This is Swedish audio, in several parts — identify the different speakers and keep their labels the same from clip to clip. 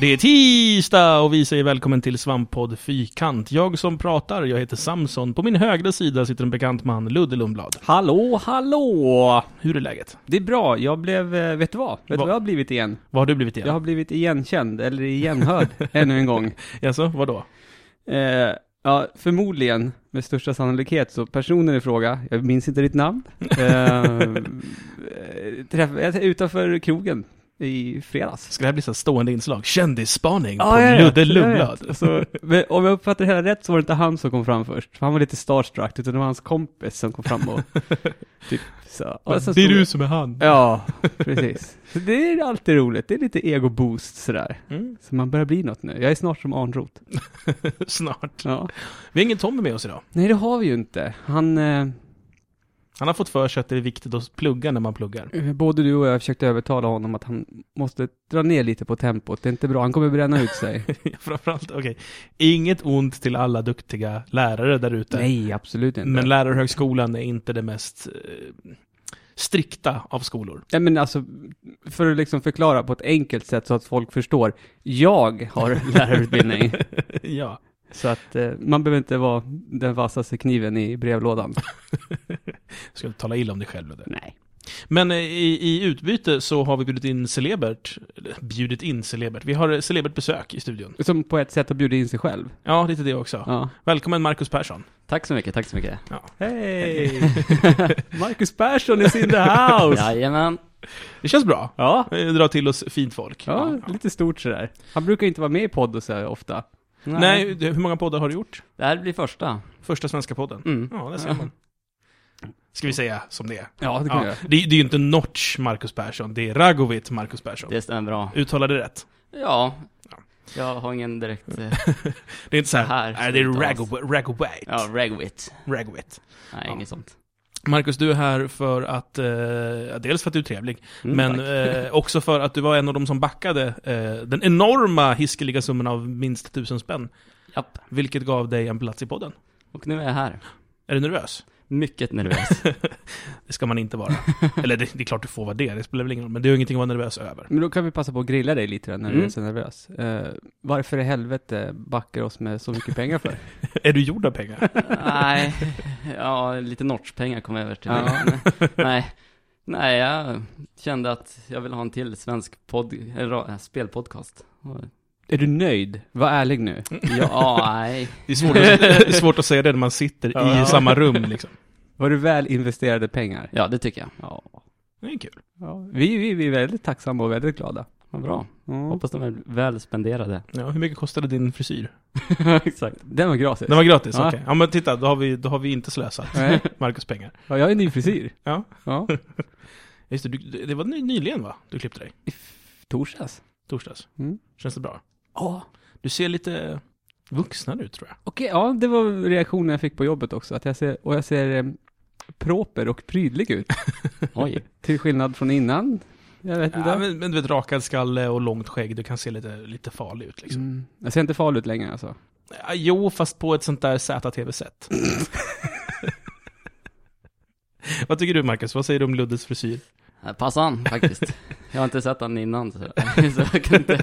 Speaker 1: Det är tisdag och vi säger välkommen till Svamppodd Fyrkant. Jag som pratar, jag heter Samson. På min högra sida sitter en bekant man, Ludde Lundblad.
Speaker 2: Hallå, hallå!
Speaker 1: Hur är läget?
Speaker 2: Det är bra, jag blev, eh, vet du vad? Vet du
Speaker 1: Va?
Speaker 2: vad jag har blivit igen?
Speaker 1: Vad har du blivit
Speaker 2: Jag
Speaker 1: igen?
Speaker 2: har blivit igenkänd, eller igenhörd, ännu en gång.
Speaker 1: Jaså, vadå?
Speaker 2: Eh, ja, förmodligen, med största sannolikhet, så personen i fråga, jag minns inte ditt namn, eh, eh, träff, jag- utanför krogen i fredags.
Speaker 1: Ska det här bli så här stående inslag? Kändisspaning
Speaker 2: Ja,
Speaker 1: på
Speaker 2: jag vet,
Speaker 1: Ludde
Speaker 2: jag
Speaker 1: Lundblad.
Speaker 2: vet. Så, men om jag uppfattar det hela rätt så var det inte han som kom fram först, för han var lite starstruck, utan det var hans kompis som kom fram och typ så. Och sen
Speaker 1: det är
Speaker 2: stod-
Speaker 1: du som är han.
Speaker 2: Ja, precis. Så det är alltid roligt. Det är lite ego-boost sådär.
Speaker 1: Mm,
Speaker 2: Så man börjar bli något nu. Jag är snart som Arnroth.
Speaker 1: snart.
Speaker 2: Ja.
Speaker 1: Vi har ingen Tommy med oss idag.
Speaker 2: Nej, det har vi ju inte. Han, eh,
Speaker 1: Han har fått för sig att det är viktigt att plugga när man pluggar.
Speaker 2: både du och jag försökte övertala honom att han måste dra ner lite på tempot. Det är inte bra. Han kommer bränna ut sig.
Speaker 1: Framförallt, okej. Inget ont till alla duktiga lärare där ute.
Speaker 2: Nej, absolut inte.
Speaker 1: Men
Speaker 2: Men,
Speaker 1: lärarhögskolan är inte det mest eh, strikta av skolor.
Speaker 2: Nej, men alltså, för att liksom förklara på ett enkelt sätt så att folk förstår. Jag har lärarutbildning.
Speaker 1: ja.
Speaker 2: så att eh, man behöver inte vara den vassaste kniven i brevlådan.
Speaker 1: Ska du tala illa om dig själv eller?
Speaker 2: Nej.
Speaker 1: Men eh, i, i utbyte så har vi bjudit in celebert, eller bjudit in celebert, vi har eh, celebert besök i studion.
Speaker 2: Som på ett sätt har bjudit in sig själv.
Speaker 1: Ja, lite det också.
Speaker 2: Ja.
Speaker 1: Välkommen Marcus Persson.
Speaker 3: Tack så mycket, tack så mycket.
Speaker 2: Hej! Marcus Persson is in the house!
Speaker 3: Jajamän.
Speaker 1: Det känns bra.
Speaker 2: Ja,
Speaker 1: Eh, Dra till oss fint folk.
Speaker 2: ja, lite stort sådär. Han brukar inte vara med i podd och så här ofta.
Speaker 1: Nej, du- hur många poddar har du gjort?
Speaker 3: Det här blir första.
Speaker 1: Första svenska podden?
Speaker 3: Mm.
Speaker 1: Ja, där ser man. Ska vi säga som det är?
Speaker 2: Ja, det kan
Speaker 1: Ja,
Speaker 2: jag.
Speaker 1: det, det är ju inte Notch Marcus Persson, det är Ragovit Marcus Persson.
Speaker 3: Det stämmer bra.
Speaker 1: Uttalade rätt.
Speaker 3: Ja. Jag har ingen direkt... eh,
Speaker 1: Det är inte så här,
Speaker 3: Här
Speaker 1: nej det är
Speaker 3: uttalas.
Speaker 1: Ragow- Ragowit.
Speaker 3: Ja, ragwit.
Speaker 1: Ragowit.
Speaker 3: Nej,
Speaker 1: Ja.
Speaker 3: inget sånt.
Speaker 1: Marcus, du är här för att, eh, dels för att du är trevlig,
Speaker 3: Mm,
Speaker 1: men
Speaker 3: tack.
Speaker 1: eh, också för att du var en av de som backade eh, den enorma hiskeliga summan av minst tusen spänn,
Speaker 3: Japp.
Speaker 1: vilket gav dig en plats i podden.
Speaker 3: Och nu är jag här.
Speaker 1: Är du nervös?
Speaker 3: Mycket nervös.
Speaker 1: Det ska man inte vara. Eller det, det är klart du får vara det, det spelar väl ingen roll, men det är ju ingenting att vara nervös över.
Speaker 2: Men då kan vi passa på att grilla dig lite då, när du
Speaker 3: Mm.
Speaker 2: är så nervös. Eh, varför i helvete backar oss med så mycket pengar för?
Speaker 1: Är du gjord av pengar?
Speaker 3: Nej. Ja, lite Nortspengar kom över till mig.
Speaker 2: Ja.
Speaker 3: Men, Nej. Nej, jag kände att jag ville ha en till svensk podd, eller, ra- eh, spelpodcast. Och-
Speaker 2: är du nöjd? Var ärlig nu.
Speaker 3: Ja, nej.
Speaker 1: Det är svårt att, det är svårt att säga det när man sitter i
Speaker 2: Ja.
Speaker 1: samma rum liksom.
Speaker 2: Var du väl investerade pengar?
Speaker 3: Ja, det tycker jag.
Speaker 2: Ja.
Speaker 1: Det är kul.
Speaker 2: ja. Vi, vi, vi är väldigt tacksamma och väldigt glada.
Speaker 3: Vad bra.
Speaker 2: Ja.
Speaker 3: Hoppas de är väl spenderade.
Speaker 1: Ja, hur mycket kostade din frisyr?
Speaker 3: Exakt.
Speaker 2: Den var gratis.
Speaker 1: Den var gratis,
Speaker 2: Ja.
Speaker 1: okej. Ja men titta, då har vi, då har vi inte slösat
Speaker 2: Nej.
Speaker 1: Marcus pengar.
Speaker 2: Ja, jag är ny frisyr.
Speaker 1: Ja.
Speaker 2: ja.
Speaker 1: Just det, du, det var ny- nyligen va? Du klippte dig?
Speaker 2: I f- torsdags.
Speaker 1: Torsdags?
Speaker 2: Mm.
Speaker 1: Känns det bra?
Speaker 2: Ja.
Speaker 1: Du ser lite vuxnare ut tror jag.
Speaker 2: Okej, ja, det var reaktionen jag fick på jobbet också. Att jag ser, och jag ser eh, proper och prydlig ut.
Speaker 3: Oj.
Speaker 2: till skillnad från innan. Jag vet inte.
Speaker 1: Ja, men, men du vet, rakad skalle och långt skägg, du kan se lite, lite farlig ut liksom.
Speaker 2: mm. Jag ser inte farlig ut längre alltså.
Speaker 1: Ja, jo, fast på ett sånt där ZTV-sätt. Vad tycker du Marcus? Vad säger du om Luddes frisyr?
Speaker 3: Ja, Eh, Passa han faktiskt. Jag har inte sett han innan så, så jag kan inte...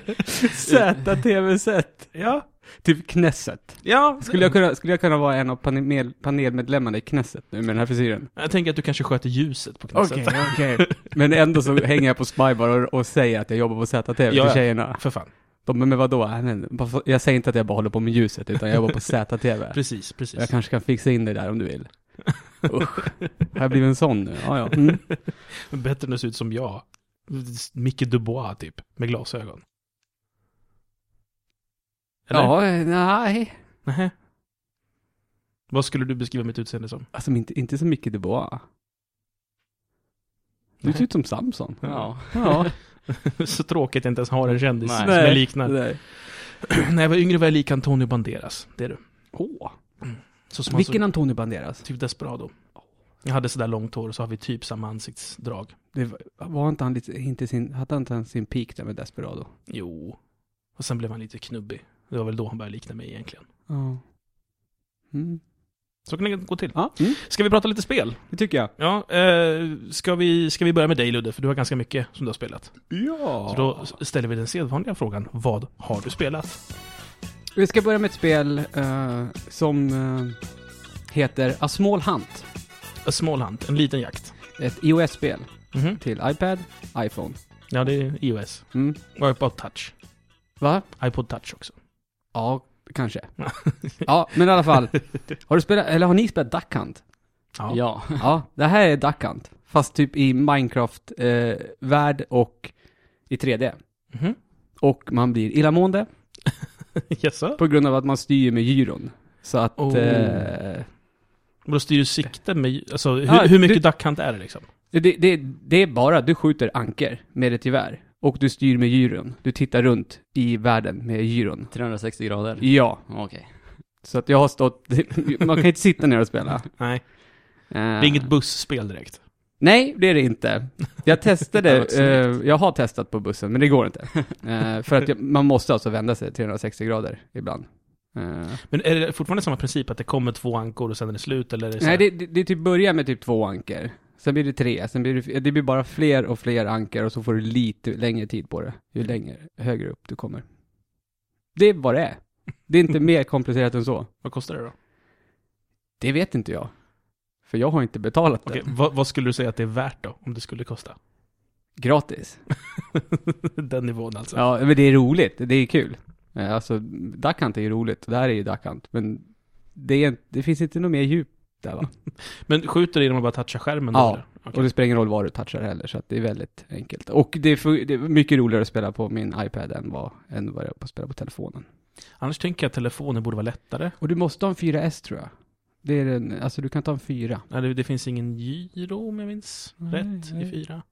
Speaker 2: ZTV-set.
Speaker 1: Ja,
Speaker 2: Typ Knesset.
Speaker 1: ja.
Speaker 2: Skulle jag, kunna, skulle jag kunna vara en av panel, panelmedlemmarna i Knesset nu med den här frisyren?
Speaker 1: jag tänker att du kanske sköter ljuset på knäset.
Speaker 2: okej. Men ändå så hänger jag på Spybar och, och säger att jag jobbar på ZTV
Speaker 1: Ja,
Speaker 2: till
Speaker 1: ja.
Speaker 2: tjejerna.
Speaker 1: För fan.
Speaker 2: De, men vadå? Nej, men bara för- Jag säger inte att jag bara håller på med ljuset, utan jag jobbar på ZTV.
Speaker 1: Precis, precis.
Speaker 2: Jag kanske kan fixa in det där om du vill. Usch. Har jag blivit en sån nu? Ja, ja. Mm.
Speaker 1: Bättre än att se ut som jag. Micke Dubois typ, med glasögon. Eller?
Speaker 2: ja nej.
Speaker 1: Nähä. Vad skulle du beskriva mitt utseende som?
Speaker 2: Alltså men inte, inte så mycket Dubois. Du ser ut som Samson.
Speaker 3: Ja.
Speaker 2: Ja,
Speaker 1: så tråkigt att jag inte ens har en kändis
Speaker 3: Nej.
Speaker 1: som
Speaker 3: Nej.
Speaker 1: jag liknar.
Speaker 2: där.
Speaker 1: När jag var yngre var jag lik Antonio Banderas. Det är du.
Speaker 2: Åh.
Speaker 1: Så som
Speaker 2: Vilken
Speaker 1: han
Speaker 2: Antonio Banderas?
Speaker 1: såg, typ desperado. Jag hade sådär långt hår och så har vi typ samma ansiktsdrag.
Speaker 2: Det var, var inte han lite, inte sin, hade inte han sin peak där med Desperado?
Speaker 1: Jo. Och sen blev han lite knubbig. Det var väl då han började likna mig egentligen.
Speaker 2: Ja. Mm.
Speaker 1: Så kan det gå till.
Speaker 2: Ja, mm,
Speaker 1: Ska vi prata lite spel?
Speaker 2: det tycker jag.
Speaker 1: Ja, eh, ska, vi, ska vi börja med dig Ludde? För du har ganska mycket som du har spelat.
Speaker 2: Ja.
Speaker 1: Så då s- ställer vi den sedvanliga frågan. Vad har du spelat?
Speaker 2: Vi ska börja med ett spel eh, som eh, heter A Small Hunt.
Speaker 1: A small hunt, en liten jakt.
Speaker 2: Ett iOS-spel
Speaker 1: Mhm.
Speaker 2: till iPad, iPhone.
Speaker 1: Ja, det är iOS.
Speaker 2: Mm.
Speaker 1: Och iPod touch.
Speaker 2: Va?
Speaker 1: iPod touch också.
Speaker 2: Ja, kanske. ja, men i alla fall. Har du spelat, eller har ni spelat Duck Hunt?
Speaker 1: Ja.
Speaker 3: Ja.
Speaker 2: Ja, det här är Duck Hunt. Fast typ i Minecraft-värld och i 3D.
Speaker 1: Mhm.
Speaker 2: Och man blir illamående
Speaker 1: Jaså?
Speaker 2: på grund av att man styr med gyron. Så att...
Speaker 1: Oh.
Speaker 2: Eh,
Speaker 1: Men då styr du sikten med... Alltså, hur,
Speaker 2: Ja,
Speaker 1: hur mycket
Speaker 2: du-
Speaker 1: duck hunt är det liksom?
Speaker 2: det, det, det är bara du skjuter anker med ett gevär. Och du styr med gyron. Du tittar runt i världen med gyron.
Speaker 3: 360 grader.
Speaker 2: Ja,
Speaker 3: Okej.
Speaker 2: så att jag har stått... Man kan inte sitta ner och spela.
Speaker 1: Nej, det är inget busspel direkt.
Speaker 2: Nej, det är det inte. Jag
Speaker 1: Det
Speaker 2: testade,
Speaker 1: var snyggt.
Speaker 2: eh, jag har testat på bussen, men det går inte. Eh, för att jag, man måste alltså vända sig 360 grader ibland. Eh,
Speaker 1: Men är det fortfarande samma princip att det kommer två ankor och sen är det slut? Eller är det så
Speaker 2: nej,
Speaker 1: här-
Speaker 2: det, det, det typ börjar med typ två anker. Sen blir det tre, sen blir det, det blir bara fler och fler anker och så får du lite längre tid på det, ju längre, högre upp du kommer. Det är vad det är. Det är inte mer komplicerat än så.
Speaker 1: Vad kostar det då?
Speaker 2: Det vet inte jag. För jag har inte betalat det.
Speaker 1: Okej, vad, vad skulle du säga att det är värt då? Om det skulle kosta?
Speaker 2: Gratis.
Speaker 1: Den nivån alltså.
Speaker 2: Ja, men det är roligt. Det är kul. Eh, Alltså, Duck Hunt är ju roligt. Det här är ju Duck Hunt. Men det, är, inte- det finns inte något mer djup där va?
Speaker 1: Men skjuter det genom att bara toucha skärmen? då,
Speaker 2: Ja.
Speaker 1: eller? Okej.
Speaker 2: Och det spelar ingen roll vad du touchar heller, så att det är väldigt enkelt. Och det är, fu- det är mycket roligare att spela på min iPad än vad, än vad det är att spela på telefonen.
Speaker 1: Annars tänker jag att telefonen borde vara lättare.
Speaker 2: Och du måste ha en 4S tror jag. Det är den, alltså du kan ta en 4.
Speaker 1: Nej, det, det finns ingen gyro om jag minns
Speaker 2: Nej,
Speaker 1: rätt
Speaker 2: nej.
Speaker 1: i fyra.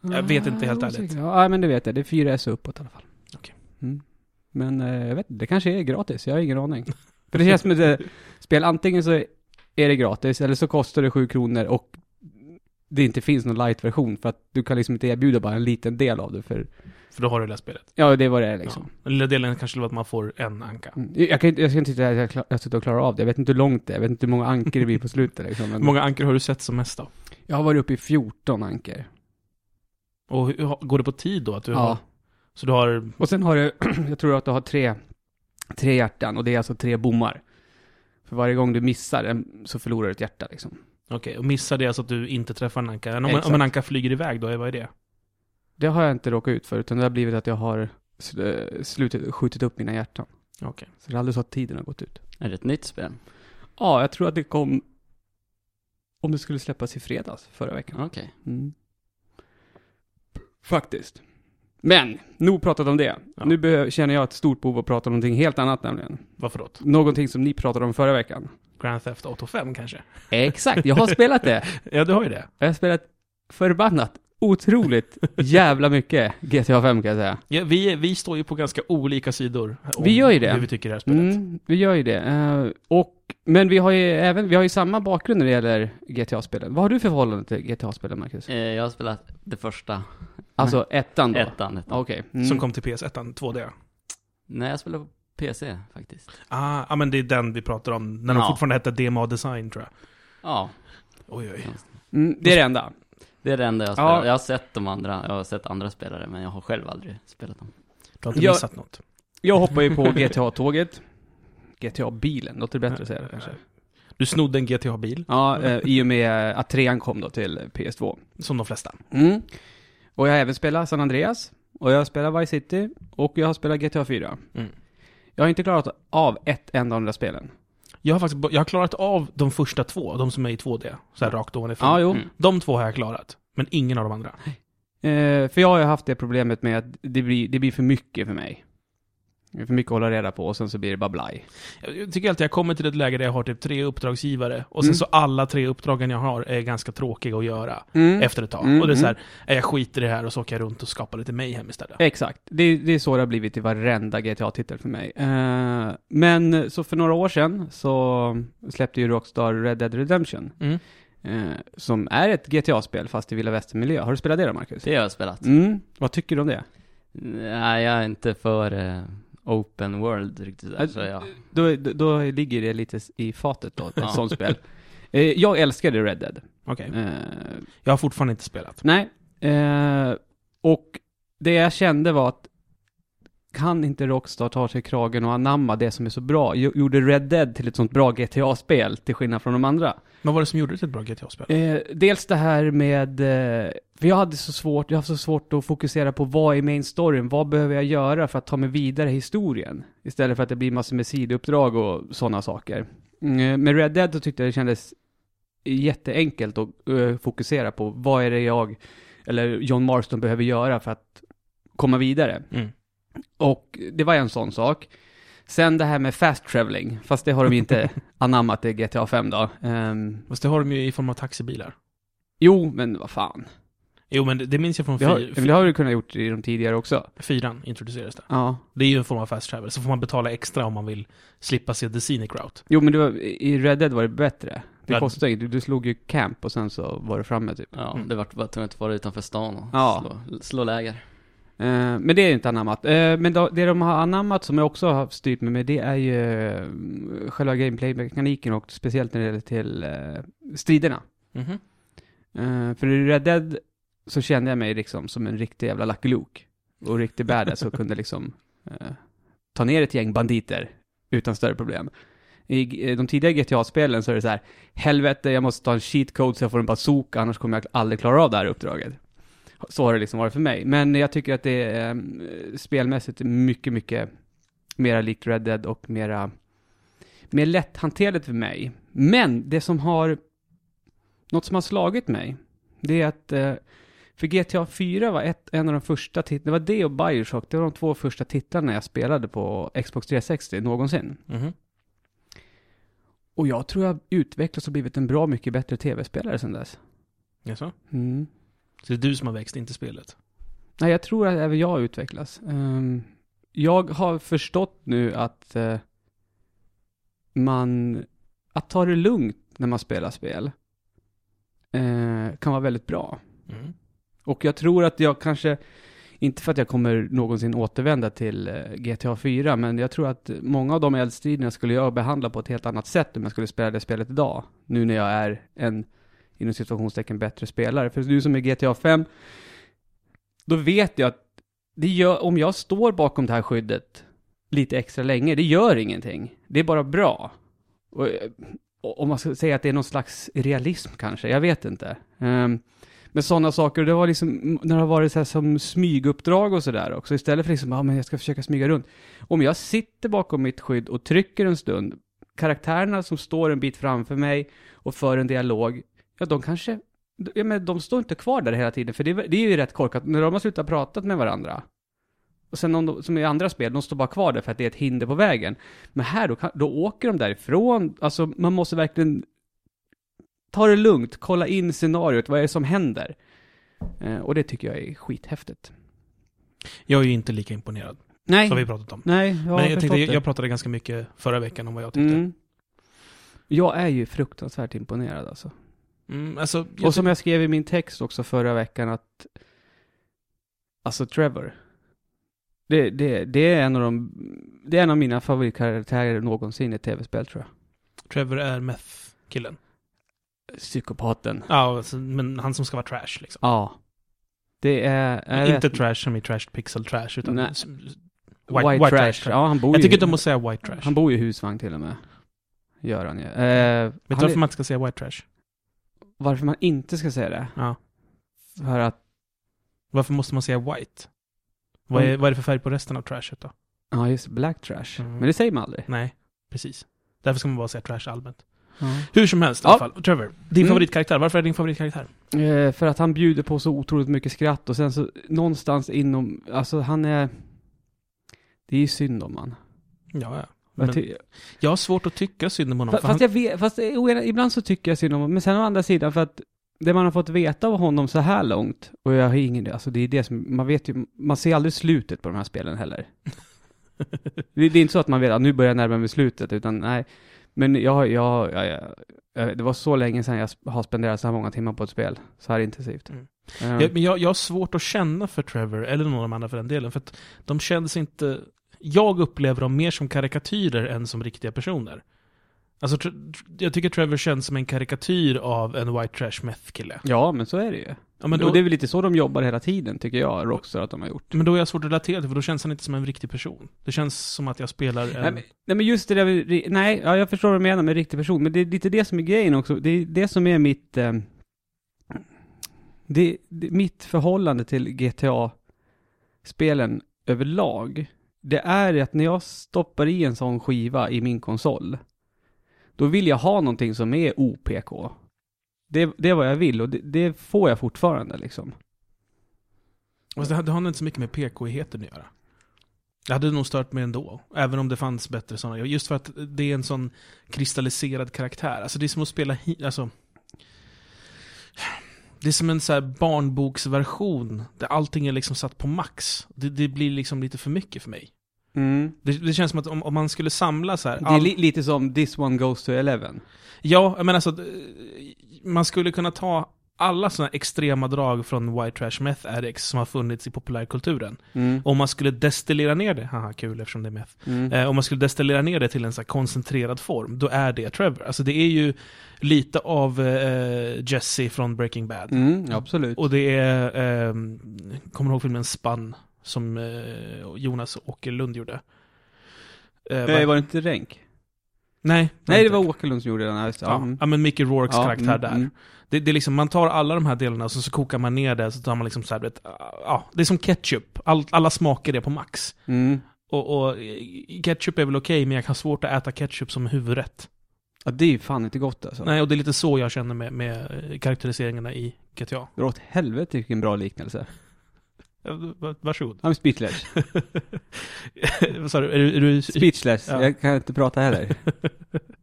Speaker 1: Jag vet inte, helt
Speaker 2: Ah,
Speaker 1: ärligt.
Speaker 2: osäker. Ja, men det vet jag. Det är 4S och uppåt i alla fall.
Speaker 1: Okej.
Speaker 2: Mm. Men eh, jag vet inte, det kanske är gratis. Jag har ingen aning. För det känns som ett eh, spel, antingen så är det gratis eller så kostar det 7 kronor och det inte finns någon light-version för att du kan liksom inte erbjuda bara en liten del av det för,
Speaker 1: För då har du det där spelet.
Speaker 2: ja det var det är liksom.
Speaker 1: Ja. Den lilla delen kanske skulle vara att man får en anka.
Speaker 2: Mm. Jag, kan, inte- jag ska inte sitta här och kla- jag sitter och klara av det. Jag vet inte hur långt det är, jag vet inte hur många anker det blir på slutet liksom.
Speaker 1: Hur
Speaker 2: Men
Speaker 1: många ankor har du sett som mest då?
Speaker 2: Jag har varit uppe i 14 anker.
Speaker 1: Och hur, hur- går det på tid då? Att du
Speaker 2: Ja.
Speaker 1: har, så du har...
Speaker 2: Och sen har du, jag tror att du har tre, tre hjärtan och det är alltså tre bommar. För varje gång du missar en så förlorar du ett hjärta liksom.
Speaker 1: Okej, och missar det alltså att du inte träffar en anka. Men Om, en- om en
Speaker 2: Exakt.
Speaker 1: anka flyger iväg då, vad är det?
Speaker 2: Det har jag inte råkat ut för utan det har blivit att jag har sl- eh, slutit, skjutit upp mina hjärtan.
Speaker 1: Okej.
Speaker 2: Så det är aldrig så att tiden har gått ut.
Speaker 3: Är det ett nytt spel?
Speaker 2: Ja, jag tror att det kom om det skulle släppas i fredags förra veckan.
Speaker 3: Okej.
Speaker 2: Mm. Faktiskt. Men, nog pratat om det.
Speaker 1: Ja.
Speaker 2: Nu behö- känner jag ett stort behov att prata om någonting helt annat nämligen.
Speaker 1: Varför då?
Speaker 2: Någonting som ni pratade om förra veckan.
Speaker 1: Grand Theft Auto 5 kanske?
Speaker 2: Exakt, jag har spelat det.
Speaker 1: Ja, du har ju det.
Speaker 2: Jag har spelat förbannat otroligt jävla mycket GTA 5 kan jag säga.
Speaker 1: Ja, vi, vi står ju på ganska olika sidor. om
Speaker 2: Vi gör ju det.
Speaker 1: Hur vi tycker det här spelet.
Speaker 2: Mm, vi gör ju det. Eh, och, men vi har ju även, vi har ju samma bakgrund när det gäller GTA-spelen. Vad har du för förhållande till GTA-spelen, Marcus?
Speaker 3: Eh, Jag har spelat det första,
Speaker 2: Alltså ettan då?
Speaker 3: ettan. ettan.
Speaker 2: Okej. Mm.
Speaker 1: Som kom till PS1, 2D.
Speaker 3: Nej, jag spelade på PC faktiskt.
Speaker 1: Ah, ah, men det är den vi pratar om. När de
Speaker 3: Ja.
Speaker 1: fortfarande hette DMA Design tror jag.
Speaker 3: Ja,
Speaker 1: Oj, oj.
Speaker 2: Mm, det är det enda.
Speaker 3: det är det enda jag har
Speaker 2: Ja.
Speaker 3: spelat. Jag har sett de andra, jag har sett andra spelare, men jag har själv aldrig spelat dem.
Speaker 1: Du har inte
Speaker 2: Jag-
Speaker 1: missat något.
Speaker 2: Jag hoppar ju på GTA-tåget. GTA-bilen, låter det bättre att säga det kanske.
Speaker 1: Du snodde en GTA-bil,
Speaker 2: Ja, eh, i och med att trean kom då till PS2.
Speaker 1: som de flesta.
Speaker 2: Mm. Och jag har även spelat San Andreas, och jag har spelat Vice City, och jag har spelat GTA 4.
Speaker 1: Mm.
Speaker 2: Jag har inte klarat av ett enda av de där spelen.
Speaker 1: Jag har faktiskt jag har klarat av de första två, de som är i 2D. Så här rakt ovanifrån.
Speaker 2: Ja, jo.
Speaker 3: Mm.
Speaker 1: De två har jag klarat, men ingen av de andra.
Speaker 2: Eh, för jag har ju haft det problemet med att det blir, det blir för mycket för mig. Det är för mycket att hålla reda på och sen så blir det bara blaj.
Speaker 1: Jag jag tycker alltid jag kommer till ett läge där jag har typ tre uppdragsgivare, och sen
Speaker 2: Mm.
Speaker 1: så alla tre uppdragen jag har är ganska tråkiga att göra.
Speaker 2: Mm.
Speaker 1: Efter ett tag.
Speaker 2: Mm,
Speaker 1: Och det är så
Speaker 2: mm.
Speaker 1: här, "Nej, jag skiter i det här och så åker jag runt och skapar lite mayhem istället.
Speaker 2: Exakt. Det, det är så det har blivit i varenda GTA-titel för mig. Eh, men så för några år sedan så släppte ju Rockstar Red Dead Redemption.
Speaker 1: Mm.
Speaker 2: Eh, som är ett GTA-spel fast i vilda västern-miljö. Har du spelat det då, Marcus?
Speaker 3: Det har jag spelat.
Speaker 2: Mm. Vad tycker du om det?
Speaker 3: Nej, jag är inte för eh, open world riktigt där,
Speaker 2: Alltså,
Speaker 3: så ja.
Speaker 2: Då, då, då ligger det lite i fatet då, ett
Speaker 3: Ja.
Speaker 2: sånt spel. Eh, jag älskade Red Dead.
Speaker 1: Okej.
Speaker 2: Eh,
Speaker 1: Jag har fortfarande inte spelat.
Speaker 2: nej. Eh, och det jag kände var att kan inte Rockstar ta sig i kragen och anamma det som är så bra? Jo- Gjorde Red Dead till ett sånt bra GTA-spel, till skillnad från de andra.
Speaker 1: Vad var det som gjorde det till ett bra GTA-spel?
Speaker 2: Eh, dels det här med, eh, för jag hade så svårt, jag har så svårt att fokusera på vad är main storyn, vad behöver jag göra för att ta mig vidare i historien? Istället för att det blir massor med sidouppdrag och sådana saker. Mm, med Red Dead så tyckte jag det kändes jätteenkelt att eh, fokusera på vad är det jag, eller John Marston behöver göra för att komma vidare.
Speaker 1: Mm.
Speaker 2: Och det var en sån sak. Sen det här med fast traveling, fast det har de ju inte anammat i GTA 5 då. Ehm,
Speaker 1: Fast det har de ju i form av taxibilar.
Speaker 2: jo, men vad fan.
Speaker 1: Jo, men det, det minns jag från
Speaker 2: Det har,
Speaker 1: fy-
Speaker 2: men det har du kunnat gjort i de tidigare också.
Speaker 1: fyran introducerades det.
Speaker 2: Ja.
Speaker 1: Det är ju en form av fast travel, så får man betala extra om man vill slippa se the scenic route.
Speaker 2: Jo, men det var, i Red Dead var det bättre. Det
Speaker 1: Ja.
Speaker 2: kostade inget. Du, du slog ju camp och sen så var du framme typ.
Speaker 3: Ja,
Speaker 1: Mm.
Speaker 3: det vart bara tvunget att vara utanför stan och
Speaker 2: Ja.
Speaker 3: slå, slå läger.
Speaker 2: Eh, men det är inte anammat. Eh, men då, det de har anammat som jag också har styrt mig med, det är ju eh, själva gameplay-mekaniken och speciellt när det gäller till eh, striderna.
Speaker 1: Mhm.
Speaker 2: Eh, för i Red Dead så kände jag mig liksom som en riktig jävla Lucky Luke. Och riktig badass och kunde liksom eh, ta ner ett gäng banditer utan större problem. I eh, de tidigare GTA-spelen så är det så här, helvete jag måste ta en cheat code så jag får en bazooka annars kommer jag aldrig klara av det här uppdraget. Så har det liksom varit för mig. Men jag tycker att det är eh, spelmässigt mycket, mycket mera likt Red Dead och mera mer lätthanterligt för mig. Men det som har något som har slagit mig, det är att eh, för GTA 4 var ett, en av de första titlarna, det var det och Bioshock, det var de två första titlarna jag spelade på Xbox 360 någonsin.
Speaker 1: Mhm.
Speaker 2: Och jag tror jag utvecklats och blivit en bra mycket bättre tv-spelare sedan dess.
Speaker 1: Jaså?
Speaker 2: Mm.
Speaker 1: Så det är du som har växt, inte spelet?
Speaker 2: Nej, jag tror att även jag utvecklas. Ehm, jag har förstått nu att eh, man, att ta det lugnt när man spelar spel eh, kan vara väldigt bra.
Speaker 1: Mhm.
Speaker 2: Och jag tror att jag kanske, inte för att jag kommer någonsin återvända till eh, GTA 4, men jag tror att många av de eldstriderna skulle jag behandla på ett helt annat sätt om jag skulle spela det spelet idag. Nu när jag är en, inom situationstecken bättre spelare. För du som är GTA 5, då vet jag att det gör, om jag står bakom det här skyddet lite extra länge, det gör ingenting. Det är bara bra. Och, eh, om man ska säga att det är någon slags realism kanske, jag vet inte. Ehm, med sådana saker. Och det var liksom, när det har varit så här som smyguppdrag och sådär också. Istället för liksom, ja ah, men jag ska försöka smyga runt. Om jag sitter bakom mitt skydd och trycker en stund, karaktärerna som står en bit framför mig och för en dialog, ja de kanske, ja men de står inte kvar där hela tiden, för det, är- det är ju rätt korkat. När de har slutat prata med varandra, och sen om de, som i andra spel, de står bara kvar där för att det är ett hinder på vägen. Men här, då, kan, då åker de därifrån. Alltså, man måste verkligen ta det lugnt, kolla in scenariot, vad är det som händer? Eh, och det tycker jag är skithäftigt.
Speaker 1: Jag är ju inte lika imponerad,
Speaker 2: Nej,
Speaker 1: som vi pratat om.
Speaker 2: nej, jag har
Speaker 1: men jag,
Speaker 2: förstått
Speaker 1: tänkte, jag,
Speaker 2: det.
Speaker 1: jag pratade ganska mycket förra veckan om vad jag tyckte. Mm.
Speaker 2: mm. jag är ju fruktansvärt imponerad alltså.
Speaker 1: alltså, jag
Speaker 2: Och som jag skrev i min text också förra veckan att, alltså Trevor, det, det, det är en av de, det är en av mina favoritkaraktärer någonsin i tv-spel tror jag.
Speaker 1: tyck- Trevor är meth-killen.
Speaker 2: Psykopaten.
Speaker 1: Ja, alltså, men han som ska vara trash liksom.
Speaker 2: Ja. Det är...
Speaker 1: Men
Speaker 2: jag
Speaker 1: inte
Speaker 2: vet-
Speaker 1: trash som i trash pixel trash, utan
Speaker 2: Nej.
Speaker 1: s- s- white,
Speaker 2: White, trash. Ja, han bor
Speaker 1: Jag
Speaker 2: ju
Speaker 1: tycker inte om att säga white trash.
Speaker 2: Han bor ju i husvagn till och med. Gör han ju. Eh,
Speaker 1: Vet
Speaker 2: han
Speaker 1: du varför
Speaker 2: är-
Speaker 1: man inte ska säga white trash?
Speaker 2: varför man inte ska säga det?
Speaker 1: Ja.
Speaker 2: För att,
Speaker 1: Varför måste man säga white? Vad är,
Speaker 2: Mm.
Speaker 1: vad är det för färg på resten av trashet då?
Speaker 2: ja just det, black trash.
Speaker 1: Mm.
Speaker 2: Men det säger man aldrig.
Speaker 1: Nej, precis. Därför ska man bara säga trash allmänt.
Speaker 2: Ja.
Speaker 1: Hur som helst i
Speaker 2: Ja.
Speaker 1: alla fall. Trevor, din
Speaker 2: Mm.
Speaker 1: favoritkaraktär. Varför är din favoritkaraktär?
Speaker 2: Eh, för att han bjuder på så otroligt mycket skratt och sen så någonstans inom, alltså han är... Det är ju synd om han.
Speaker 1: Ja, ja.
Speaker 2: Jag
Speaker 1: Men
Speaker 2: ty-
Speaker 1: jag har svårt att tycka synd om honom.
Speaker 2: Fa-
Speaker 1: för
Speaker 2: Fast
Speaker 1: han,
Speaker 2: jag vet, fast eh, å ena- ibland så tycker jag synd om honom, men sen å andra sidan för att det man har fått veta av honom så här långt, och jag har ingen, alltså det är det som, man vet ju, man ser aldrig slutet på de här spelen heller. det, det är inte så att man vet, att nu börjar jag närma mig slutet, utan nej. Men jag, jag, jag, jag, jag det var så länge sedan jag sp- har spenderat så här många timmar på ett spel, så här intensivt.
Speaker 1: Mm.
Speaker 2: Eh,
Speaker 1: jag, men jag, jag har svårt att känna för Trevor, eller någon av de andra för den delen, för att de kändes inte jag upplever dem mer som karikatyrer än som riktiga personer. Alltså, tr- tr- jag tycker Trevor känns som en karikatyr av en white trash meth-kille.
Speaker 2: Ja, men så är det ju.
Speaker 1: Ja, men,
Speaker 2: Och
Speaker 1: då,
Speaker 2: det är väl lite så de jobbar hela tiden, tycker jag, Rockstar att de har gjort.
Speaker 1: men då är jag svårt att relatera till, för då känns han inte som en riktig person. Det känns som att jag spelar en...
Speaker 2: Nej men, nej men just det där, med ri- nej, ja, jag förstår vad du menar med riktig person, men det är lite det som är grejen också, det är det som är mitt, eh, det, det, mitt förhållande till GTA-spelen överlag, det är att när jag stoppar i en sån skiva i min konsol, då vill jag ha någonting som är OPK. Det, det är vad jag vill och det, det får jag fortfarande liksom.
Speaker 1: Fast det, det har nog inte så mycket med PK-heten att göra. Det hade nog stört mig ändå, även om det fanns bättre sådana. Just för att det är en sån kristalliserad karaktär. Alltså det är som att spela hi- alltså, Det är som en så här barnboksversion, där allting är liksom satt på max. Det, det blir liksom lite för mycket för mig.
Speaker 2: Mm.
Speaker 1: Det, det känns som att om, om man skulle samla så här...
Speaker 2: Det är
Speaker 1: all-
Speaker 2: li, lite som This One Goes to Eleven.
Speaker 1: Ja, men alltså, d- man skulle kunna ta alla sådana extrema drag från White Trash Meth Addicts som har funnits i populärkulturen. Om man skulle destillera ner det, haha kul eftersom det är meth.
Speaker 2: Mm.
Speaker 1: Eh, om man skulle destillera ner det till en så här koncentrerad form, då är det Trevor. Alltså det är ju lite av eh, Jesse från Breaking Bad.
Speaker 2: Mm, absolut.
Speaker 1: Och det är, ehm, kommer du ihåg filmen Spann? Som eh, Jonas Åkerlund gjorde. Eh,
Speaker 2: Nej,
Speaker 1: va-
Speaker 2: var det inte Renk?
Speaker 1: nej,
Speaker 2: Nej, det
Speaker 1: inte.
Speaker 2: var Åkerlund som gjorde den. här, just det.
Speaker 1: Ja,
Speaker 2: Mm.
Speaker 1: ja men Mickey Rourkes
Speaker 2: Ja,
Speaker 1: karaktär
Speaker 2: mm,
Speaker 1: där.
Speaker 2: mm.
Speaker 1: Det, det är liksom, man tar alla de här delarna och så, så kokar man ner det, så tar man liksom så här, du vet, ja, det är som ketchup. All, alla smaker är på max.
Speaker 2: Mm.
Speaker 1: Och, och eh, ketchup är väl okej, men jag har svårt att äta ketchup som huvudrätt.
Speaker 2: Ja, det är ju fan inte gott alltså.
Speaker 1: Nej, och det är lite så jag känner med, med eh, karaktäriseringarna i GTA.
Speaker 2: Dra åt helvete vilken bra liknelse.
Speaker 1: Eh, va- Varsågod.
Speaker 2: I'm speechless.
Speaker 1: Vad sa du? Är du, är du
Speaker 2: Speechless.
Speaker 1: Ja.
Speaker 2: Jag kan inte prata heller.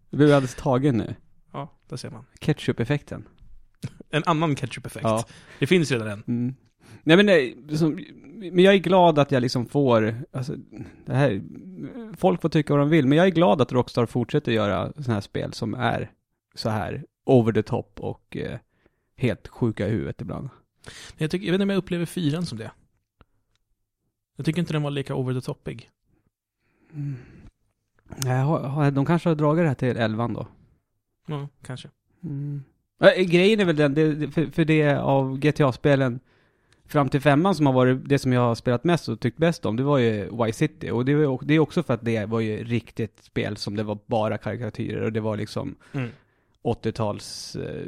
Speaker 2: Jag blev alldeles tagen nu.
Speaker 1: ja, där ser man.
Speaker 2: Ketchup-effekten.
Speaker 1: En annan ketchup-effekt.
Speaker 2: Ja.
Speaker 1: Det finns redan en.
Speaker 2: Mm. Nej men nej, som, men jag är glad att jag liksom får, alltså, det här, folk får tycka vad de vill, men jag är glad att Rockstar fortsätter göra sådana här spel som är så här over the top och eh, helt sjuka i huvudet ibland.
Speaker 1: Men Jag, tycker, jag vet inte om jag upplever fyran som det. Jag tycker inte den var lika over the topig.
Speaker 2: Mm. Nej, har- har- de kanske har dragit det här till elvan då.
Speaker 1: Ja, kanske.
Speaker 2: Äh, Grejen är väl den, det, det- för, för det av GTA-spelen fram till femman som har varit det som jag har spelat mest och tyckt bäst om, det var ju Vice City. Och det, var, ju- det är också för att det var ju riktigt spel som det var bara karikatyrer och det var liksom
Speaker 1: Mm.
Speaker 2: 80-tals, eh,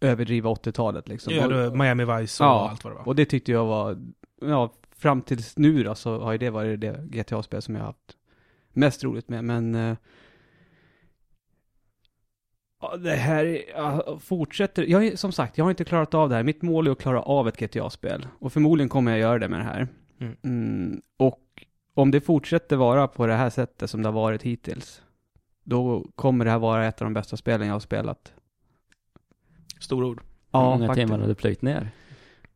Speaker 2: överdriva 80-talet liksom.
Speaker 1: Ja, det var
Speaker 2: och,
Speaker 1: Miami Vice och
Speaker 2: Ja,
Speaker 1: allt vad det var.
Speaker 2: och det tyckte jag var, ja, fram tills nu då så har ju det varit det GTA-spel som jag har haft mest roligt med, men eh, ja, det här är- ja, fortsätter, jag, är- som sagt, jag har inte klarat av det här. Mitt mål är att klara av ett GTA-spel och förmodligen kommer jag göra det med det här.
Speaker 1: Mm.
Speaker 2: Mm, och om det fortsätter vara på det här sättet som det har varit hittills, då kommer det här vara ett av de bästa spelen jag har spelat.
Speaker 1: Stora ord.
Speaker 3: Hur många timmar har du plöjt ner?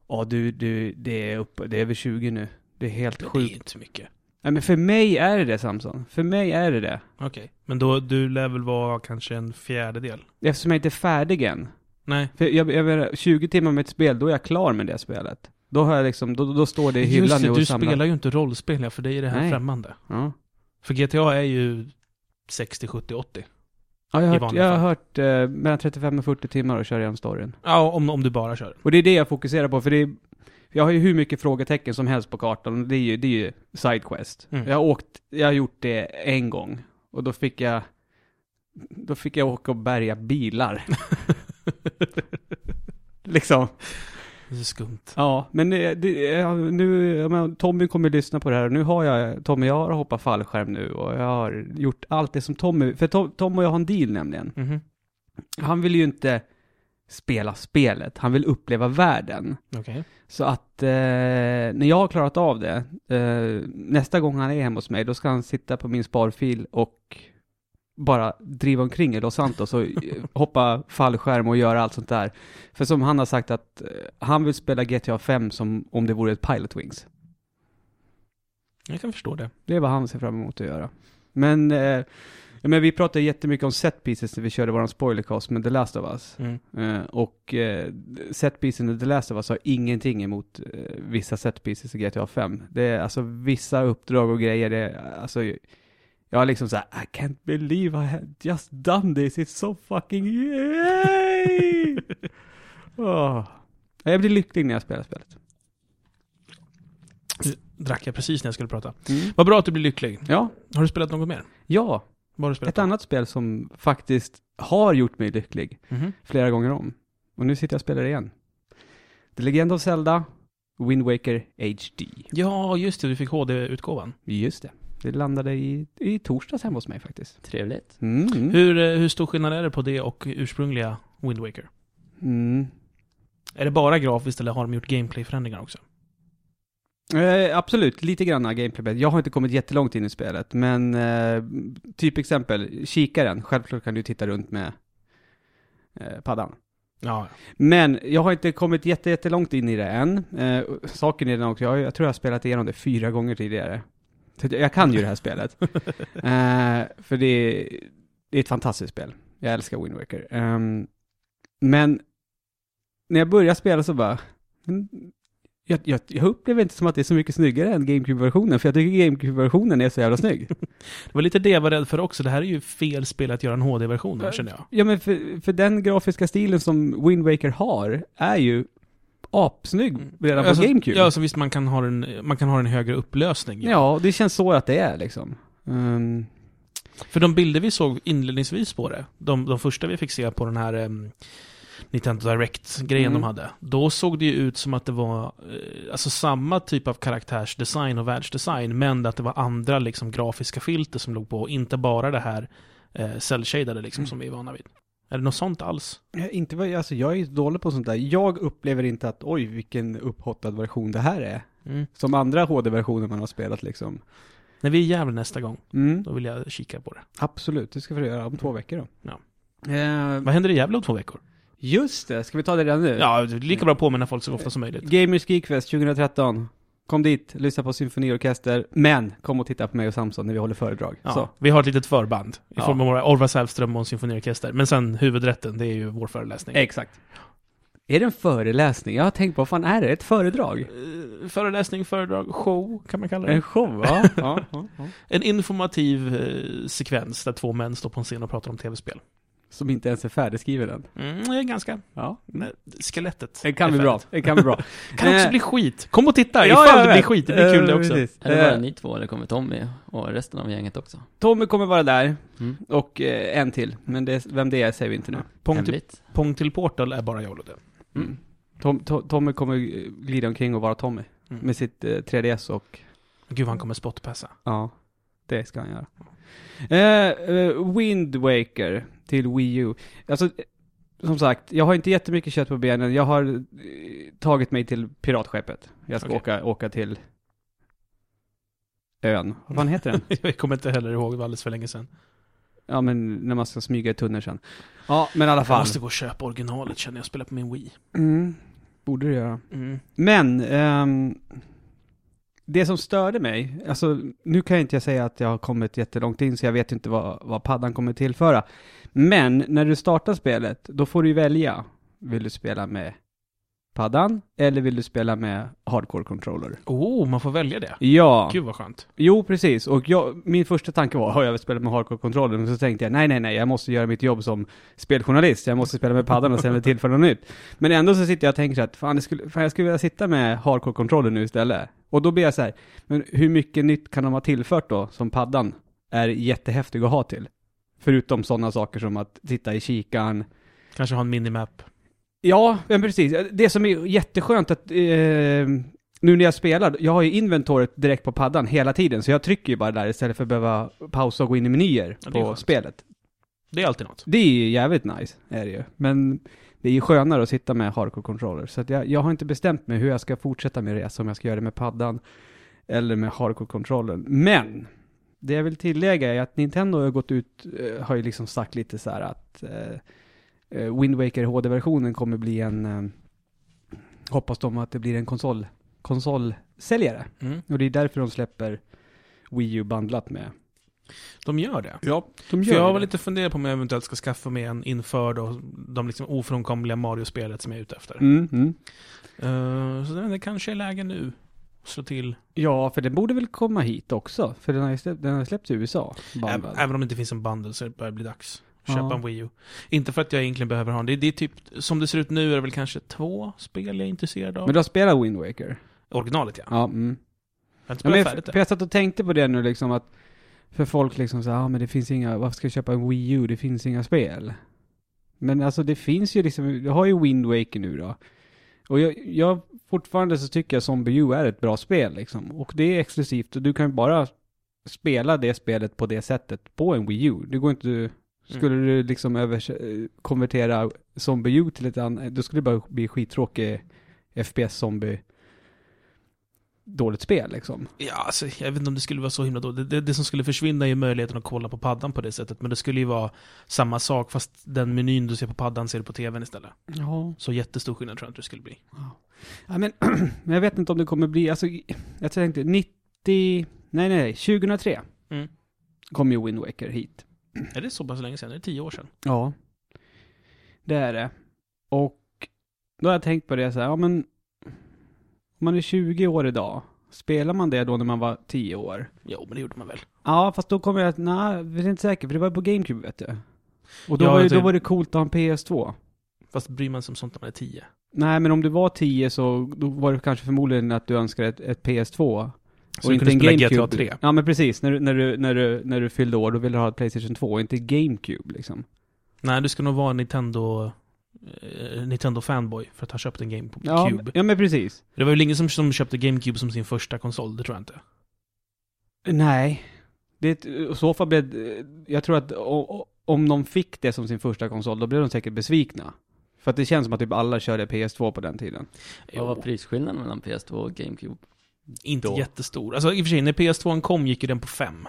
Speaker 2: Ja, du, du, det är upp, det är över 20 nu. Det är helt
Speaker 1: Men det är
Speaker 2: sjukt.
Speaker 1: inte mycket.
Speaker 2: Nej, men för mig är det det, Samson. För mig är det det.
Speaker 1: Okej. Men då, du lär väl vara kanske en fjärdedel?
Speaker 2: Eftersom jag inte är färdig än.
Speaker 1: Nej.
Speaker 2: För jag, jag menar, 20 timmar med ett spel, då är jag klar med det spelet. Då har jag liksom, då, då står det i hyllan
Speaker 1: Just
Speaker 2: nu
Speaker 1: det,
Speaker 2: och
Speaker 1: du
Speaker 2: samlar.
Speaker 1: spelar ju inte rollspel, ja, för dig är det här
Speaker 2: Nej.
Speaker 1: främmande.
Speaker 2: Ja.
Speaker 1: För GTA är ju 60, 70, 80.
Speaker 2: Ja,
Speaker 1: I
Speaker 2: jag har hört,
Speaker 1: vanliga
Speaker 2: jag har
Speaker 1: fall.
Speaker 2: hört eh, mellan 35 och 40 timmar och kör igenom storyn.
Speaker 1: Ja, om, om du bara kör.
Speaker 2: Och det är det jag fokuserar på, för det är, jag har ju hur mycket frågetecken som helst på kartan. och Det är ju, det är ju sidequest.
Speaker 1: Mm.
Speaker 2: Jag, har åkt, jag har gjort det en gång. Och då fick jag, då fick jag åka och bärga bilar. liksom.
Speaker 1: Det är så skumt.
Speaker 2: Ja, men det, det, ja, nu, jag menar, Tommy kommer lyssna på det här och nu har jag, Tommy jag har hoppat fallskärm nu och jag har gjort allt det som Tommy, för Tom, Tom och jag har en deal nämligen.
Speaker 1: Mhm.
Speaker 2: Han vill ju inte spela spelet, han vill uppleva världen.
Speaker 1: Okej.
Speaker 2: Så att eh, när jag har klarat av det, eh, nästa gång han är hemma hos mig, då ska han sitta på min sparfil och bara driva omkring i Los Santos och eh, hoppa fallskärm och göra allt sånt där. För som han har sagt att eh, han vill spela GTA 5 som om det vore ett Pilot Wings.
Speaker 1: Jag kan förstå det.
Speaker 2: Det är vad han ser fram emot att göra. Men eh, Ja, men vi pratade jättemycket om set pieces när vi körde våran spoilercast med The Last of Us.
Speaker 1: Mm.
Speaker 2: Eh, och eh, set pieces i The Last of Us har ingenting emot eh, vissa set pieces i GTA 5. Det är alltså vissa uppdrag och grejer, det är, alltså jag är liksom såhär, I can't believe I had just done this, it's so fucking yay! Åh. Ja, Jag blir lycklig när jag spelar spelet.
Speaker 1: Drack jag precis när jag skulle prata. Vad bra att du blir lycklig.
Speaker 2: Ja,
Speaker 1: Har du spelat något mer?
Speaker 2: ja,
Speaker 1: Vad har du spelat?
Speaker 2: ett annat spel som faktiskt har gjort mig lycklig.
Speaker 1: Mhm.
Speaker 2: flera gånger om. Och nu sitter jag och spelar det igen. The Legend of Zelda, Wind Waker HD.
Speaker 1: Ja, just det. Du fick HD-utgåvan.
Speaker 2: Just det. Det landade i, i torsdags hemma hos mig faktiskt.
Speaker 3: Trevligt.
Speaker 2: Mm.
Speaker 1: Hur, eh, hur stor skillnad är det på det och ursprungliga Wind Waker?
Speaker 2: Mm.
Speaker 1: Är det bara grafiskt eller har de gjort gameplay-förändringar också?
Speaker 2: Eh, absolut, lite granna gameplay. Jag har inte kommit jättelångt in i spelet, men eh, typ exempel, kikaren. Självklart kan du titta runt med eh, paddan.
Speaker 1: Ja,
Speaker 2: Men jag har inte kommit jätte, jättelångt in i det än. Eh, saken är den också, jag, jag tror jag har spelat igenom det fyra gånger tidigare. Så att jag- Jag kan ju det här spelet. Eh, för det är, det är ett fantastiskt spel. Jag älskar Wind Waker. Ehm, men när jag började spela så bara... mm, Jag, jag, jag upplever inte som att det är så mycket snyggare än GameCube-versionen, för jag tycker GameCube-versionen är så jävla snygg.
Speaker 1: Det var lite det jag var rädd för också. Det här är ju fel spel att göra en HD-version av, känner jag.
Speaker 2: Ja, men för, för den grafiska stilen som Wind Waker har är ju apsnygg redan på
Speaker 1: Alltså,
Speaker 2: GameCube.
Speaker 1: Ja, så visst man kan ha en, man kan ha en högre upplösning. ju.
Speaker 2: Ja, det känns så att det är liksom. Ehm,
Speaker 1: För de bilder vi såg inledningsvis på det, de, de första vi fick se på den här em, Nintendo Direct-grejen
Speaker 2: Mm.
Speaker 1: de hade, då såg det ju ut som att det var eh, alltså samma typ av karaktärsdesign och världsdesign, men att det var andra liksom, grafiska filter som låg på, och inte bara det här eh, cell-shadade liksom,
Speaker 2: Mm.
Speaker 1: som vi är vana vid. Är det något sånt alls?
Speaker 2: jag, inte, vad- alltså jag är ju dålig på sånt där. Jag upplever inte att oj vilken upphottad version det här är. Som andra HD-versioner man har spelat liksom.
Speaker 1: När vi är i Gävle nästa gång,
Speaker 2: Mm,
Speaker 1: då vill jag kika på det.
Speaker 2: absolut, det ska vi göra om två veckor då.
Speaker 1: Ja.
Speaker 2: Ehm,
Speaker 1: Vad händer i Gävle om två veckor?
Speaker 2: just det, ska vi ta det redan nu?
Speaker 1: Ja, det är
Speaker 2: Mm.
Speaker 1: lika bra påminna folk så ofta som möjligt.
Speaker 2: Gamers Geekfest 2013. Kom dit, lyssna på symfoniorkester, men kom och titta på mig och Samson när vi håller föredrag. Så.
Speaker 1: Ja, vi har ett litet förband i
Speaker 2: Ja.
Speaker 1: form av våra Orvar Sävström och en symfoniorkester. Men sen huvudrätten, det är ju vår föreläsning.
Speaker 2: Exakt. Är det en föreläsning? Jag har tänkt på, vad fan är det? Ett föredrag?
Speaker 1: Eh, Föreläsning, föredrag, show kan man kalla det.
Speaker 2: En show, va? ja, ja, ja.
Speaker 1: En informativ eh, sekvens där två män står på en scen och pratar om tv-spel.
Speaker 2: Som inte ens är färdigskriven än.
Speaker 1: Mm, det är ganska.
Speaker 2: Ja.
Speaker 1: Nej, Skelettet.
Speaker 2: Det kan
Speaker 1: är
Speaker 2: bli bra. Det kan bli bra.
Speaker 1: färdigt. Kan också
Speaker 2: Eh,
Speaker 1: bli skit. Kom och titta
Speaker 2: Ja,
Speaker 1: ifall
Speaker 2: jag
Speaker 1: det blir
Speaker 2: vet.
Speaker 1: skit. Det blir kul det
Speaker 2: Eh,
Speaker 1: också.
Speaker 2: precis.
Speaker 3: Eller var det
Speaker 2: Eh,
Speaker 3: ni två? Eller kommer Tommy och resten av gänget också?
Speaker 2: Tommy kommer vara där,
Speaker 3: Mm.
Speaker 2: och eh, en till. Men det, vem det är säger vi inte nu.
Speaker 1: Pong till,
Speaker 3: Hemligt.
Speaker 1: Pong till Portal är bara jag och Ludde.
Speaker 2: Mm. Tom, to, Tommy kommer eh, glida omkring och vara Tommy.
Speaker 1: Mm.
Speaker 2: Med sitt eh, 3DS och...
Speaker 1: Gud vad han kommer spotpassa.
Speaker 2: Ja, det ska han göra. Eh, eh, Wind Waker till Wii U. Alltså, eh, som sagt, jag har inte jättemycket kött på benen. Jag har eh, tagit mig till piratskeppet. Jag ska
Speaker 1: Okej.
Speaker 2: åka, åka till ön. Vad fan heter den?
Speaker 1: Jag kommer inte heller ihåg, det var alldeles för länge sedan.
Speaker 2: Ja, men när man ska smyga i tunneln sen. Ja, men i alla
Speaker 1: Jag
Speaker 2: fall.
Speaker 1: måste gå och köpa originalet känner jag, spela på min Wii.
Speaker 2: Mm, borde du göra.
Speaker 1: Mm.
Speaker 2: Men, ehm, det som störde mig, alltså nu kan jag inte säga att jag har kommit jättelångt in så jag vet inte vad, vad paddan kommer tillföra. Men när du startar spelet, då får du ju välja. Vill du spela med paddan eller vill du spela med hardcore controller?
Speaker 1: Oh, man får välja det.
Speaker 2: Ja,
Speaker 1: Gud vad skönt.
Speaker 2: jo precis. Och jag, min första tanke var, har jag spelat med hardcore controller? Men så tänkte jag, nej nej nej, jag måste göra mitt jobb som speljournalist. Jag måste spela med paddan och sen tillföra något nytt. Men ändå så sitter jag och tänker att fan, det skulle, fan jag skulle vilja sitta med hardcore-kontrollen nu istället. Och då blir jag så här, men hur mycket nytt kan de ha tillfört då som paddan är jättehäftig att ha till? Förutom sådana saker som att sitta i kikaren.
Speaker 1: Kanske ha en minimap.
Speaker 2: Ja, men precis. Det som är jätteskönt att eh, nu när jag spelar, jag har ju inventoriet direkt på paddan hela tiden, så jag trycker ju bara där istället för att behöva pausa och gå in i menyer
Speaker 1: Ja, det är
Speaker 2: på
Speaker 1: skönt.
Speaker 2: spelet.
Speaker 1: Det är alltid något.
Speaker 2: Det är ju jävligt nice, är det ju. Men det är ju skönare att sitta med hardcore controller. Så att jag, jag har inte bestämt mig hur jag ska fortsätta min resa, om jag ska göra det med paddan eller med hardcore controllen. Men! Det jag vill tillägga är att Nintendo har ju gått ut, eh, har ju liksom sagt lite så här att eh, eh, Wind Waker HD-versionen kommer bli en, eh, hoppas de att det blir en konsol, konsolsäljare.
Speaker 1: Mm.
Speaker 2: Och det är därför de släpper Wii U bandlat med
Speaker 1: De gör det.
Speaker 2: Ja, de
Speaker 1: För
Speaker 2: gör
Speaker 1: jag
Speaker 2: det.
Speaker 1: var lite funderad på om jag eventuellt ska skaffa mig en inför då, de liksom ofrånkomliga Mario-spelet som jag är ute efter.
Speaker 2: Mm, mm.
Speaker 1: Eh, så det, det kanske är läge nu. Slå till.
Speaker 2: Ja, för den borde väl komma hit också? För den har ju släppt, den har släppts i USA.
Speaker 1: Även,
Speaker 2: bandad.
Speaker 1: även om det inte finns en bundle så börjar det bli dags. Köpa
Speaker 2: Ja.
Speaker 1: en Wii U. Inte för att jag egentligen behöver ha en. Det, det är typ, som det ser ut nu är det väl kanske två spel jag är intresserad av.
Speaker 2: Men du har spelat Wind Waker?
Speaker 1: Originalet ja.
Speaker 2: Ja. mm.
Speaker 1: Jag har inte
Speaker 2: ja men
Speaker 1: spelat
Speaker 2: jag,
Speaker 1: färdigt
Speaker 2: för
Speaker 1: det.
Speaker 2: jag satt och tänkte på det nu liksom att för folk liksom så här, ah, men det finns inga, varför ska jag köpa en Wii U? Det finns inga spel. Men alltså det finns ju liksom, du har ju Wind Waker nu då. Och jag, jag fortfarande så tycker jag Zombie U är ett bra spel liksom. Och det är exklusivt och du kan ju bara spela det spelet på det sättet på en Wii U. Det går
Speaker 1: Mm.
Speaker 2: inte, skulle du liksom övers- eh, konvertera Zombie U till ett annat, då skulle det bara bli skittråkig FPS-zombie dåligt spel liksom.
Speaker 1: Ja, alltså, jag vet inte om det skulle vara så himla dåligt. Det, det, det som skulle försvinna är ju möjligheten att kolla på paddan på det sättet. Men det skulle ju vara samma sak fast den menyn du ser på paddan ser du på tvn istället.
Speaker 2: Ja.
Speaker 1: Så jättestor skillnad tror jag inte det skulle bli.
Speaker 2: ja men, men jag vet inte om det kommer bli, alltså jag tänkte 90, nej nej, nej 2003
Speaker 1: Mm.
Speaker 2: kom ju Wind Waker hit.
Speaker 1: Är det så pass länge sedan? Är det tio år sedan?
Speaker 2: Ja. Det är det. Och då har jag tänkt på det så här, ja men om man är 20 år idag, spelar man det då när man var 10 år?
Speaker 1: Jo, men det gjorde man väl.
Speaker 2: Ja, fast då kommer jag att, nej, jag är inte säker, för det var på GameCube vet du. Och då,
Speaker 1: Ja,
Speaker 2: var, ju,
Speaker 1: jag
Speaker 2: då
Speaker 1: tror-
Speaker 2: var det coolt att ha en PS2.
Speaker 1: Fast bryr man sig om sånt när man är tio?
Speaker 2: Nej, men om du var 10 så då var det kanske förmodligen att du önskade ett, ett PS2.
Speaker 1: Så du kunde spela GTA 3?
Speaker 2: Ja men precis, när du, när, du, när, du, när du fyllde år då ville du ha ett Playstation 2 och inte GameCube liksom.
Speaker 1: Nej, du ska nog vara en Nintendo... eh, Nintendo fanboy för att han köpte en GameCube.
Speaker 2: Ja, men- ja men precis.
Speaker 1: Det var väl ingen som, som köpte GameCube som sin första konsol, det tror jag inte.
Speaker 2: Nej. Det, är ett- i så fall blev, jag tror att o- o- om de fick det som sin första konsol då blev de säkert besvikna. För att det känns som att typ alla körde PS2 på den tiden.
Speaker 3: Vad var prisskillnaden mellan PS2 och GameCube?
Speaker 1: inte
Speaker 3: då?
Speaker 1: jättestor. Alltså i och för sig, när PS2 kom gick ju den på 5.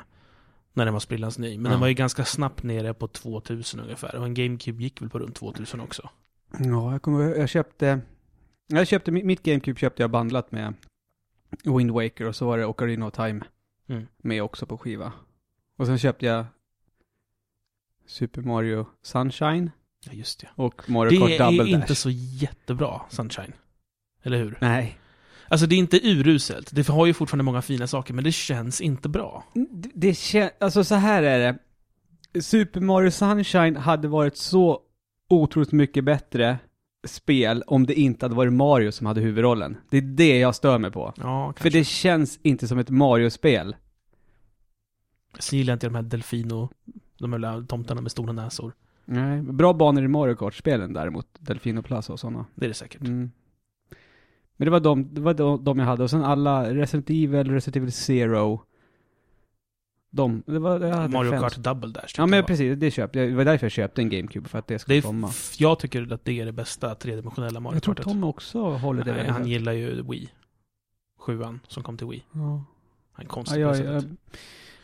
Speaker 1: När den var sprillans ny. Men den
Speaker 3: Ja.
Speaker 1: var ju ganska snabbt nere på 2000 ungefär. Och en GameCube gick väl på runt 2000 också.
Speaker 2: Ja, jag kommer jag köpte, jag köpte, mi- mitt GameCube köpte jag bandlat med Wind Waker och så var det Ocarina of Time
Speaker 1: Mm.
Speaker 2: med också på skiva. Och sen köpte jag Super Mario Sunshine
Speaker 1: Ja, just det.
Speaker 2: och Mario
Speaker 1: Det
Speaker 2: Kart
Speaker 1: är
Speaker 2: Double
Speaker 1: inte
Speaker 2: Dash.
Speaker 1: så jättebra, Sunshine. Eller hur?
Speaker 2: Nej.
Speaker 1: Alltså det är inte uruselt. Det har ju fortfarande många fina saker, men det känns inte bra.
Speaker 2: Det, det kän- alltså så här är det. Super Mario Sunshine hade varit så otroligt mycket bättre spel om det inte hade varit Mario som hade huvudrollen. Det är det jag stör mig på.
Speaker 1: Ja,
Speaker 2: För
Speaker 1: kanske.
Speaker 2: det känns inte som ett Mario-spel.
Speaker 1: Sen gillar jag inte de här delfino... De här lilla tomtarna med stora näsor.
Speaker 2: Nej, bra banor i Mario Kart-spelen däremot. Delfino Plaza och sådana.
Speaker 1: Det är det säkert.
Speaker 2: Mm. Men det var, de, det var de, de jag hade. Och sen alla Resident Evil, Resident Evil Zero. De, det var, jag hade
Speaker 1: Mario
Speaker 2: fem.
Speaker 1: Kart Double Dash. tyckte
Speaker 2: Ja men
Speaker 1: jag var.
Speaker 2: precis, det köpte jag. Det var därför jag köpte en GameCube, för att det
Speaker 1: det
Speaker 2: skulle
Speaker 1: är,
Speaker 2: komma.
Speaker 1: f- jag tycker att det är det bästa tredimensionella Mario
Speaker 2: Jag tror
Speaker 1: Kartet.
Speaker 2: Tom också håller det.
Speaker 1: Nej,
Speaker 2: väldigt
Speaker 1: han
Speaker 2: högt.
Speaker 1: gillar ju Wii. Sjuan som kom till Wii.
Speaker 2: ja.
Speaker 1: Han är
Speaker 2: Ja,
Speaker 1: konstig på
Speaker 2: jag,
Speaker 1: det sättet.
Speaker 2: jag,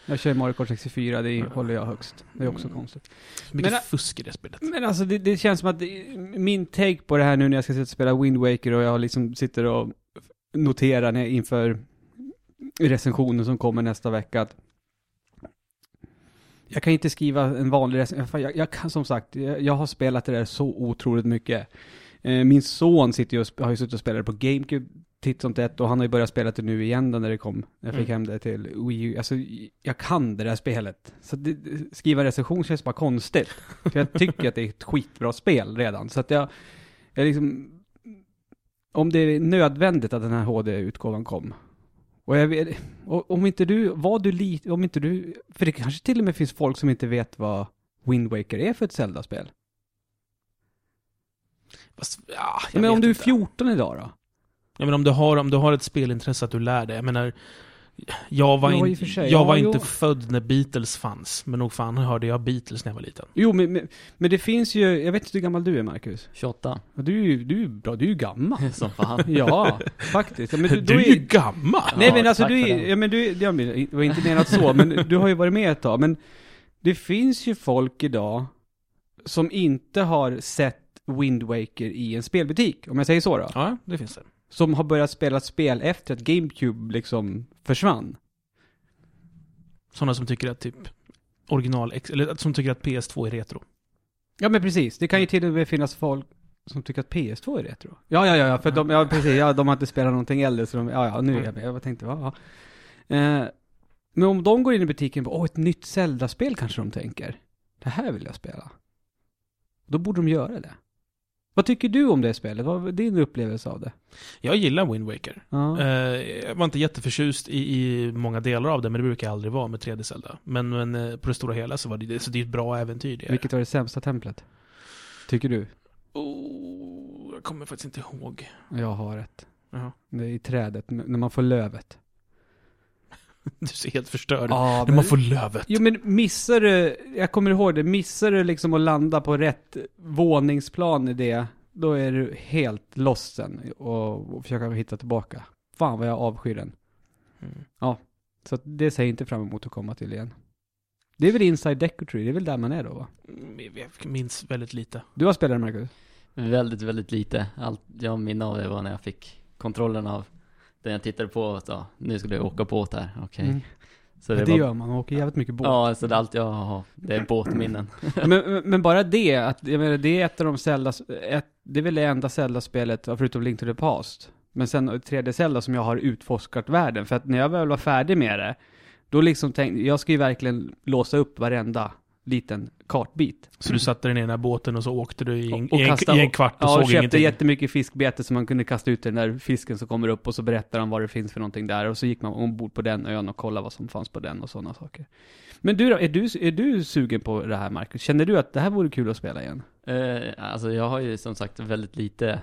Speaker 2: jag kör Mario Kart 64, det
Speaker 1: Ja.
Speaker 2: håller jag högst. Det är också
Speaker 1: Mm.
Speaker 2: konstigt.
Speaker 1: Så mycket
Speaker 2: men- äh,
Speaker 1: fusk i det spelet.
Speaker 2: Men alltså det, det känns som att det, min take på det här nu när jag ska sitta och spela Wind Waker och jag liksom sitter och noterar när jag inför recensionen som kommer nästa vecka att jag kan inte skriva en vanlig recension. Jag, jag kan som sagt, jag, jag har spelat det där så otroligt mycket. Eh, min son sitter ju och, sp- har ju suttit och spelat på GameCube titt som tätt och han har ju börjat spela det nu igen då när det kom. Jag fick
Speaker 1: Mm.
Speaker 2: hem det till Wii U. Alltså, jag kan det där spelet. Så det, det- skriva recension känns bara konstigt. För jag tycker att det är ett skitbra spel redan. Så att jag, jag liksom... Om det är nödvändigt att den här HD-utgåvan kom. Och jag vet, och om inte du, var du lite, om inte du, för det kanske till och med finns folk som inte vet vad Wind Waker är för ett Zelda-spel.
Speaker 1: Fast, ja, jag
Speaker 2: Men om
Speaker 1: vet
Speaker 2: du är
Speaker 1: inte.
Speaker 2: 14 idag då?
Speaker 1: Ja, men om du har, om du har ett spelintresse att du lär dig. Jag menar, jag var,
Speaker 2: Ja,
Speaker 1: in,
Speaker 2: i och för sig.
Speaker 1: jag
Speaker 2: Ja,
Speaker 1: var
Speaker 2: jo.
Speaker 1: inte född när Beatles fanns. Men nog fan hörde jag Beatles när jag var liten.
Speaker 2: Jo, men, men, men det finns ju, jag vet inte hur gammal du är Marcus.
Speaker 3: 28,
Speaker 2: Ja, Du är ju, du är ju bra, du är ju gammal.
Speaker 3: som fan.
Speaker 2: Ja, faktiskt. Ja, Men
Speaker 1: Du,
Speaker 2: du, då
Speaker 1: är ju gammal!
Speaker 2: Nej
Speaker 3: Ja,
Speaker 2: men alltså
Speaker 3: tack
Speaker 2: du,
Speaker 3: för
Speaker 2: är-
Speaker 3: den.
Speaker 2: ja, men du, är- ja, men det var inte menat så, men du har ju varit med ett tag. Men det finns ju folk idag som inte har sett Wind Waker i en spelbutik, om jag säger så då.
Speaker 1: Ja, det finns det.
Speaker 2: Som har börjat spela spel efter att GameCube liksom försvann.
Speaker 1: Sådana som tycker att typ original, eller som tycker att PS2 är retro.
Speaker 2: Ja men precis, det kan ju till och med finnas folk som tycker att PS2 är retro. Mm. Ja, ja, ja, ja, för de, ja, precis, ja, de har inte spelat någonting äldre, så de, ja, ja, nu är jag med. Jag tänkte, ja, ja. Eh, men om de går in i butiken och bara, åh, ett nytt Zelda-spel kanske de tänker. Det här vill jag spela. Då borde de göra det. Vad tycker du om det spelet? Vad är din upplevelse av det?
Speaker 1: Jag gillar Wind Waker.
Speaker 2: Ja.
Speaker 1: Eh, jag var inte jätteförtjust i, i många delar av det, men det brukar jag aldrig vara med 3D Zelda. Men, men eh, på det stora hela så var det, så det är ett bra äventyr. Det är.
Speaker 2: Vilket var det sämsta templet? Tycker du?
Speaker 1: Oh, jag kommer faktiskt inte ihåg.
Speaker 2: Jag har ett.
Speaker 1: Jaha.
Speaker 2: Det är i trädet, n- när man får lövet.
Speaker 1: Du ser helt förstörd ut.
Speaker 2: Ja,
Speaker 1: När man får lövet.
Speaker 2: Jo men missar du, jag kommer ihåg det, missar du liksom att landa på rätt våningsplan i det, då är du helt lost sen och, och försöka hitta tillbaka. Fan vad jag avskyr den.
Speaker 1: Mm.
Speaker 2: Så att det ser jag inte fram emot att komma till igen. Det är väl Inside Decotree, det är väl där man är då va?
Speaker 1: Mm, Jag minns väldigt lite.
Speaker 2: Du har spelat Marcus?
Speaker 3: Väldigt, väldigt lite. Allt jag har minne av det var när jag fick kontrollen av den jag tittade på och sa, nu ska du åka båt här, okej.
Speaker 2: Mm.
Speaker 3: Så
Speaker 2: Det,
Speaker 3: var,
Speaker 2: gör man, man åker jävligt mycket båt.
Speaker 3: Ja, så det är allt jag har, det är båtminnen.
Speaker 2: Men- Men, men bara det, att, jag menar, det är ett av de Zelda, ett, det är väl det enda Zelda-spelet, ja, förutom Link to the Past, men sen tredje Zelda som jag har utforskat världen, för att när jag väl var färdig med det, då liksom tänkte jag ska ju verkligen låsa upp varenda liten kartbit.
Speaker 1: Så du satte dig ner i den här båten och så åkte du i en,
Speaker 2: Mm. Och- och
Speaker 1: i en,
Speaker 2: kastade-
Speaker 1: i en kvart och
Speaker 2: Ja, och
Speaker 1: såg
Speaker 2: köpte
Speaker 1: ingenting.
Speaker 2: jättemycket fiskbete som man kunde kasta ut i den där fisken som kommer upp och så berättar han vad det finns för någonting där och så gick man ombord på den ön och kollade vad som fanns på den och sådana saker. Men du då, är du, är du sugen på det här Marcus? Känner du att det här vore kul att spela igen?
Speaker 3: Eh, alltså jag har ju som sagt väldigt lite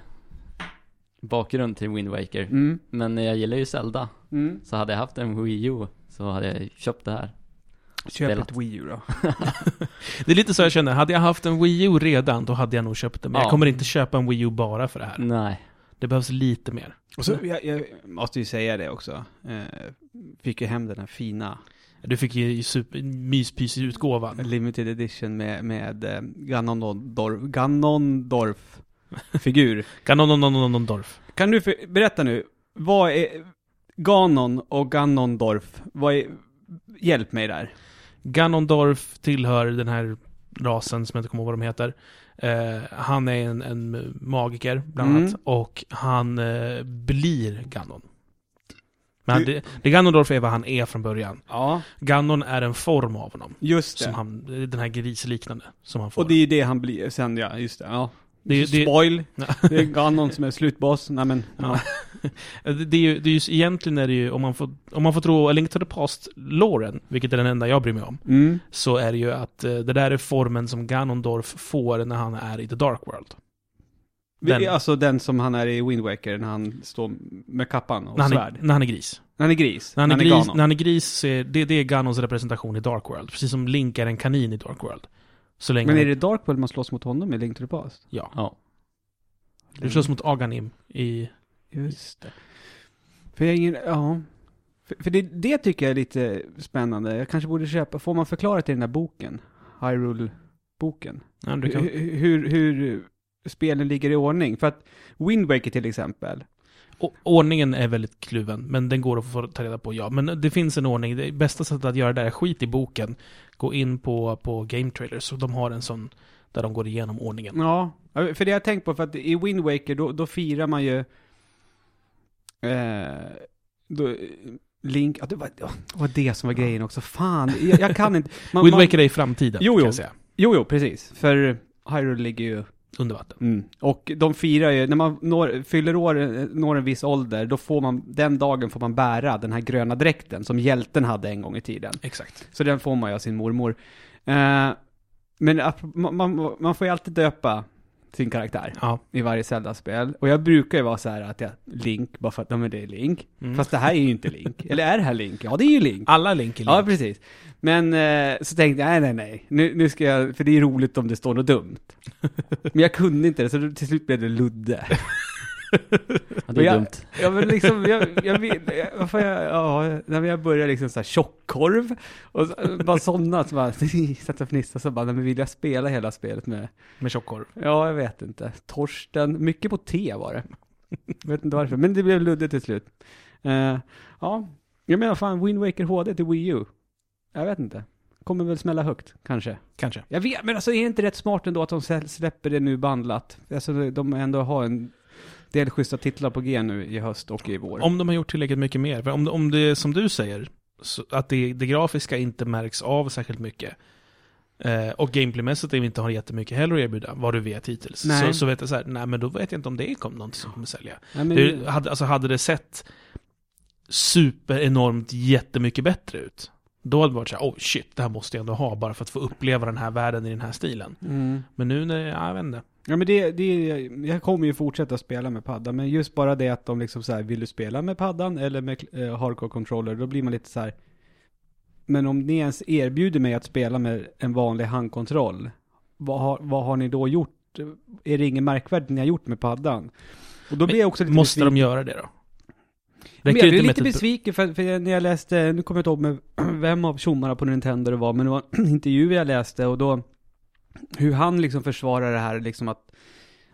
Speaker 3: bakgrund till Wind Waker.
Speaker 2: Mm.
Speaker 3: Men jag gillar ju Zelda,
Speaker 2: Mm.
Speaker 3: så hade jag haft en Wii U så hade jag köpt det här.
Speaker 2: Köp
Speaker 3: Spelat.
Speaker 2: ett Wii U då.
Speaker 1: Det är lite så jag känner, hade jag haft en Wii U redan, då hade jag nog köpt den. Men
Speaker 3: Ja.
Speaker 1: jag kommer inte köpa en Wii U bara för det
Speaker 2: Mm.
Speaker 1: här.
Speaker 3: Nej.
Speaker 1: Det behövs lite mer.
Speaker 2: Och så, jag, jag måste ju säga det också. Eh, fick ju hem den här fina
Speaker 1: Du fick ju super, myspysig utgåvan.
Speaker 2: limited edition med, med eh, Ganondorf, Ganondorf-figur.
Speaker 1: Ganononononondorf.
Speaker 2: kan du för, berätta nu, vad är Ganon och Ganondorf? Vad är, hjälp mig där.
Speaker 1: Ganondorf tillhör den här rasen som jag inte kommer ihåg vad de heter. Eh, han är en, en magiker, bland
Speaker 2: Mm.
Speaker 1: annat. Och han eh, blir Ganon. Men han, det, det Ganondorf är vad han är från början.
Speaker 2: Ja,
Speaker 1: Ganon är en form av honom.
Speaker 2: just
Speaker 1: Som
Speaker 2: det.
Speaker 1: han, den här grisliknande som han får.
Speaker 2: Och det är ju det han blir sen, ja, just det. Ja.
Speaker 1: Det är ju- det-
Speaker 2: Spoil.
Speaker 1: Ja.
Speaker 2: Det är Ganon som är slutboss. Nej men, ja.
Speaker 1: Eh, Det, det är ju, det är ju, egentligen är det ju, om man får, om man får tro A Link to the Past-loren, vilket är den enda jag bryr mig om,
Speaker 2: Mm.
Speaker 1: så är det ju att eh, det där är formen som Ganondorf får när han är i The Dark World. Den-
Speaker 2: Den. Alltså den som han är i Wind Waker när han står med kappan och
Speaker 1: När han,
Speaker 2: svärd.
Speaker 1: är, när han är gris.
Speaker 2: När han är gris.
Speaker 1: När han, är, gris,
Speaker 2: Ganon.
Speaker 1: när han är gris, så är det, det är Ganons representation i Dark World. Precis som Link är en kanin i Dark World. Så länge
Speaker 2: Men är
Speaker 1: han,
Speaker 2: det Dark World man slåss mot honom i Link to the Past?
Speaker 1: Ja.
Speaker 3: Ja.
Speaker 1: Du slåss mot Aganim i...
Speaker 2: Just det. För jag har ingen, ja. För, för det, det tycker jag är lite spännande. Jag kanske borde köpa, får man förklarat i den där boken? Hyrule-boken.
Speaker 1: Ja, men du kan,
Speaker 2: Hur, hur, hur spelen ligger i ordning. För att Wind Waker till exempel.
Speaker 1: O- Ordningen är väldigt kluven, men den går att få ta reda på, ja. Men det finns en ordning. Det bästa sättet att göra det är skit i boken. Gå in på, på Game Trailers, och de har en sån där de går igenom ordningen.
Speaker 2: Ja, för det jag har tänkt på, för att i Wind Waker då, då firar man ju... Eh, då, eh, Link, ja, det var, det var det som var grejen också. Fan, jag, jag kan inte... Man,
Speaker 1: Wind
Speaker 2: man-
Speaker 1: Waker är i framtiden,
Speaker 2: Jo,
Speaker 1: kan
Speaker 2: jo.
Speaker 1: jag säga.
Speaker 2: Jo, jo, precis. För Hyrule ligger ju...
Speaker 1: Under vatten.
Speaker 2: Och de firar ju, när man når, fyller år, eh, når en viss ålder, då får man, den dagen får man bära den här gröna dräkten som hjälten hade en gång i tiden.
Speaker 1: Exakt.
Speaker 2: Så den får man ju av sin mormor. Eh, men ap- man, man, man får ju alltid döpa sin karaktär
Speaker 1: Ja.
Speaker 2: i varje Zelda-spel. Och jag brukar ju vara så här att jag, Link, bara för att, ja men det är Link.
Speaker 1: Mm.
Speaker 2: Fast det här är ju inte Link. Eller är det här Link? Ja, det är ju Link.
Speaker 1: Alla Link är Link.
Speaker 2: Ja, precis. Men eh, så tänkte jag, nej, nej, nej. Nu, nu ska jag, för det är roligt om det står något dumt. Men jag kunde inte det, så till slut blev det Ludde.
Speaker 3: Ja,
Speaker 2: Men
Speaker 3: det är
Speaker 2: jag-
Speaker 3: dumt.
Speaker 2: Ja, men liksom, jag, jag vill, jag- varför jag, ja, när jag började liksom så här tjockkorv och så, bara sådana, så bara, satt och fnissade, så bara, nej, men vill jag spela hela spelet med?
Speaker 1: Med tjockkorv.
Speaker 2: Ja, jag vet inte. Torsten, mycket på T var det. Jag vet inte varför, men det blev Ludde till slut. Eh, ja, jag menar fan, Wind Waker HD till Wii U. Jag vet inte. kommer väl smälla högt, kanske.
Speaker 1: Kanske.
Speaker 2: Jag vet, men alltså är det inte rätt smart ändå att de sä- släpper det nu bandlat? Alltså de ändå har en del schyssta titlar på G nu i höst och i vår.
Speaker 1: Om de har gjort tillräckligt mycket mer. För om, om det som du säger, så att det, det grafiska inte märks av särskilt mycket. Eh, och gameplaymässigt inte har jättemycket heller att erbjuda, vad du vet hittills.
Speaker 2: Nej.
Speaker 1: Så, så vet jag så här, nej men då vet jag inte om det kom någonting som kommer sälja.
Speaker 2: Nej, men,
Speaker 1: Det, hade, alltså hade det sett superenormt jättemycket bättre ut, då hade det varit så här, oh shit, det här måste jag ändå ha bara för att få uppleva den här världen i den här stilen.
Speaker 2: mm.
Speaker 1: Men nu när, ja, jag vet inte.
Speaker 2: ja, men det, det, jag kommer ju fortsätta spela med paddan, men just bara det att de liksom så här, vill du spela med paddan eller med eh, hardcore controller, då blir man lite så här. Men om ni ens erbjuder mig att spela med en vanlig handkontroll, vad har, vad har ni då gjort? Är det ingen märkvärdigt ni har gjort med paddan? Och då blir jag också lite
Speaker 1: Måste
Speaker 2: besviken.
Speaker 1: de göra det då?
Speaker 2: Men
Speaker 1: Räcker
Speaker 2: jag
Speaker 1: det
Speaker 2: blev
Speaker 1: inte med
Speaker 2: lite
Speaker 1: typ-
Speaker 2: besviken för, för när jag läste, nu kommer jag inte ihåg med vem av tjommarna på Nintendo det var, men det var en intervju jag läste och då hur han liksom försvarar det här liksom att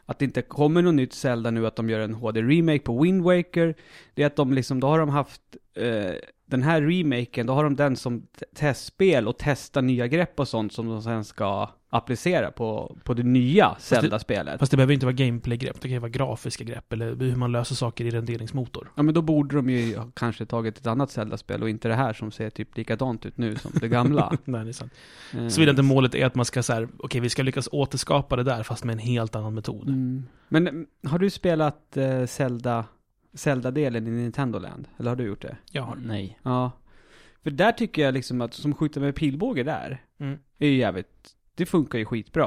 Speaker 2: att det inte kommer något nytt Zelda nu, att de gör en HD-remake på Wind Waker. Det är att de liksom, då har de haft eh, den här remaken, då har de den som t- testspel och testa nya grepp och sånt som de sen ska applicera på, på det nya
Speaker 1: det-
Speaker 2: Zelda-spelet.
Speaker 1: Fast det behöver inte vara gameplay-grepp, det kan ju vara grafiska grepp eller hur man löser saker i renderingsmotor.
Speaker 2: Ja men då borde de ju ha kanske tagit ett annat Zelda-spel och inte det här som ser typ likadant ut nu som det gamla.
Speaker 1: Nej, det är sant.
Speaker 2: Eh,
Speaker 1: Såvida inte målet är att man ska så här, okej vi ska lyckas återskapa det där fast med en helt annan metod.
Speaker 2: mm. Men mm, har du spelat eh, Zelda, Zelda-delen i Nintendo Land? Eller har du gjort det?
Speaker 1: Jag har.
Speaker 3: Nej.
Speaker 2: Ja. För där tycker jag liksom att, som skjuter med pilbåge där,
Speaker 1: Mm.
Speaker 2: är ju jävligt, det funkar ju skitbra.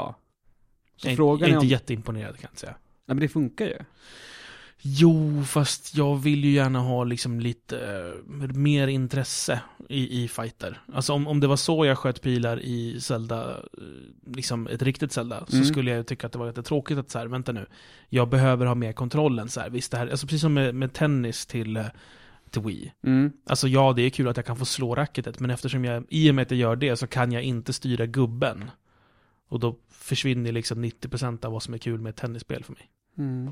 Speaker 1: Jag
Speaker 2: Så
Speaker 1: är- jag
Speaker 2: frågan
Speaker 1: är
Speaker 2: är om,
Speaker 1: inte
Speaker 2: nej
Speaker 1: jätteimponerad kan jag inte säga.
Speaker 2: men det funkar ju.
Speaker 1: Jo, fast jag vill ju gärna ha liksom lite eh, mer intresse i, i fighter. Alltså om, om det var så jag sköt pilar i Zelda, eh, liksom ett riktigt Zelda, så
Speaker 2: Mm.
Speaker 1: skulle jag ju tycka att det var jättetråkigt att så här, vänta nu, jag behöver ha mer kontrollen så här. Visst, det här, alltså precis som med, med tennis till, eh, till Wii.
Speaker 2: Mm.
Speaker 1: Alltså ja, det är kul att jag kan få slå racketet, men eftersom jag, i och med att jag gör det, så kan jag inte styra gubben. Och då försvinner liksom 90% av vad som är kul med ett tennisspel för mig.
Speaker 2: Mm.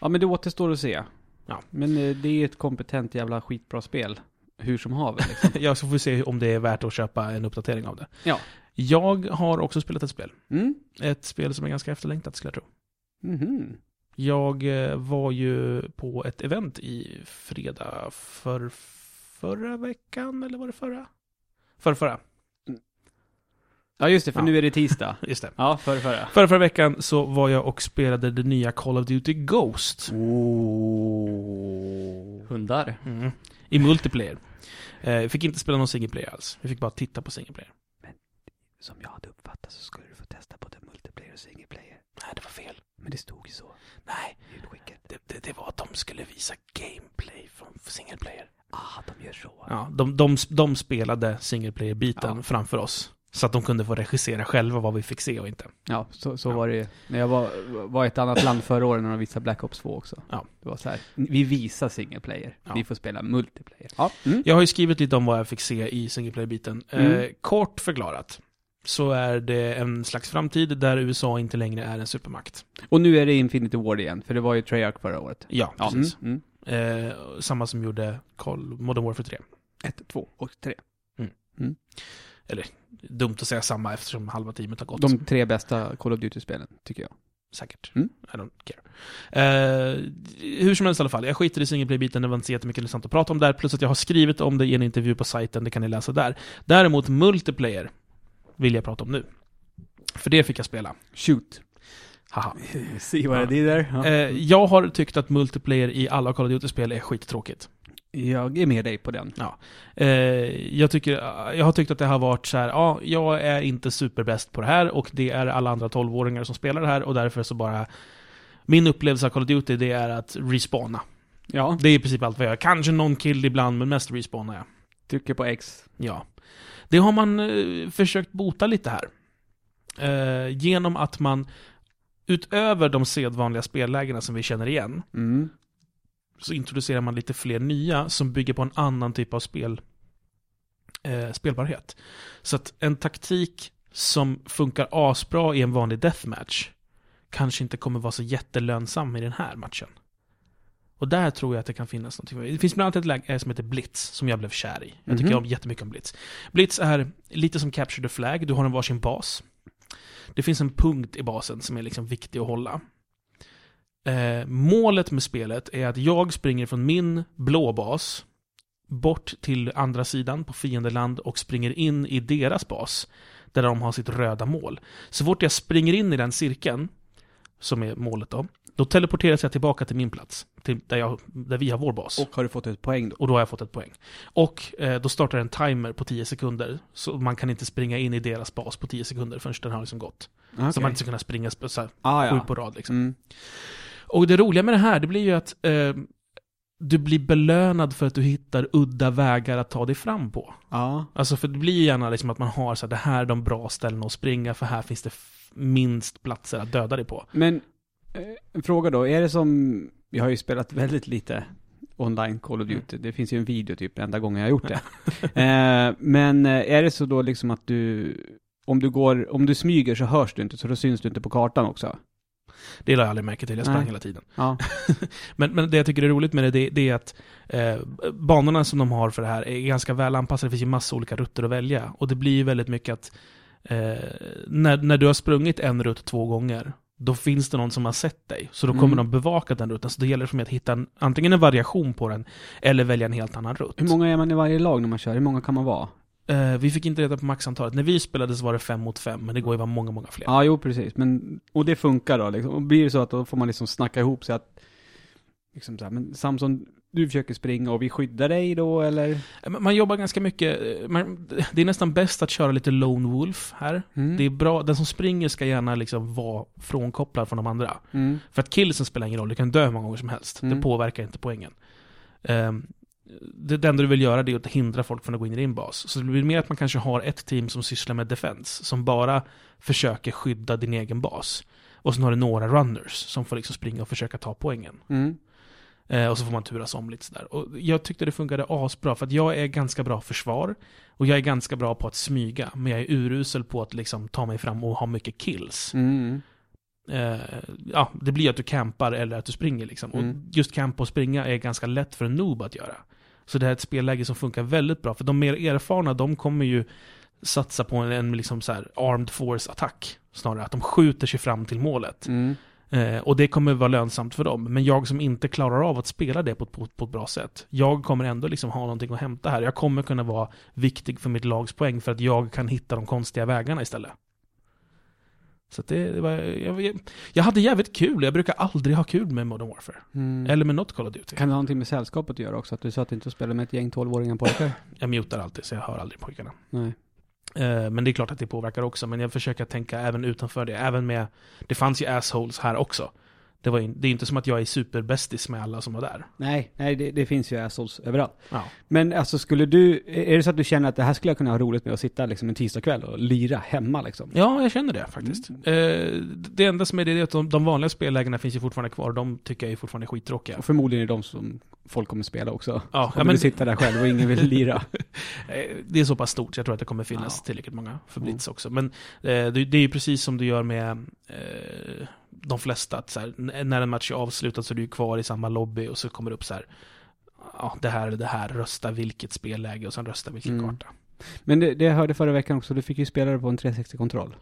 Speaker 2: Ja, men det återstår att se.
Speaker 1: Ja.
Speaker 2: Men eh, det är ett kompetent jävla skitbra spel. Hur som haver. Liksom.
Speaker 1: Jag får vi se om det är värt att köpa en uppdatering av det.
Speaker 2: Ja.
Speaker 1: Jag har också spelat ett spel.
Speaker 2: Mm.
Speaker 1: Ett spel som är ganska efterlängtat skulle jag tro.
Speaker 2: Mhm.
Speaker 1: Jag eh, var ju på ett event i fredag för förra veckan, eller var det förra? För förra,
Speaker 2: Ja, just det, för
Speaker 1: Ja.
Speaker 2: nu är det tisdag.
Speaker 1: just det.
Speaker 2: Ja, förra, förra.
Speaker 1: Förra, förra veckan så var jag och spelade det nya Call of Duty Ghost.
Speaker 2: Oh.
Speaker 3: Hundar.
Speaker 1: Mm. I multiplayer. Eh, fick inte spela någon single player alls. Vi fick bara titta på single player.
Speaker 2: Som jag hade uppfattat så skulle du få testa både multiplayer och single player.
Speaker 1: Nej, det var fel.
Speaker 2: Men det stod ju så
Speaker 1: Nej,
Speaker 2: i utskicket.
Speaker 1: det, det, det var att de skulle visa gameplay från single player.
Speaker 2: Ah, de gör så.
Speaker 1: Ja, de, de, de spelade single player-biten
Speaker 2: Ja.
Speaker 1: framför oss. Så att de kunde få regissera själva vad vi fick se och inte.
Speaker 2: Ja, så, så
Speaker 1: Ja.
Speaker 2: var det ju. När jag var, var i ett annat land förra året när de visade Black Ops 2 också.
Speaker 1: Ja.
Speaker 2: Det var så här, vi visar single player.
Speaker 1: Ja.
Speaker 2: Vi får spela multiplayer. Ja. Mm.
Speaker 1: Jag har ju skrivit lite om vad jag fick se i single player-biten. Eh,
Speaker 2: Mm.
Speaker 1: kort förklarat så är det en slags framtid där USA inte längre är en supermakt.
Speaker 2: Och nu är det Infinity Ward igen, för det var ju Treyarch förra året.
Speaker 1: Ja,
Speaker 2: Ja,
Speaker 1: precis.
Speaker 2: Mm. Mm.
Speaker 1: Eh, samma som gjorde Call, Modern Warfare 3.
Speaker 2: Ett, två och tre.
Speaker 1: Dumt att säga samma eftersom halva teamet har gått.
Speaker 2: De tre bästa Call of Duty-spelen, tycker jag.
Speaker 1: Säkert.
Speaker 2: Mm.
Speaker 1: I don't care. Eh, hur som helst i alla fall, jag skiter i singleplay-biten, det var inte så jättemycket intressant att prata om där, plus att jag har skrivit om det i en intervju på sajten, det kan ni läsa där. Däremot multiplayer vill jag prata om nu. För det fick jag spela.
Speaker 2: Shoot.
Speaker 1: Haha.
Speaker 2: See
Speaker 1: what I
Speaker 2: did there? Ja.
Speaker 1: Eh, jag har tyckt att multiplayer i alla Call of Duty-spel är skittråkigt.
Speaker 2: jag är med dig på den.
Speaker 1: Eh, jag, tycker, jag har tyckt att det har varit så här, ja, jag är inte superbäst på det här och det är alla andra 12-åringar som spelar det här och därför så bara... Min upplevelse av Call of Duty, det är att respawna.
Speaker 2: Ja.
Speaker 1: Det är i princip allt vad jag gör. Kanske någon kill ibland, men mest respawnar jag.
Speaker 2: Trycker på X.
Speaker 1: Ja. Det har man eh, försökt bota lite här. Eh, genom att man, utöver de sedvanliga spellägena som vi känner igen,
Speaker 2: Mm.
Speaker 1: så introducerar man lite fler nya som bygger på en annan typ av spel, eh, spelbarhet. Så att en taktik som funkar asbra i en vanlig deathmatch kanske inte kommer vara så jättelönsam i den här matchen. Och där tror jag att det kan finnas någonting. Det finns bland annat ett läge som heter Blitz, som jag blev kär i. Jag tycker
Speaker 2: Mhm.
Speaker 1: om jättemycket om Blitz. Blitz är lite som Capture the Flag, du har en varsin bas. Det finns en punkt i basen som är liksom viktig att hålla. Eh, målet med spelet är att jag springer från min blå bas bort till andra sidan på fiendeland och springer in i deras bas där de har sitt röda mål. Så fort jag springer in i den cirkeln, som är målet då, då teleporteras jag tillbaka till min plats, till där, jag, där vi har vår bas. Och,
Speaker 2: Och har du fått ett poäng då?
Speaker 1: då har jag fått ett poäng. Och eh, då startar en timer på 10 sekunder, så man kan inte springa in i deras bas på 10 sekunder förrän den har liksom gått. Så
Speaker 2: liksom
Speaker 1: man inte ska kunna springa sp- så här,
Speaker 2: ah,
Speaker 1: sju
Speaker 2: ja.
Speaker 1: på rad liksom.
Speaker 2: Mm.
Speaker 1: Och det roliga med det här, det blir ju att eh, du blir belönad för att du hittar udda vägar att ta dig fram på.
Speaker 2: Ja.
Speaker 1: Alltså för det blir ju gärna liksom att man har så här, det här är de bra ställena att springa för här finns det f- minst platser att döda dig på.
Speaker 2: Men, eh, en fråga då. Är det som, jag har ju spelat väldigt lite online Call of Duty. Det finns ju en video typ, enda gången jag har gjort det. eh, men eh, är det så då liksom att du, om du går, om du smyger så hörs du inte, så då syns du inte på kartan också?
Speaker 1: Det la jag aldrig märke till, jag sprang
Speaker 2: Nej.
Speaker 1: hela tiden.
Speaker 2: Ja.
Speaker 1: Men, men det jag tycker är roligt med det, det, det är att eh, banorna som de har för det här är ganska väl anpassade, det finns ju massa olika rutter att välja. Och det blir ju väldigt mycket att eh, när, när du har sprungit en rutt två gånger, då finns det någon som har sett dig. Så då kommer
Speaker 2: Mm.
Speaker 1: de bevaka den rutten, så då gäller det för mig att hitta en, antingen en variation på den, eller välja en helt annan rutt.
Speaker 2: Hur många är man i varje lag när man kör? Hur många kan man vara?
Speaker 1: Eh, vi fick inte reda på maxantalet. När vi spelade så var det fem mot fem, men det går ju vara många, många fler.
Speaker 2: Ja, jo precis. Men, och det funkar då liksom. Och blir det så att då får man liksom snacka ihop sig att, liksom så här, men Samson, du försöker springa och vi skyddar dig då eller?
Speaker 1: Eh, men Man jobbar ganska mycket, eh, man, det är nästan bäst att köra lite lone wolf här.
Speaker 2: Mm.
Speaker 1: Det är bra, den som springer ska gärna liksom vara frånkopplad från de andra.
Speaker 2: Mm.
Speaker 1: För att killsen spelar ingen roll, du kan dö hur många gånger som helst.
Speaker 2: Mm.
Speaker 1: Det påverkar inte poängen. Ehm, det, det enda du vill göra det är att hindra folk från att gå in i din bas. Så det blir mer att man kanske har ett team som sysslar med defense, som bara försöker skydda din egen bas. Och sen har du några runners som får liksom springa och försöka ta poängen.
Speaker 2: Mm.
Speaker 1: Eh, och så får man turas om lite sådär. Och jag tyckte det funkade asbra, för att jag är ganska bra försvar. Och jag är ganska bra på att smyga, men jag är urusel på att liksom ta mig fram och ha mycket kills.
Speaker 2: Mm.
Speaker 1: Eh, ja, det blir att du campar eller att du springer liksom.
Speaker 2: Mm.
Speaker 1: Och just campa och springa är ganska lätt för en noob att göra. Så det här är ett spelläge som funkar väldigt bra, för de mer erfarna, de kommer ju satsa på en, en liksom så här armed force-attack. Snarare att de skjuter sig fram till målet.
Speaker 2: Mm.
Speaker 1: Eh, och det kommer vara lönsamt för dem. Men jag som inte klarar av att spela det på, på, på ett bra sätt, jag kommer ändå liksom ha någonting att hämta här. Jag kommer kunna vara viktig för mitt lags poäng för att jag kan hitta de konstiga vägarna istället. Så att det, det var, jag, jag, jag hade jävligt kul, jag brukar aldrig ha kul med Modern Warfare.
Speaker 2: Mm.
Speaker 1: Eller med något Call of Duty.
Speaker 2: Kan det ha någonting med sällskapet att göra också? Att du sa att du inte spelar med ett gäng 12-åringar pojkar?
Speaker 1: Jag mutar alltid så jag hör aldrig pojkarna.
Speaker 2: Nej.
Speaker 1: Eh, men det är klart att det påverkar också, men jag försöker tänka även utanför det. Även med, det fanns ju assholes här också. Det, var ju, det är ju inte som att jag är superbästis med alla som var där.
Speaker 2: Nej, nej det, det finns ju assholes överallt.
Speaker 1: Ja.
Speaker 2: Men alltså skulle du, är det så att du känner att det här skulle jag kunna ha roligt med att sitta liksom en tisdagkväll och lira hemma liksom?
Speaker 1: Ja, jag känner det faktiskt.
Speaker 2: Mm.
Speaker 1: Eh, det enda som är det är att de, de vanliga spellägena finns ju fortfarande kvar. De tycker jag är fortfarande skittråkiga.
Speaker 2: Och förmodligen är det de som folk kommer spela också. Om
Speaker 1: Ja,
Speaker 2: du
Speaker 1: ja, men,
Speaker 2: vill sitta där själv och ingen vill lira.
Speaker 1: eh, det är så pass stort så jag tror att det kommer finnas
Speaker 2: Ja. Mm.
Speaker 1: tillräckligt många för Blitz också. Men eh, det, det är ju precis som du gör med eh, de flesta. Att så här, n- när en match är avslutad så är du ju kvar i samma lobby och så kommer det upp så här. Ja, det här eller det här, rösta vilket spelläge och sen rösta vilken
Speaker 2: Mm.
Speaker 1: karta.
Speaker 2: Men det, det jag hörde förra veckan också, du fick ju spela det på en 360-kontroll.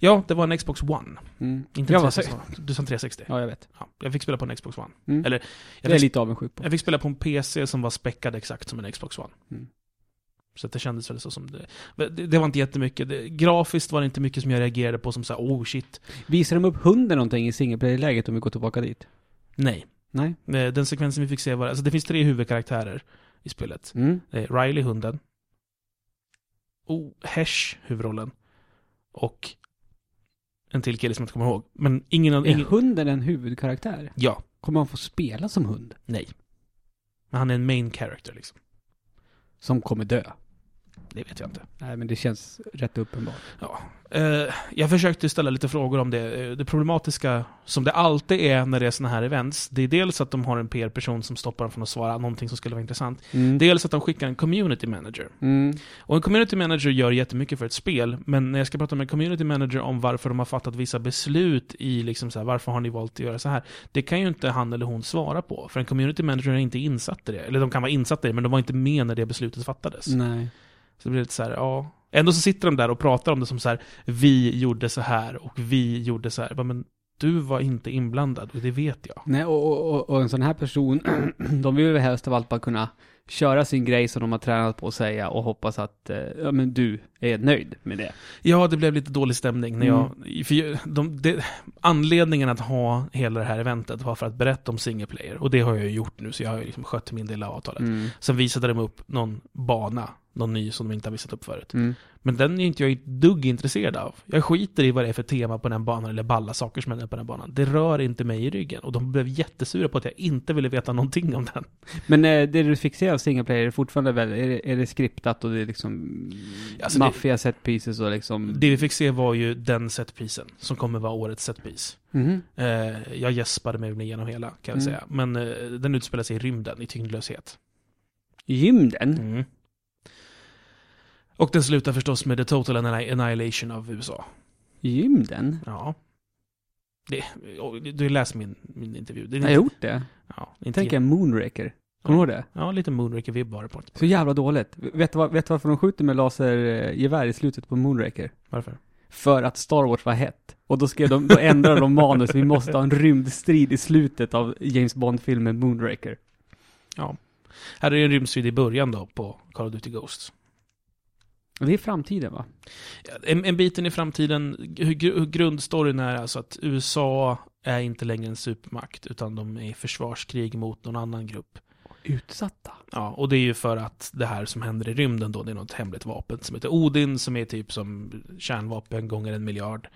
Speaker 1: Ja, det var en Xbox One.
Speaker 2: Mm.
Speaker 1: Inte
Speaker 2: ja,
Speaker 1: en
Speaker 2: vad
Speaker 1: 360. Du sa 360.
Speaker 2: Ja, jag vet.
Speaker 1: Ja, jag fick spela på en Xbox One.
Speaker 2: Mm.
Speaker 1: Eller-
Speaker 2: det
Speaker 1: Jag
Speaker 2: är
Speaker 1: fick
Speaker 2: jag lite avundsjuk på.
Speaker 1: Jag fick spela på en PC som var späckad exakt som en Xbox One.
Speaker 2: Mm.
Speaker 1: Så att det kändes väl så som det... Det, det var inte jättemycket. Det, grafiskt var det inte mycket som jag reagerade på som såhär, oh shit.
Speaker 2: Visar de upp hunden någonting i single player-läget om vi går tillbaka dit?
Speaker 1: Nej.
Speaker 2: Nej?
Speaker 1: Eh, Den sekvensen vi fick se var... Alltså det finns tre huvudkaraktärer i spelet.
Speaker 2: Mm.
Speaker 1: Det är Riley, hunden. Oh, Hesh, huvudrollen. Och en till kille som jag inte kommer ihåg. Men ingen... av-
Speaker 2: Är
Speaker 1: ingen
Speaker 2: hunden en huvudkaraktär?
Speaker 1: ja.
Speaker 2: Kommer han få spela som hund?
Speaker 1: Nej. Men han är en main character liksom.
Speaker 2: Som kommer dö.
Speaker 1: Det vet jag inte.
Speaker 2: Nej, men det känns rätt uppenbart.
Speaker 1: Eh, jag försökte ställa lite frågor om det. Eh, Det problematiska, som det alltid är när det är sådana här events, det är dels att de har en PR-person som stoppar dem från att svara någonting som skulle vara intressant.
Speaker 2: Mm.
Speaker 1: Dels att de skickar en community manager.
Speaker 2: Mm.
Speaker 1: Och en community manager gör jättemycket för ett spel, men när jag ska prata med en community manager om varför de har fattat vissa beslut i liksom så här, varför har ni valt att göra så här? Det kan ju inte han eller hon svara på, för en community manager är inte insatt i det. Eller de kan vara insatta i det, men de var inte med när det beslutet fattades.
Speaker 2: Nej.
Speaker 1: Så det blir lite så här, ja. Ändå så sitter de där och pratar om det som så här, vi gjorde så här och vi gjorde så här. Bara, Men du var inte inblandad och det vet jag.
Speaker 2: Nej, och, och, och- och en sån här person, de vill väl helst av allt bara kunna köra sin grej som de har tränat på att säga och hoppas att eh, ja, men du är nöjd med det.
Speaker 1: Ja, det blev lite dålig stämning när jag... Mm. För ju- de, det, anledningen att ha hela det här eventet var för att berätta om single player. Och det har jag ju gjort nu, så jag har ju liksom skött min del av avtalet.
Speaker 2: Mm.
Speaker 1: Sen visade de upp någon bana, någon ny som de inte har visat upp förut.
Speaker 2: Mm.
Speaker 1: Men den är inte jag ett dugg intresserad av. Jag skiter i vad det är för tema på den banan eller balla saker som händer på den banan. Det rör inte mig i ryggen. Och de blev jättesura på att jag inte ville veta någonting om den.
Speaker 2: Men eh, det du fick se av single player är fortfarande väl, är det, är det skriptat och det är liksom
Speaker 1: Alltså, det-
Speaker 2: maffiga set pieces och liksom...
Speaker 1: Det vi fick se var ju den setprisen som kommer vara årets setpris.
Speaker 2: Mhm.
Speaker 1: Eh, jag gäspade mig väl igenom hela, kan jag
Speaker 2: Mm.
Speaker 1: säga. Men eh, den utspelar sig i rymden, i tyngdlöshet.
Speaker 2: Gymden?
Speaker 1: Mm. Och den slutar förstås med the total anni- annihilation av USA.
Speaker 2: Gymden?
Speaker 1: Ja. Det, och du läs min, min intervju. Det är
Speaker 2: Jag har
Speaker 1: inte,
Speaker 2: gjort det.
Speaker 1: ja, inte
Speaker 2: Tänk en Moonraker. Kommer du ihåg det?
Speaker 1: Ja, lite Moonraker-vibb har det på ett
Speaker 2: Så jävla dåligt. Vet du, vad- vet du varför de skjuter med lasergevär i slutet på Moonraker?
Speaker 1: Varför?
Speaker 2: För att Star Wars var hett. Och då, skrev de, då ändrade de manus, vi måste ha en rymdstrid i slutet av James Bond-filmen Moonraker.
Speaker 1: Här är ju en rymdstrid i början då på Call of Duty Ghosts.
Speaker 2: Och Det är framtiden va?
Speaker 1: En, en bit in i framtiden, hur, gr- hur grundstoryn är alltså att USA är inte längre en supermakt utan de är i försvarskrig mot någon annan grupp.
Speaker 2: Utsatta.
Speaker 1: Ja, och det är ju för att det här som händer i rymden då, det är något hemligt vapen som heter Odin som är typ som kärnvapen gånger en miljard.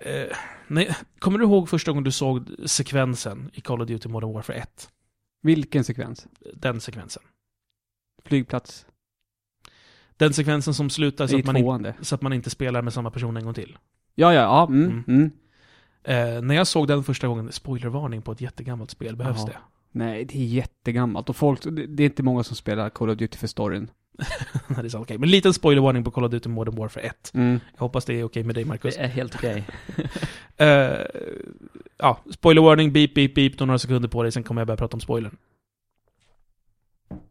Speaker 1: Eh, nej, kommer du ihåg första gången du såg sekvensen i Call of Duty Modern Warfare 1?
Speaker 2: Vilken sekvens?
Speaker 1: Den sekvensen.
Speaker 2: Flygplats?
Speaker 1: Den sekvensen som slutar så
Speaker 2: I
Speaker 1: Alltså, att, man in,
Speaker 2: tvåan det.
Speaker 1: så att man inte spelar med samma person en gång till.
Speaker 2: Ja, ja, ja. Mm,
Speaker 1: Mm.
Speaker 2: mm.
Speaker 1: Eh, när jag såg den första gången, spoilervarning på ett jättegammalt spel, behövs
Speaker 2: Jaha.
Speaker 1: det?
Speaker 2: Nej, det är jättegammalt. Och folk, det, det är inte många som spelar Call of Duty för storyn.
Speaker 1: Nej, det är så okej. Men liten spoilervarning på Call of Duty Modern Warfare 1.
Speaker 2: Mm.
Speaker 1: Jag hoppas det är okej med dig, Marcus.
Speaker 3: Det är helt okej.
Speaker 1: Eh, ja, spoiler warning, beep, beep, beep, du har några sekunder på dig, sen kommer jag börja prata om spoilern.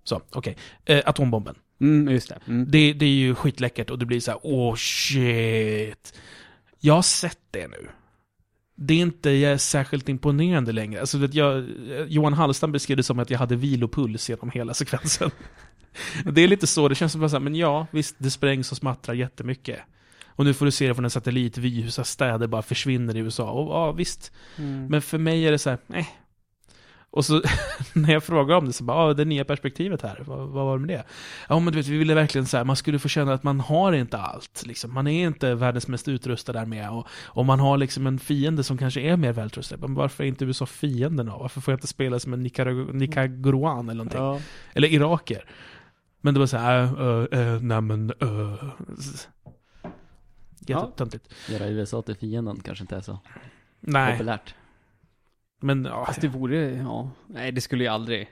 Speaker 1: Så, okej. Eh, atombomben.
Speaker 2: Mm, just det. Mm.
Speaker 1: Det, det är ju skitläckert och det blir så här, åh oh, shit. Jag har sett det nu. Det är inte jag är särskilt imponerande längre. Alltså, vet jag, eh, Johan Hallstam beskrev det som att jag hade vilopuls genom hela sekvensen. det är lite så, det känns som bara så här, men ja, visst, det sprängs och smattrar jättemycket. Och nu får du se det från en satellitvy, hur så här städer bara försvinner i USA. Och ja, visst,
Speaker 2: Mm.
Speaker 1: men för mig är det så här, nej. Och så när jag frågar om det så bara, ah, det nya perspektivet här, vad, vad var det med det? Ja men du vet, vi ville verkligen så här, man skulle få känna att man har inte allt, liksom. Man är inte världens mest utrustade armé och, och man har liksom en fiende som kanske är mer välutrustad. Men varför är inte USA fienden då? Varför får jag inte spela som en Nicarag- nicaraguan eller någonting?
Speaker 2: Ja.
Speaker 1: Eller iraker? Men det var så här, äh, äh, nej men, äh. Jättetöntigt.
Speaker 3: Göra USA till fienden kanske inte är så
Speaker 1: Nej,
Speaker 3: populärt.
Speaker 1: men ja.
Speaker 2: Fast det vore, ja. Nej, det skulle ju aldrig.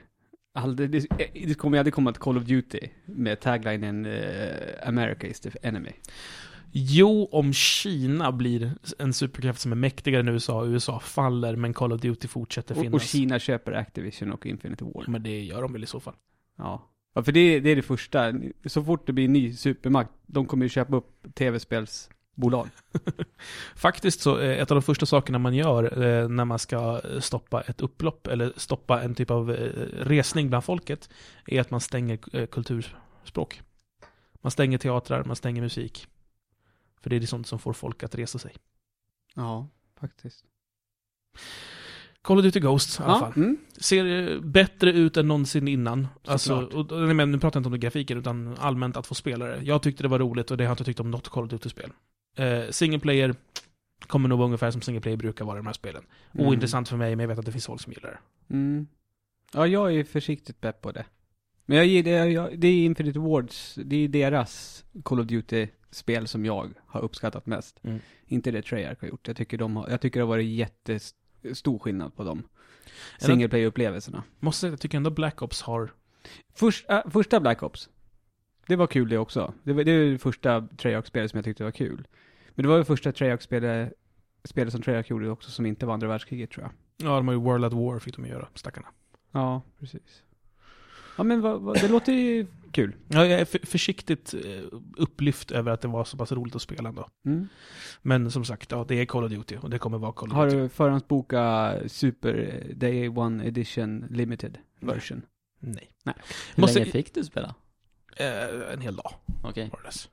Speaker 2: aldrig det, eh, det kommer ju aldrig komma ett Call of Duty med taglinen eh, America is the enemy.
Speaker 1: Jo, om Kina blir en superkraft som är mäktigare än USA och USA faller, men Call of Duty fortsätter
Speaker 2: Och,
Speaker 1: finnas.
Speaker 2: och Kina köper Activision och Infinity War.
Speaker 1: Men det gör de väl i så fall.
Speaker 2: Ja. ja, för det, det är det första. Så fort det blir en ny supermakt, de kommer ju köpa upp tv-spelsbolag.
Speaker 1: Faktiskt så, eh, ett av de första sakerna man gör eh, när man ska stoppa ett upplopp, eller stoppa en typ av eh, resning bland folket, är att man stänger eh, kulturspråk. Man stänger teatrar, man stänger musik. För det är det sånt som får folk att resa sig.
Speaker 2: Ja, faktiskt.
Speaker 1: Call of Duty Ghosts i alla fall.
Speaker 2: Ja, mm.
Speaker 1: ser eh, bättre ut än någonsin innan. Alltså,
Speaker 2: Såklart.
Speaker 1: och, och, nej, men nu pratar jag inte om grafiken, utan allmänt att få spelare. Jag tyckte det var roligt och det har jag inte tyckt om något Call of Duty-spel. Eh, single player kommer nog vara ungefär som single player brukar vara i de här spelen.
Speaker 2: Mm.
Speaker 1: Ointressant för mig, men jag vet att det finns folk som gillar det.
Speaker 2: Mm. Ja, jag är försiktigt pepp på det. Men jag, gillar- jag, jag, det är Infinite Wards, det är deras Call of Duty-spel som jag har uppskattat mest.
Speaker 1: Mm.
Speaker 2: Inte det Treyarch har gjort. Jag tycker, de har, jag tycker det har varit jättestor skillnad på dem.
Speaker 1: det-
Speaker 2: Single player-upplevelserna.
Speaker 1: Måste säga att jag tycker ändå Black Ops har...
Speaker 2: Först, äh, första Black Ops. Det var kul det också. Det var det, är det första Treyarch-spelet som jag tyckte var kul. Men det var det första Treyarch-spelet spelet som Treyarch gjorde också som inte var andra världskriget tror jag.
Speaker 1: Ja, de har ju World at War fick de göra, stackarna.
Speaker 2: Ja, precis. Ja men vad, vad, det låter ju kul.
Speaker 1: Ja, jag är för, försiktigt eh, upplyft över att det var så pass roligt att spela ändå.
Speaker 2: Mm.
Speaker 1: Men som sagt, ja, det är Call of Duty och det kommer vara Call of
Speaker 2: Har
Speaker 1: Duty.
Speaker 2: du förhandsboka Super Day One Edition Limited version?
Speaker 1: Nej.
Speaker 3: Hur
Speaker 1: Måste-
Speaker 3: länge fick du spela?
Speaker 1: Eh, en hel dag
Speaker 3: Okej.
Speaker 1: var det dess.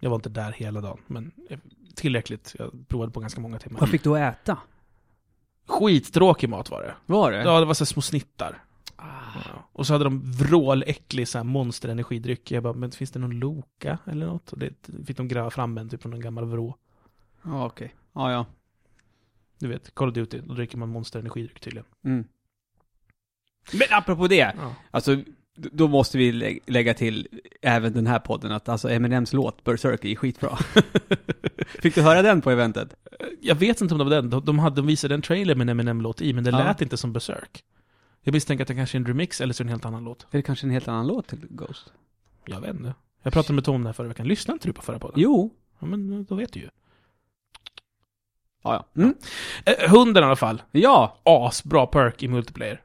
Speaker 1: Jag var inte där hela dagen, men eh, tillräckligt. Jag provade på ganska många timmar.
Speaker 2: Vad fick du att äta?
Speaker 1: Skittråkig mat var det.
Speaker 2: Var det?
Speaker 1: Ja, det var så här små snittar. Ja. Och så hade de vråläcklig så här monsterenergidryck. Jag bara, men finns det någon Loka eller något? Och det fick de gräva fram en typ från en gammal vrå.
Speaker 2: Ja, okej. Ja, ja.
Speaker 1: Du vet, Call of Duty, då dricker man monsterenergidryck tydligen.
Speaker 2: Mm. Men apropå det.
Speaker 1: Ja.
Speaker 2: Alltså, d- då måste vi lä- lägga till även den här podden att alltså Eminems låt Berserker är skitbra. Fick du höra den på eventet?
Speaker 1: Jag vet inte om det var den. De, de, hade, de visade en trailer med en Eminem-låt i, men det
Speaker 2: Ja.
Speaker 1: lät inte som Berserk. Jag misstänker att det kanske är en remix eller så är det en helt annan låt.
Speaker 2: Är det kanske en helt annan låt till Ghost?
Speaker 1: Jag vet inte. Jag pratade med Tom den här förra veckan. Lyssnade inte du på förra podden?
Speaker 2: Jo.
Speaker 1: Ja, men då vet du ju.
Speaker 2: Ja, ja. Mm.
Speaker 1: Eh, hunden i alla fall.
Speaker 2: Ja!
Speaker 1: Asbra perk i multiplayer.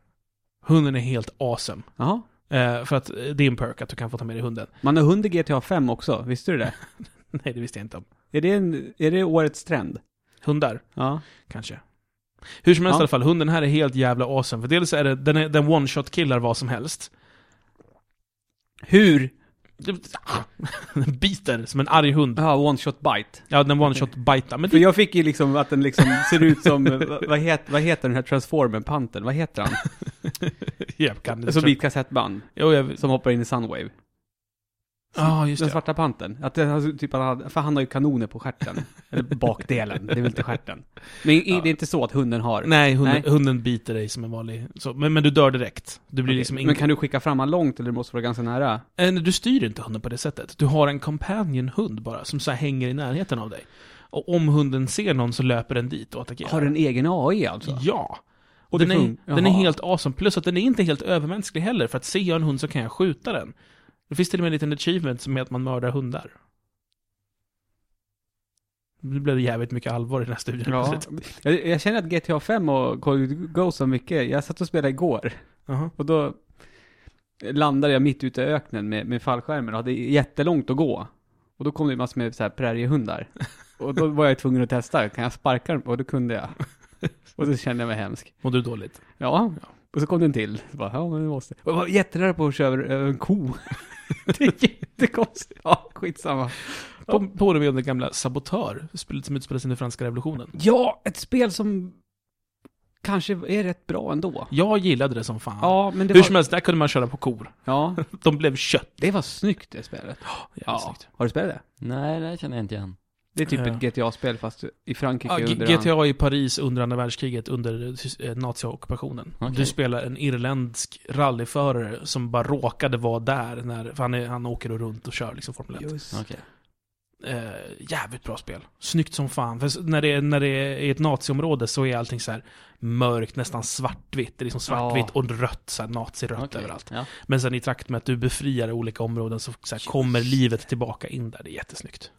Speaker 1: Hunden är helt awesome.
Speaker 2: Jaha.
Speaker 1: Eh, för att eh, det är en perk att du kan få ta med dig hunden.
Speaker 2: Man har hund i GTA 5 också, visste du det?
Speaker 1: Nej, det visste jag inte om.
Speaker 2: Är det, en, är det årets trend?
Speaker 1: Hundar,
Speaker 2: Ja.
Speaker 1: kanske. Hur som helst
Speaker 2: Ja.
Speaker 1: i alla fall, hunden här är helt jävla awesome. För dels är det, den, är- den one-shot-killar vad som helst.
Speaker 2: Hur?
Speaker 1: Det- Den biter som en arg hund.
Speaker 2: Ja, one shot bite.
Speaker 1: Ja, den one-shot-bitar. Men
Speaker 2: För
Speaker 1: det,
Speaker 2: jag fick ju liksom att den liksom ser ut som, vad, vad, heter, vad heter den här transformern panten Vad heter han?
Speaker 1: jag kan det.
Speaker 2: Som blir ett kassettband,
Speaker 1: Jo, jag...
Speaker 2: som hoppar in i Sunwave.
Speaker 1: Ja, just
Speaker 2: Den
Speaker 1: det.
Speaker 2: svarta panten. Att det, alltså, typ, han hade, för han har ju kanoner på stjärten. Eller bakdelen, det är väl inte stjärten. Men i-
Speaker 1: Ja.
Speaker 2: det är inte så att hunden har.
Speaker 1: Nej hunden,
Speaker 2: Nej.
Speaker 1: hunden biter dig som en vanlig... Så, men, men du dör direkt. Du blir
Speaker 2: Okej,
Speaker 1: liksom
Speaker 2: Men
Speaker 1: ingen...
Speaker 2: kan du skicka fram han långt eller det måste vara ganska nära?
Speaker 1: Eh, nej, Du styr inte hunden på det sättet. Du har en companion-hund bara, som så här hänger i närheten av dig. Och om hunden ser någon så löper den dit och attackerar.
Speaker 2: Har den egen AI alltså?
Speaker 1: Ja.
Speaker 2: Och
Speaker 1: den,
Speaker 2: det fun-
Speaker 1: är, den är
Speaker 2: Jaha.
Speaker 1: helt awesome. Plus att den är inte helt övermänsklig heller, för att ser jag en hund så kan jag skjuta den. Det finns till och med en liten achievement som är att man mördar hundar. Nu blev det jävligt mycket allvar i den här studien.
Speaker 2: Ja.
Speaker 1: plötsligt.
Speaker 2: Jag, jag känner att GTA 5 och Call of Duty Go så mycket. Jag satt och spelade igår
Speaker 1: Jaha.
Speaker 2: och då landade jag mitt ute i öknen med, med fallskärmen och hade jättelångt att gå. Och då kom det massor med så här präriehundar. Och då var jag tvungen att testa, kan jag sparka den? Och då kunde jag. Och då kände jag mig hemsk.
Speaker 1: Mår du dåligt?
Speaker 2: Ja. Och så kom den till. Så bara, ja, men det måste. Och jag var jättenära på att köra över- över en ko. det är jättekonstigt. Ja, skitsamma.
Speaker 1: På, påminner mig om den gamla Sabotör, spelet som utspelas under franska revolutionen.
Speaker 2: Ja, ett spel som kanske är rätt bra ändå.
Speaker 1: Jag gillade det som fan.
Speaker 2: Ja, men det
Speaker 1: Hur
Speaker 2: var...
Speaker 1: som helst, där kunde man köra på kor.
Speaker 2: Ja,
Speaker 1: De blev kött.
Speaker 2: det var snyggt det spelet.
Speaker 1: Jävligt snyggt.
Speaker 2: Har du spelat det?
Speaker 3: Nej, det här känner jag inte igen.
Speaker 2: Det är typ
Speaker 1: Ja.
Speaker 2: ett GTA-spel fast i Frankrike
Speaker 1: Ja, G-
Speaker 2: under...
Speaker 1: GTA i Paris under andra världskriget, under eh, nazi-ockupationen.
Speaker 3: Okej.
Speaker 1: Du spelar en irländsk rallyförare som bara råkade vara där, när, för han, är, han åker runt och kör liksom Formel 1.
Speaker 2: Just.
Speaker 3: Okej.
Speaker 1: Eh, jävligt bra spel. Snyggt som fan. För s- när det, är- när det är ett naziområde så är allting så här mörkt, nästan svartvitt. Det är liksom svartvitt
Speaker 2: Ja.
Speaker 1: och rött, så här nazirött
Speaker 3: Okej.
Speaker 1: överallt.
Speaker 3: Ja.
Speaker 1: Men sen i trakt med att du befriar olika områden så, så här, kommer livet tillbaka in där. Det är jättesnyggt.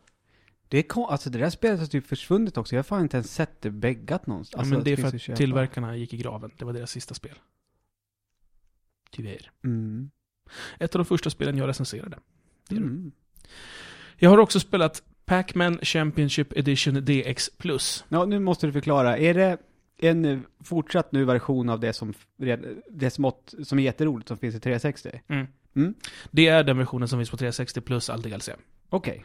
Speaker 2: Det är kon... Alltså det där spelet har typ försvunnit också. Jag har fan inte ens sett det beggat någonstans.
Speaker 1: ja,
Speaker 2: Alltså,
Speaker 1: men det är
Speaker 2: finns
Speaker 1: för
Speaker 2: köpa.
Speaker 1: att tillverkarna gick i graven. Det var deras sista spel. Tyvärr.
Speaker 2: Mm.
Speaker 1: Ett av de första spelen jag recenserade. Det är det.
Speaker 2: Mm.
Speaker 1: Jag har också spelat Pac-Man Championship Edition DX+.
Speaker 2: Ja, nu måste du förklara. Är det en eh, fortsatt nu version av det som, f- red- det smått, som är jätteroligt som finns i 360?
Speaker 1: Det är den versionen som finns på 360 plus all DLC.
Speaker 2: Okej.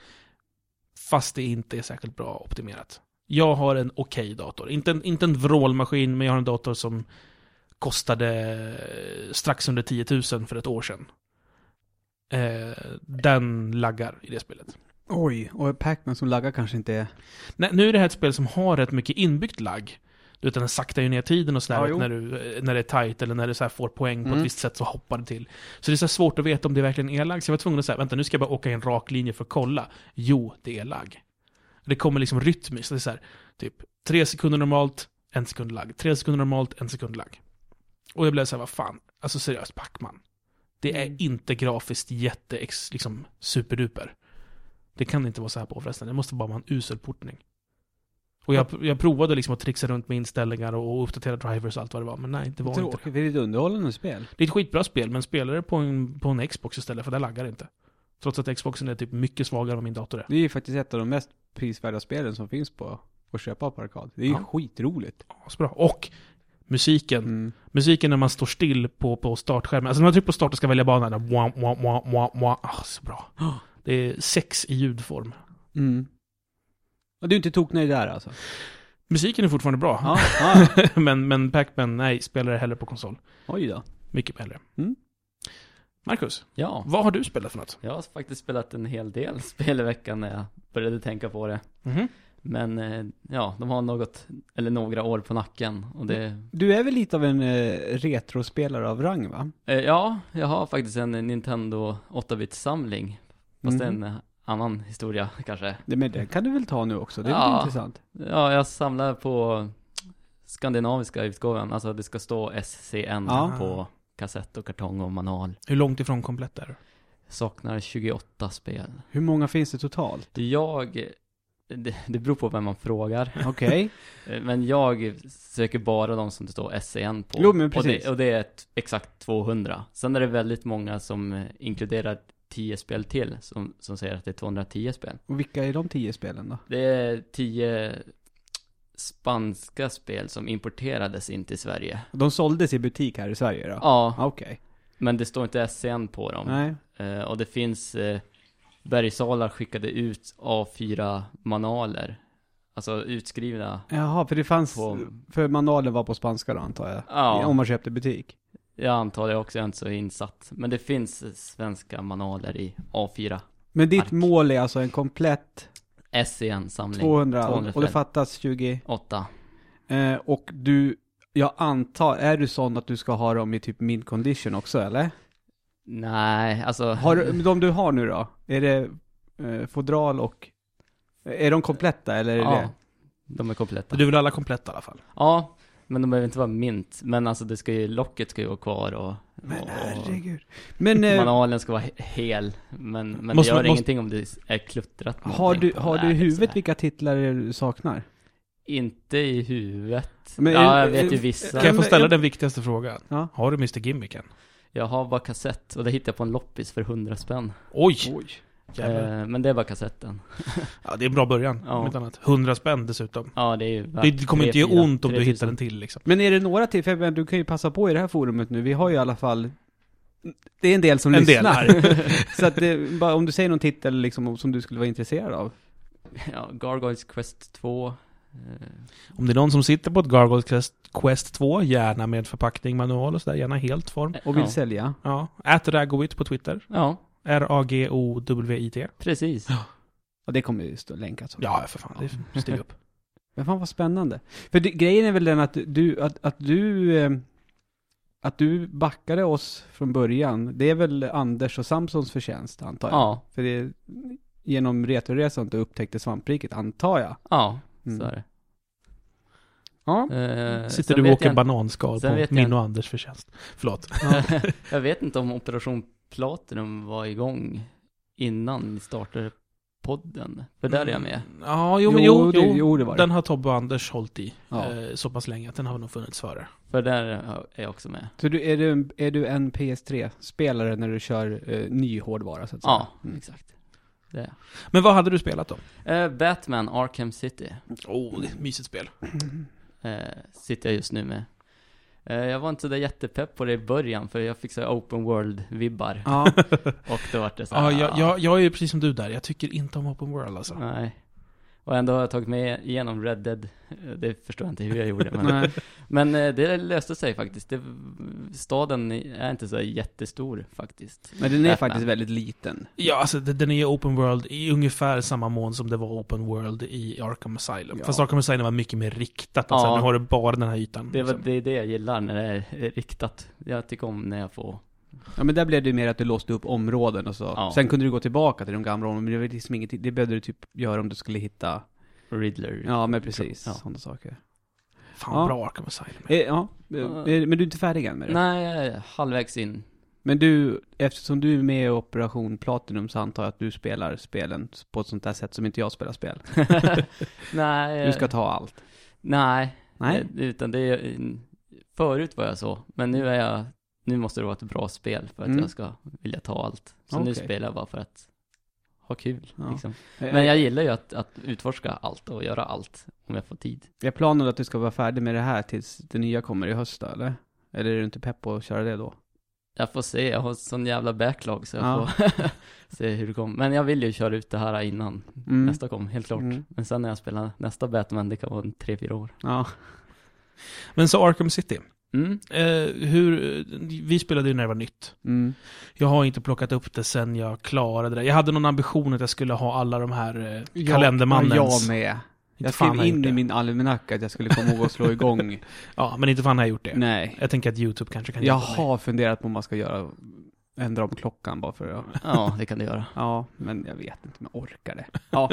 Speaker 1: Fast det inte är särskilt bra optimerat. Jag har en okej dator. Inte en, inte en vrålmaskin, men jag har en dator som kostade strax under 10 000 för ett år sedan. Eh, den laggar i det spelet.
Speaker 2: Oj, och Pac-Man som laggar kanske inte är...
Speaker 1: Nej, nu är det här ett spel som har rätt mycket inbyggt lagg. Utan den saktar ju ner tiden och
Speaker 2: Ja,
Speaker 1: sådär
Speaker 2: jo.
Speaker 1: när, du, eh, när det är tight eller när du så här får poäng på
Speaker 2: Mm.
Speaker 1: ett visst sätt så hoppar det till. Så det är så här svårt att veta om det verkligen är lagg. Så jag var tvungen att säga, vänta nu ska jag bara åka i en rak linje för att kolla. Jo, det är lagg. Det kommer liksom rytmiskt. Det är så här, typ tre sekunder normalt, en sekund lagg. Tre sekunder normalt, en sekund lagg. Och jag blev så här, vad fan, alltså seriöst, Pacman. Det är
Speaker 2: Mm.
Speaker 1: inte grafiskt jätte, ex- liksom superduper. Det kan inte vara så här på förresten. Det måste bara vara en usel portning. Och jag, jag provade liksom att trixa runt med inställningar och uppdatera drivers och allt vad det var, men nej, det var inte det.
Speaker 2: Tråkigt, det är ett underhållande spel.
Speaker 1: Det är ett skitbra spel, men spelare på en, på en Xbox istället, för där laggar det inte. Trots att Xboxen är typ mycket svagare än vad min dator är.
Speaker 2: Det är ju faktiskt ett av de mest prisvärda spelen som finns på att köpa på arkad. Det är ju
Speaker 1: Ja.
Speaker 2: skitroligt.
Speaker 1: Asbra. Och musiken.
Speaker 2: Mm.
Speaker 1: Musiken när man står still på, på startskärmen. Alltså när man trycker på start och ska välja bana, där, wah, wah, wah, wah, wah. Ah, så bra. Det är sex i ljudform.
Speaker 2: Mm. Och du är inte toknöjd där alltså?
Speaker 1: Musiken är fortfarande bra,
Speaker 2: Ja. ja.
Speaker 1: men, men Pac-Man, nej, spelar det hellre på konsol.
Speaker 2: Oj då.
Speaker 1: Mycket hellre.
Speaker 2: Mm.
Speaker 1: Marcus,
Speaker 3: Ja,
Speaker 1: vad har du spelat för något?
Speaker 3: jag har faktiskt spelat en hel del spel i veckan när jag började tänka på det.
Speaker 1: Mhm.
Speaker 3: Men eh, ja, de har något, eller några år på nacken. Och det,
Speaker 1: Mm.
Speaker 2: Du är väl lite av en eh, retrospelare av rang va?
Speaker 3: eh, ja, jag har faktiskt en Nintendo 8-bit-samling. Fast det är
Speaker 2: Mhm.
Speaker 1: Mm.
Speaker 3: en eh, annan historia kanske.
Speaker 2: Det, men det kan du väl ta nu också? Det är väl
Speaker 3: Ja.
Speaker 2: intressant?
Speaker 3: Ja, jag samlar på skandinaviska utgåvan. Alltså det ska stå SCN
Speaker 2: Ja.
Speaker 3: på kassett och kartong och manual.
Speaker 1: Hur långt ifrån komplett är du?
Speaker 3: Saknar 28 spel.
Speaker 2: Hur många finns det totalt?
Speaker 3: Jag, det, det beror på vem man frågar.
Speaker 2: Okej.
Speaker 3: Eh, Men jag söker bara de som det står SCN på.
Speaker 2: Jo, men
Speaker 3: och,
Speaker 2: precis.
Speaker 3: det, och det är ett, exakt 200. Sen är det väldigt många som eh, inkluderar 10 spel till, som, som säger att det är 210 spel.
Speaker 2: Och vilka är de tio spelen då?
Speaker 3: Det är 10 spanska spel som importerades in till Sverige.
Speaker 2: De såldes i butik här i Sverige då? Ah,
Speaker 3: Ja,
Speaker 2: Okej.
Speaker 3: men det står inte SCN på dem.
Speaker 2: Nej.
Speaker 3: Eh, och det finns eh, Bergsalar skickade ut A4-manualer. Alltså utskrivna
Speaker 2: Jaha, för det fanns...
Speaker 3: på...
Speaker 2: För manualen var på spanska då antar jag?
Speaker 3: Ja.
Speaker 2: Om man köpte butik?
Speaker 3: Jag antar det också, jag är inte så insatt. Men det finns eh, svenska manualer i A4.
Speaker 2: Men ditt
Speaker 3: Ark.
Speaker 2: mål är alltså en komplett
Speaker 3: SCN-samling
Speaker 2: 200 och- och det
Speaker 3: 205.
Speaker 2: fattas 20?
Speaker 3: 8.
Speaker 2: Eh, och du, jag antar, är du sån att du ska ha dem i typ mint condition också eller?
Speaker 3: Nej, alltså...
Speaker 2: Har du, de du har nu då? Är det eh, fodral och... Är de kompletta eller? Är
Speaker 3: Ja,
Speaker 2: det?
Speaker 3: de är kompletta.
Speaker 1: Du vill alla komplett i alla fall.
Speaker 3: Ja, men de behöver inte vara mint. Men alltså det ska ju, locket ska ju vara kvar och...
Speaker 2: Men
Speaker 3: och-
Speaker 2: herregud. Men eh,
Speaker 3: Manualen ska vara he- hel, men, men
Speaker 1: Måste
Speaker 3: det gör
Speaker 1: man- måste-
Speaker 3: ingenting om det är kluttrat med
Speaker 2: har du,
Speaker 3: någonting på.
Speaker 2: har du i
Speaker 3: Nej, det är
Speaker 2: huvudet
Speaker 3: sådär.
Speaker 2: vilka titlar det är du saknar?
Speaker 3: Inte i huvudet.
Speaker 2: Men-
Speaker 3: ja, jag vet
Speaker 2: eh,
Speaker 3: ju
Speaker 2: eh,
Speaker 3: vissa.
Speaker 1: Kan jag få
Speaker 2: men-
Speaker 1: ställa
Speaker 2: jag-
Speaker 1: den viktigaste frågan?
Speaker 2: Ja.
Speaker 1: Har du Mr Gimmicken?
Speaker 3: Jag har bara kassett och det hittade jag på en loppis för 100 spänn.
Speaker 1: Oj!
Speaker 2: Oj.
Speaker 1: jävlar.
Speaker 3: Eh, men det är bara kassetten.
Speaker 1: Ja, det är en bra början,
Speaker 3: Ja.
Speaker 1: om inte annat. 100 spänn dessutom.
Speaker 3: Ja, det är ju värt
Speaker 1: Det kommer inte göra
Speaker 3: 3 000,
Speaker 1: ont om du
Speaker 3: 3 000.
Speaker 1: hittar en till liksom.
Speaker 2: Men är det några till, för jag menar, du kan ju passa på i det här forumet nu, vi har ju i alla fall det är en del som
Speaker 1: En del
Speaker 2: lyssnar.
Speaker 1: här.
Speaker 2: Så att det, bara om du säger någon titel liksom, som du skulle vara intresserad av.
Speaker 3: Ja, Gargoyles Quest 2. eh,
Speaker 1: Om det är någon som sitter på ett Gargoyle Quest, Quest 2, gärna med förpackning, manual och sådär, gärna helt form.
Speaker 2: Och vill
Speaker 3: ja.
Speaker 2: sälja.
Speaker 1: Ja, ät Ragowit på Twitter.
Speaker 3: ja,
Speaker 1: R-A-G-O-W-I-T.
Speaker 3: precis.
Speaker 2: Och det kommer ju stå länkat så.
Speaker 1: Ja, för fan. Det styr upp.
Speaker 2: Men fan vad spännande. För det, grejen är väl den att du, att, att du, eh, att du backade oss från början, det är väl Anders och Samsons förtjänst antar jag?
Speaker 3: Ja,
Speaker 2: För det är genom Retroresan du upptäckte svampriket, antar jag.
Speaker 3: ja,
Speaker 2: Mm.
Speaker 3: så är det.
Speaker 2: Ja.
Speaker 3: Eh,
Speaker 1: Sitter
Speaker 3: sen
Speaker 1: du och
Speaker 3: vet
Speaker 1: åker
Speaker 3: jag inte-
Speaker 1: bananskal
Speaker 3: sen
Speaker 1: på
Speaker 3: vet jag
Speaker 1: min
Speaker 3: inte.
Speaker 1: och Anders förtjänst. Förlåt.
Speaker 3: Jag vet inte om Operation Platinum var igång innan vi startade podden. För där är jag med.
Speaker 1: Ja, jo, men
Speaker 2: Jo,
Speaker 1: jo,
Speaker 2: det-
Speaker 1: jo,
Speaker 2: jo, det var det.
Speaker 1: Den har Tobbe och Anders hållit i
Speaker 2: Ja.
Speaker 1: eh, så pass länge att den har nog funnits före.
Speaker 3: För där är jag också med.
Speaker 2: Så du, är, du, en- är du en PS3-spelare när du kör eh, ny hårdvara så att säga?
Speaker 3: Ja,
Speaker 2: Mm.
Speaker 3: exakt. Det är jag.
Speaker 1: Men vad hade du spelat då?
Speaker 3: Eh, Batman Arkham City
Speaker 1: Oh, det är ett mysigt spel.
Speaker 3: eh, sitter jag just nu med. Eh, jag var inte så där jättepepp på det i början för jag fick så här open world-vibbar.
Speaker 2: Ja,
Speaker 3: Och då vart det så
Speaker 1: Ja,
Speaker 3: här, ah,
Speaker 1: jag, jag, jag är ju precis som du där. Jag tycker inte om Open World alltså.
Speaker 3: Nej. Och ändå har jag tagit mig igenom Red Dead. Eh, Det förstår jag inte hur jag gjorde. Men,
Speaker 2: Nej.
Speaker 3: men eh, det löste sig faktiskt. Det, staden är inte så jättestor faktiskt.
Speaker 2: Men den är
Speaker 3: Batman.
Speaker 2: faktiskt väldigt liten.
Speaker 1: Ja, alltså det- den är ju open world i ungefär samma mån som det var open world i Arkham Asylum.
Speaker 2: Ja.
Speaker 1: Fast Arkham Asylum var mycket mer riktat. Alltså,
Speaker 3: Ja.
Speaker 1: Nu har du bara den här ytan. liksom.
Speaker 3: Det är väl-
Speaker 1: Så-
Speaker 3: det, är det jag gillar när det är riktat. Jag tycker om när jag får...
Speaker 2: Ja men där blev det ju mer att du låste upp områden och så.
Speaker 3: Ja.
Speaker 2: Sen kunde du gå tillbaka till de gamla områdena, men det var liksom ingenting, det behövde du typ göra om du skulle hitta,
Speaker 3: Riddler.
Speaker 2: ja men precis,
Speaker 3: Ja.
Speaker 2: sådana saker.
Speaker 1: Fan
Speaker 2: Ja.
Speaker 1: bra Arkham Asylum är.
Speaker 2: Eh, ja, eh,
Speaker 3: Ja.
Speaker 2: men du är inte färdig än med det?
Speaker 3: Nej, jag är halvvägs in.
Speaker 2: Men du, eftersom du är med i Operation Platinum så antar jag att du spelar spelen på ett sånt där sätt som inte jag spelar spel.
Speaker 3: nej,
Speaker 2: Du ska ta allt.
Speaker 3: nej,
Speaker 2: Nej?
Speaker 3: utan det är, förut var jag så, men nu är jag, nu måste det vara ett bra spel för att
Speaker 2: Mm.
Speaker 3: jag ska vilja ta allt. Så nu
Speaker 2: Okej.
Speaker 3: spelar jag bara för att ha kul,
Speaker 2: Ja. Eh,
Speaker 3: liksom. Men
Speaker 2: Men jag...
Speaker 3: jag gillar ju att, att utforska allt och göra allt, om jag får tid.
Speaker 2: jag planerar att du ska vara färdig med det här tills det nya kommer i höst då, eller? Eller är du inte pepp på att köra det då?
Speaker 3: Jag får se, jag har sån jävla backlog så jag
Speaker 2: Ja.
Speaker 3: får se hur det kommer. Men jag vill ju köra ut det här innan
Speaker 2: Mm.
Speaker 3: nästa kom, helt klart.
Speaker 2: Mm.
Speaker 3: Men sen när jag spelar nästa Batman, det kan vara en tre, fyra år.
Speaker 2: Ja.
Speaker 1: Men så Arkham City.
Speaker 3: Mm.
Speaker 1: Eh, hur, vi spelade ju när det var nytt.
Speaker 2: Mm.
Speaker 1: Jag har inte plockat upp det sen jag klarade det. Jag hade någon ambition att jag skulle ha alla de här eh,
Speaker 2: Ja,
Speaker 1: kalendermannens...
Speaker 2: Jag med.
Speaker 1: Inte
Speaker 2: Jag
Speaker 1: fan
Speaker 2: skrev
Speaker 1: har gjort
Speaker 2: in i
Speaker 1: det.
Speaker 2: min almanacka att jag skulle komma ihåg att slå igång.
Speaker 1: Ja, men inte fan har jag gjort det.
Speaker 2: Nej.
Speaker 1: Jag tänker att YouTube kanske kan
Speaker 2: Jag
Speaker 1: hjälpa mig.
Speaker 2: har funderat på om man ska göra, ändra om klockan bara för att,
Speaker 3: Ja, det kan det göra.
Speaker 2: ja, men jag vet inte om jag orkar det. Ja,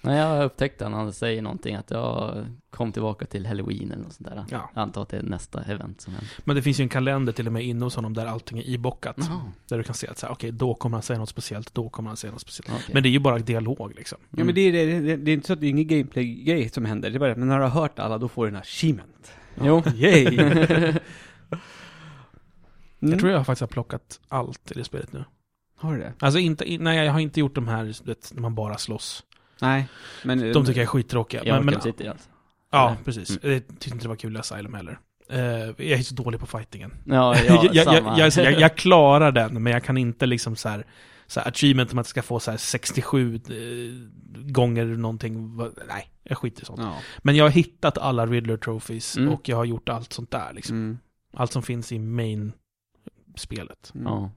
Speaker 3: Men jag upptäckte när han säger någonting att jag kom tillbaka till halloween eller något sånt där.
Speaker 1: Ja.
Speaker 3: Jag antar att det är nästa event som händer.
Speaker 1: Men det finns ju en kalender till och med inne hos honom där allting är ibockat.
Speaker 3: Jaha.
Speaker 1: Där du kan se att så här, okej, då kommer han säga något speciellt, då kommer han säga något speciellt.
Speaker 3: Okej.
Speaker 1: Men det är ju bara dialog liksom.
Speaker 2: ja
Speaker 3: Mm.
Speaker 2: men det är, det, det, det är inte så att det är ingen gameplay-grej som händer, det är bara att när du har hört alla då får du en achievement.
Speaker 3: Jo.
Speaker 2: Yay!
Speaker 3: Mm.
Speaker 1: Jag tror jag faktiskt har plockat allt i det spelet nu.
Speaker 2: Har du det?
Speaker 1: Alltså inte, i- nej jag har inte gjort de här, du vet, när man bara slåss.
Speaker 2: Nej, men...
Speaker 1: De tycker jag är skittråkiga.
Speaker 3: Jag
Speaker 1: Men, men,
Speaker 3: orkar inte sitta alltså.
Speaker 1: ja,
Speaker 3: Nej.
Speaker 1: precis.
Speaker 3: Mm.
Speaker 1: Jag tyckte inte det var kul i Asylum heller. Eh, jag är så dålig på fightingen.
Speaker 3: Ja,
Speaker 1: jag,
Speaker 3: ja,
Speaker 1: jag,
Speaker 3: samma.
Speaker 1: jag, jag, jag, jag klarar den, men jag kan inte liksom så här, så här achievement om att jag ska få så här 67 eh, gånger någonting. Va- Nej, jag skiter i sånt.
Speaker 2: eh, Ja.
Speaker 1: Men jag har hittat alla Riddler trophies
Speaker 3: Mm.
Speaker 1: och jag har gjort allt sånt där liksom.
Speaker 2: Mm.
Speaker 1: Allt som finns i main-spelet.
Speaker 2: Mm.
Speaker 3: Ja.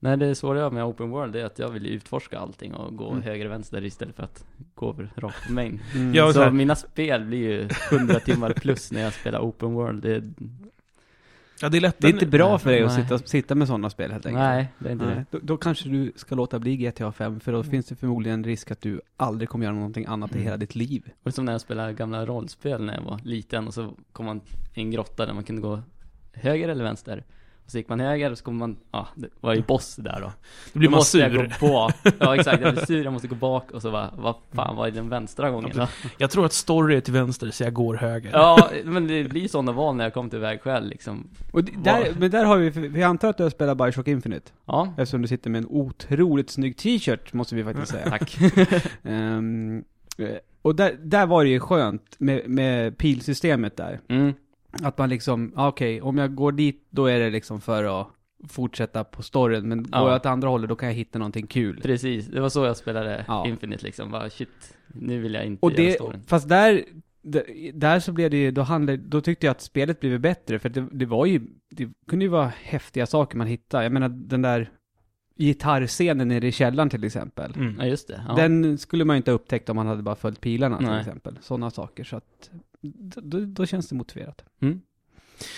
Speaker 3: Nej, det svåra med open world är att jag vill ju utforska allting och gå
Speaker 2: Mm.
Speaker 3: höger och vänster istället för att gå över rakt på main.
Speaker 2: Mm.
Speaker 1: Ja, och så
Speaker 3: så
Speaker 1: här-
Speaker 3: mina spel blir ju 100 timmar plus när jag spelar open world. Det,
Speaker 1: Ja, det är lätt.
Speaker 2: Det är inte bra
Speaker 3: Nej.
Speaker 2: för dig att
Speaker 3: Nej.
Speaker 2: sitta, sitta med sådana spel helt enkelt.
Speaker 3: nej, det är inte
Speaker 2: Nej. Då, då kanske du ska låta bli GTA 5, för då finns det förmodligen en risk att du aldrig kommer göra någonting annat i
Speaker 1: Mm.
Speaker 2: hela ditt liv.
Speaker 3: det. Och som när jag spelade gamla rollspel när jag var liten och så kom man i en grotta där man kunde gå höger eller vänster. Och så gick man höger och så kom man, ja, det var ju boss där då.
Speaker 1: Då blir
Speaker 3: Då
Speaker 1: man
Speaker 3: måste
Speaker 1: sur.
Speaker 3: jag
Speaker 1: Jag,
Speaker 3: gå bak. Ja exakt, jag blir sur, jag måste gå bak och så bara, vad fan var den vänstra gången? då?
Speaker 1: tror att story är till vänster, så jag går höger.
Speaker 3: Ja, men det blir sådana val när jag kom till vägskäl liksom.
Speaker 2: Och d- där, men där har vi, för vi antar att du har spelat Bioshock Infinite,
Speaker 3: Ja,
Speaker 2: eftersom du sitter med en otroligt snygg t-shirt, måste vi faktiskt säga.
Speaker 3: Mm. tack.
Speaker 2: Ehm, eh, och där, där var det ju skönt med, med pilsystemet där.
Speaker 3: Mm.
Speaker 2: Att man liksom, ah, okej, om jag går dit, då är det liksom för att fortsätta på storyn, men
Speaker 3: Ja.
Speaker 2: går jag åt andra hållet, då kan jag hitta någonting kul.
Speaker 3: Precis, det var så jag spelade
Speaker 2: Ja.
Speaker 3: Infinite liksom. Bara shit, nu vill jag inte
Speaker 2: Och
Speaker 3: göra
Speaker 2: det,
Speaker 3: storyn.
Speaker 2: fast där, där- där så blev det ju, då, handlade, då tyckte jag att spelet blev bättre, för det, det var ju, det kunde ju vara häftiga saker man hittade. Jag menar den där gitarrscenen nere i källaren till exempel.
Speaker 3: Ja
Speaker 1: Mm.
Speaker 3: just det. Ja.
Speaker 2: Den skulle man ju inte ha upptäckt om man hade bara följt pilarna till
Speaker 3: Nej.
Speaker 2: exempel. Sådana saker, så att d- då, då känns det motiverat.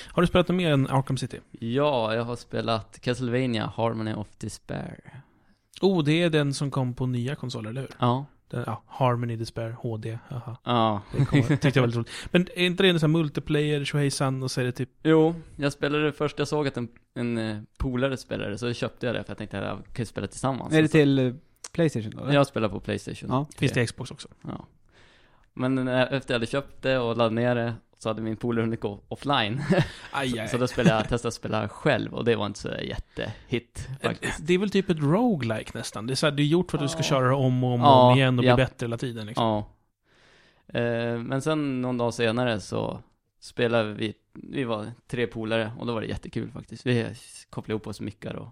Speaker 1: Har du spelat något mer än Arkham City?
Speaker 3: ja, jag har spelat Castlevania Harmony of Despair.
Speaker 1: Oh, det är den som kom på nya konsoler, eller hur?
Speaker 3: Ja.
Speaker 1: Den, ja, Harmony Despair HD, haha.
Speaker 3: Ja.
Speaker 1: Det kommer- tyckte jag var väldigt roligt. Men är inte det en sån här multiplayer, tjohejsan, och så är det typ...
Speaker 3: Jo, jag spelade det först jag såg att en, en eh, polare spelade så köpte jag det för jag tänkte att jag kan ju spela tillsammans.
Speaker 2: är det
Speaker 3: Och så-
Speaker 2: till eh, Playstation då? eller?
Speaker 3: Jag spelar på Playstation.
Speaker 2: Ja.
Speaker 1: Finns det Xbox också?
Speaker 3: Ja. Men när, efter jag hade köpt det och laddade ner det så hade min polare hunnit gå offline.
Speaker 1: Aj, aj.
Speaker 3: Så då spelade jag, testade att spela själv och det var inte så jättehit faktiskt.
Speaker 1: Det är väl typ ett roguelike nästan. Det är så här, det är gjort för att du ska
Speaker 3: Ja.
Speaker 1: köra det om och om, och
Speaker 3: Ja,
Speaker 1: om igen och
Speaker 3: ja.
Speaker 1: bli bättre hela tiden. Liksom.
Speaker 3: Ja. Eh, men sen någon dag senare så spelade vi, vi var tre polare och då var det jättekul faktiskt. Vi kopplade ihop oss mycket och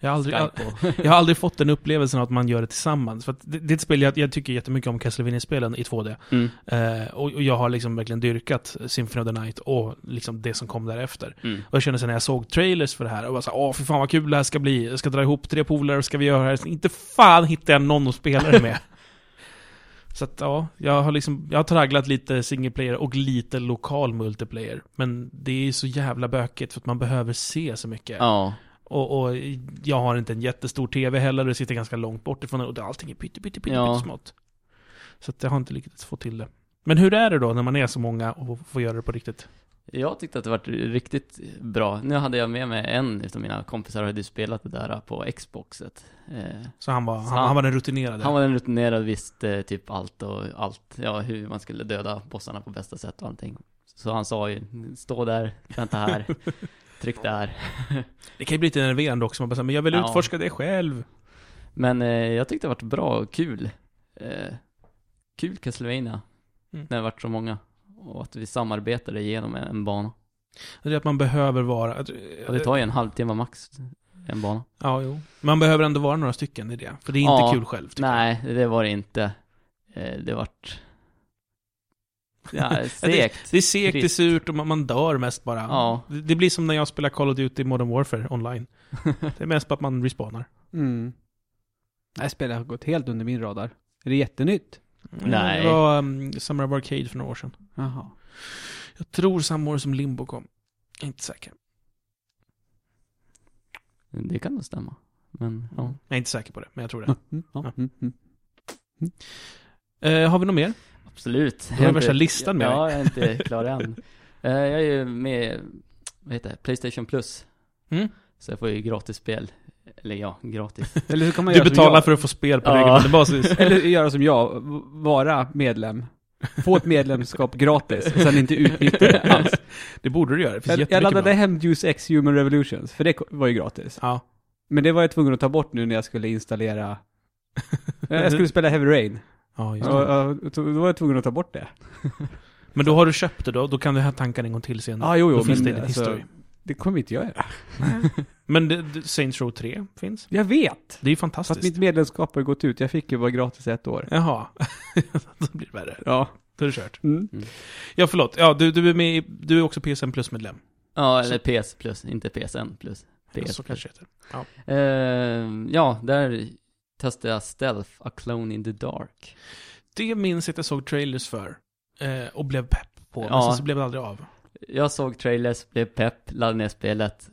Speaker 1: Jag har aldrig, jag,
Speaker 3: Skype och...
Speaker 1: jag har aldrig fått den upplevelsen att man gör det tillsammans. För att det, det är ett spel jag, jag tycker jättemycket om, Castlevania-spelen i 2D.
Speaker 3: Mm,
Speaker 1: Eh, och, och jag har liksom verkligen dyrkat Symphony of the Night och liksom det som kom därefter.
Speaker 3: mm.
Speaker 1: Och jag kände sen när jag såg trailers för det här, och bara så här, åh för fan vad kul det här ska bli, jag ska dra ihop tre polare och ska vi göra det här. Så Inte fan hittar jag någon att spela det med. så att ja, jag har liksom, jag har tragglat lite single player och lite lokal multiplayer. Men det är ju så jävla bökigt för att man behöver se så mycket.
Speaker 3: Ja.
Speaker 1: Och, och jag har inte en jättestor tv heller, och det sitter ganska långt bort ifrån den och allting är pytte, pytte, pytte,
Speaker 3: Ja.
Speaker 1: pyttesmått. Så att jag har inte lyckats få till det. Men hur är det då när man är så många och får göra det på riktigt?
Speaker 3: Jag tyckte att det var riktigt bra. Nu hade jag med mig en utav mina kompisar och hade ju spelat det där på Xboxet. Eh,
Speaker 1: Så han var,
Speaker 3: Så
Speaker 1: han,
Speaker 3: han-
Speaker 1: han var den rutinerade?
Speaker 3: han var en rutinerad, visste typ allt och allt. Ja, hur man skulle döda bossarna på bästa sätt och allting. Så han sa ju, stå där, vänta här, tryck där.
Speaker 1: Det kan ju bli lite nerverande också, man bara säger, men jag vill
Speaker 3: Ja.
Speaker 1: utforska det själv.
Speaker 3: Men eh, jag tyckte det varit bra och kul. Eh, kul Castlevania.
Speaker 1: Mm.
Speaker 3: När det varit så många. Och att vi samarbetade igenom en, en bana.
Speaker 1: Det är att man behöver vara... Att,
Speaker 3: Och det tar ju en halvtimme max, en bana.
Speaker 1: ja, jo. Man behöver ändå vara några stycken i det, för det är inte
Speaker 3: Ja.
Speaker 1: kul själv. tycker jag.
Speaker 3: Nej, det var det inte. Eh, det vart... Ja,
Speaker 1: det-
Speaker 3: segt.
Speaker 1: Det är segt, det är
Speaker 3: Trist.
Speaker 1: surt och man, man dör mest bara.
Speaker 3: Ja.
Speaker 1: Det, det blir som när jag spelar Call of Duty Modern Warfare online. Det är mest bara att man respawnar.
Speaker 2: Mm. Det här spelet har gått helt under min radar. Är det jättenytt?
Speaker 3: Nej.
Speaker 1: Mm. Det var um, Summer of Arcade för några år sedan.
Speaker 2: Jaha.
Speaker 1: Jag tror samma år som Limbo kom. Jag är inte säker.
Speaker 3: Det kan nog stämma. Men ja.
Speaker 1: Jag är inte säker på det, men jag tror det.
Speaker 2: Mm, mm, ja, mm, mm.
Speaker 1: Eh, har vi något mer?
Speaker 3: Absolut.
Speaker 1: har
Speaker 3: Jag
Speaker 1: värsta
Speaker 3: inte-
Speaker 1: listan med
Speaker 3: Ja, jag är inte klar än. Eh, Jag är ju med, vad heter det, Playstation Plus.
Speaker 1: Mm.
Speaker 3: Så jag får ju gratis spel. Eller ja, gratis.
Speaker 2: Eller så kan man
Speaker 1: Du
Speaker 2: göra som
Speaker 1: betalar
Speaker 2: jag.
Speaker 1: för att få spel på
Speaker 3: Ja.
Speaker 1: regelbunden basis.
Speaker 2: Eller göra som jag, v- vara medlem. Få ett medlemskap gratis och sen inte utnyttja det alls.
Speaker 1: Det borde du göra. Det finns
Speaker 2: Jag, jag
Speaker 1: jättemycket
Speaker 2: laddade
Speaker 1: bra.
Speaker 2: hem Juice X Human Revolutions, för det ko- var ju gratis.
Speaker 1: Ja.
Speaker 2: Men det var jag tvungen att ta bort nu när jag skulle installera... Eh, Jag skulle spela Heavy Rain.
Speaker 1: ja, just
Speaker 2: Och,
Speaker 1: det.
Speaker 2: och, då var jag tvungen att ta bort det.
Speaker 1: Men då har du köpt det då, då kan du ha tankar en gång till senare.
Speaker 2: jo, alltså-
Speaker 1: då finns det i din historia.
Speaker 2: det kommer inte jag göra.
Speaker 1: Men det, det, Saints Row 3 finns.
Speaker 2: Jag vet!
Speaker 1: Det är ju
Speaker 2: För att
Speaker 1: fantastiskt.
Speaker 2: mitt medlemskap har gått ut. Jag fick ju bara gratis ett år.
Speaker 1: Jaha. då blir det värre.
Speaker 2: Ja.
Speaker 1: Då är det kört.
Speaker 2: Mm.
Speaker 1: Ja, förlåt. Ja, du, du är med i, Du är också PSN Plus-medlem.
Speaker 3: Ja, eller PS Plus, inte PSN Plus.
Speaker 1: Ja,
Speaker 3: PS
Speaker 1: Så kanske det heter.
Speaker 3: Eh, ja, där testade jag Stealth, A Clone in the Dark.
Speaker 1: Det minns jag att jag såg trailers för. Eh, och blev pepp på. Men
Speaker 3: Ja.
Speaker 1: sen så blev det aldrig av.
Speaker 3: Jag såg trailers, blev pepp, laddade ner spelet,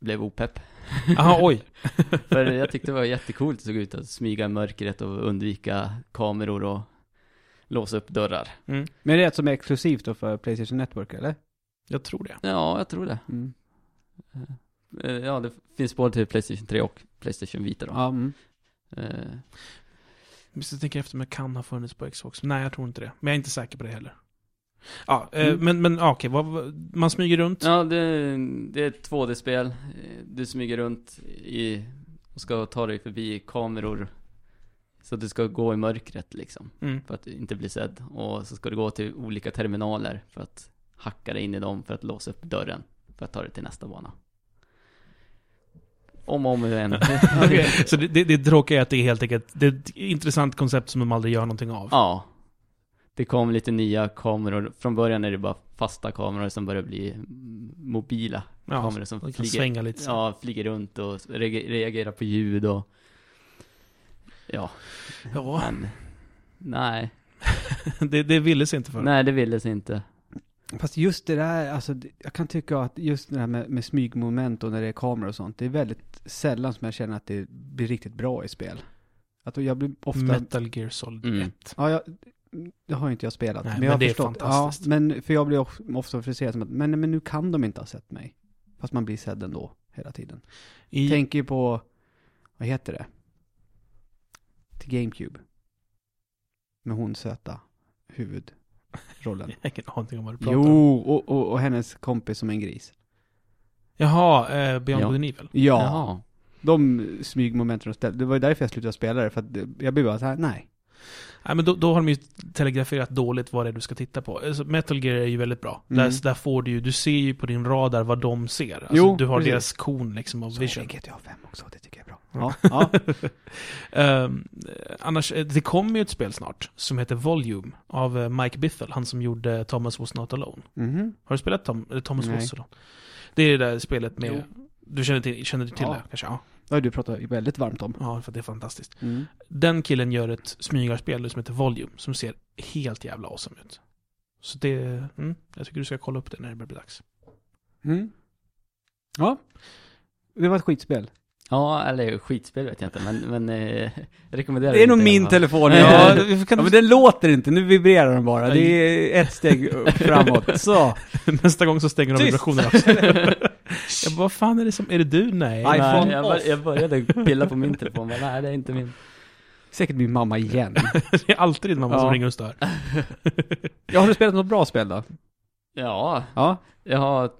Speaker 3: blev opepp.
Speaker 1: Jaha, oj.
Speaker 3: För jag tyckte det var jättecoolt att såg ut att smyga i mörkret och undvika kameror och låsa upp dörrar.
Speaker 1: Mm.
Speaker 2: Men det är ett som är exklusivt då för Playstation Network, eller?
Speaker 1: Jag tror det.
Speaker 3: Ja, jag tror det.
Speaker 2: Mm.
Speaker 3: Eh, ja, det finns både till Playstation 3 och Playstation Vita då.
Speaker 2: Ja, mm.
Speaker 3: Eh,
Speaker 1: Visst, jag tänker efter om jag kan ha funnits på Xbox. Nej, jag tror inte det. Men jag är inte säker på det heller. Ja, eh,
Speaker 2: Mm.
Speaker 1: men, men ja, okej. vad- vad- Man smyger runt.
Speaker 3: Ja, det, det är ett 2D-spel. Eh, Du smyger runt i, och ska ta dig förbi kameror. Så att du ska gå i mörkret liksom,
Speaker 1: Mm.
Speaker 3: för att inte bli sedd. Och så ska du gå till olika terminaler för att hacka dig in i dem för att låsa upp dörren. För att ta dig till nästa bana. Om och om igen.
Speaker 1: Okej, Så det, det, det tråkiga är att det är helt enkelt det är ett intressant koncept som de aldrig gör någonting av.
Speaker 3: Ja. Det kom lite nya kameror. Från början är det bara fasta kameror som börjar bli mm, mobila
Speaker 1: Ja,
Speaker 3: kameror som
Speaker 1: de kan
Speaker 3: flyger
Speaker 1: svänga lite. så.
Speaker 3: Ja, flyger runt och reager- reagerar på ljud och... Ja,
Speaker 1: Ja,
Speaker 3: men... Nej,
Speaker 1: det, det ville sig inte för.
Speaker 3: nej det ville sig inte.
Speaker 2: Fast just det där, alltså, det- jag kan tycka att just det här med, med smygmoment och när det är kameror och sånt, det är väldigt sällan som jag känner att det blir riktigt bra i spel. Att jag blir ofta...
Speaker 1: Metal Gear Solid
Speaker 3: Mm.
Speaker 1: 1.
Speaker 2: Ja, jag, det har ju inte jag spelat.
Speaker 1: Nej,
Speaker 2: men,
Speaker 1: men
Speaker 2: jag har
Speaker 1: det är
Speaker 2: förstått.
Speaker 1: fantastiskt.
Speaker 2: Ja, men för jag blir of- ofta frustrerad som att, men, men nu kan de inte ha sett mig. Fast man blir sedd ändå, hela tiden.
Speaker 1: I,
Speaker 2: Tänker ju på, vad heter det? Till GameCube. Med hon söta huvudrollen.
Speaker 1: jag har ingen aning om vad du pratar om.
Speaker 2: Jo, och, och, och hennes kompis som en gris.
Speaker 1: Jaha, eh, Beyond
Speaker 3: Ja.
Speaker 1: Good and Evil.
Speaker 2: Ja,
Speaker 3: Jaha.
Speaker 2: de smygmomenten de ställde. Det var ju därför jag slutade spela det, för att det- jag blev bara så här, nej.
Speaker 1: Nej, men då, då har de ju telegraferat dåligt vad det är du ska titta på. Alltså, Metal Gear är ju väldigt bra.
Speaker 2: Mm.
Speaker 1: Där, där får du ju, du ser ju på din radar vad de ser. Alltså,
Speaker 2: Jo,
Speaker 1: du har
Speaker 2: precis.
Speaker 1: deras kon liksom av vision.
Speaker 2: GTA 5 också, det tycker jag är bra.
Speaker 1: Ja.
Speaker 2: Ja, ja.
Speaker 1: Ehm, annars, eh, det kommer ju ett spel snart som heter Volume av eh, Mike Biffle, han som gjorde Thomas Was Not Alone.
Speaker 2: Mhm.
Speaker 1: Har du spelat Tom, eh, Thomas
Speaker 2: Nej.
Speaker 1: Was Alone? Det är det där spelet med...
Speaker 2: Jo.
Speaker 1: Du känner till, känner du till
Speaker 2: Ja.
Speaker 1: det kanske? Ja.
Speaker 2: Det har du pratat väldigt varmt om.
Speaker 1: ja, för det är fantastiskt.
Speaker 2: Mm.
Speaker 1: Den killen gör ett smygarspel som heter Volume, som ser helt jävla awesome ut. Så det... Mm, jag tycker du ska kolla upp det när det börjar bli dags.
Speaker 2: Mm. Ja. Det var ett skitspel.
Speaker 3: Ja, eller skitspel vet jag inte, men, men eh, jag rekommenderar
Speaker 2: Det är nog
Speaker 3: inte i
Speaker 2: min
Speaker 3: alla fall.
Speaker 2: telefon.
Speaker 1: Ja,
Speaker 2: Ja,
Speaker 1: det- vi kan-
Speaker 2: men den låter inte, nu vibrerar den bara. Det är ett steg upp framåt. Så.
Speaker 1: Nästa gång så stänger de
Speaker 2: Tyst!
Speaker 1: vibrationerna av sig. Jag bara, vad fan är det som... Är det du? Nej.
Speaker 2: Nej.
Speaker 3: Nej,
Speaker 2: iPhone
Speaker 3: jag,
Speaker 2: off.
Speaker 3: bör, jag började pilla på min telefon, bara, nej det är inte min.
Speaker 2: Säkert min mamma igen.
Speaker 1: Det är alltid din mamma som
Speaker 2: Ja.
Speaker 1: ringer och stör.
Speaker 2: Ja, har du spelat något bra spel då?
Speaker 3: Ja,
Speaker 2: Ja.
Speaker 3: jag har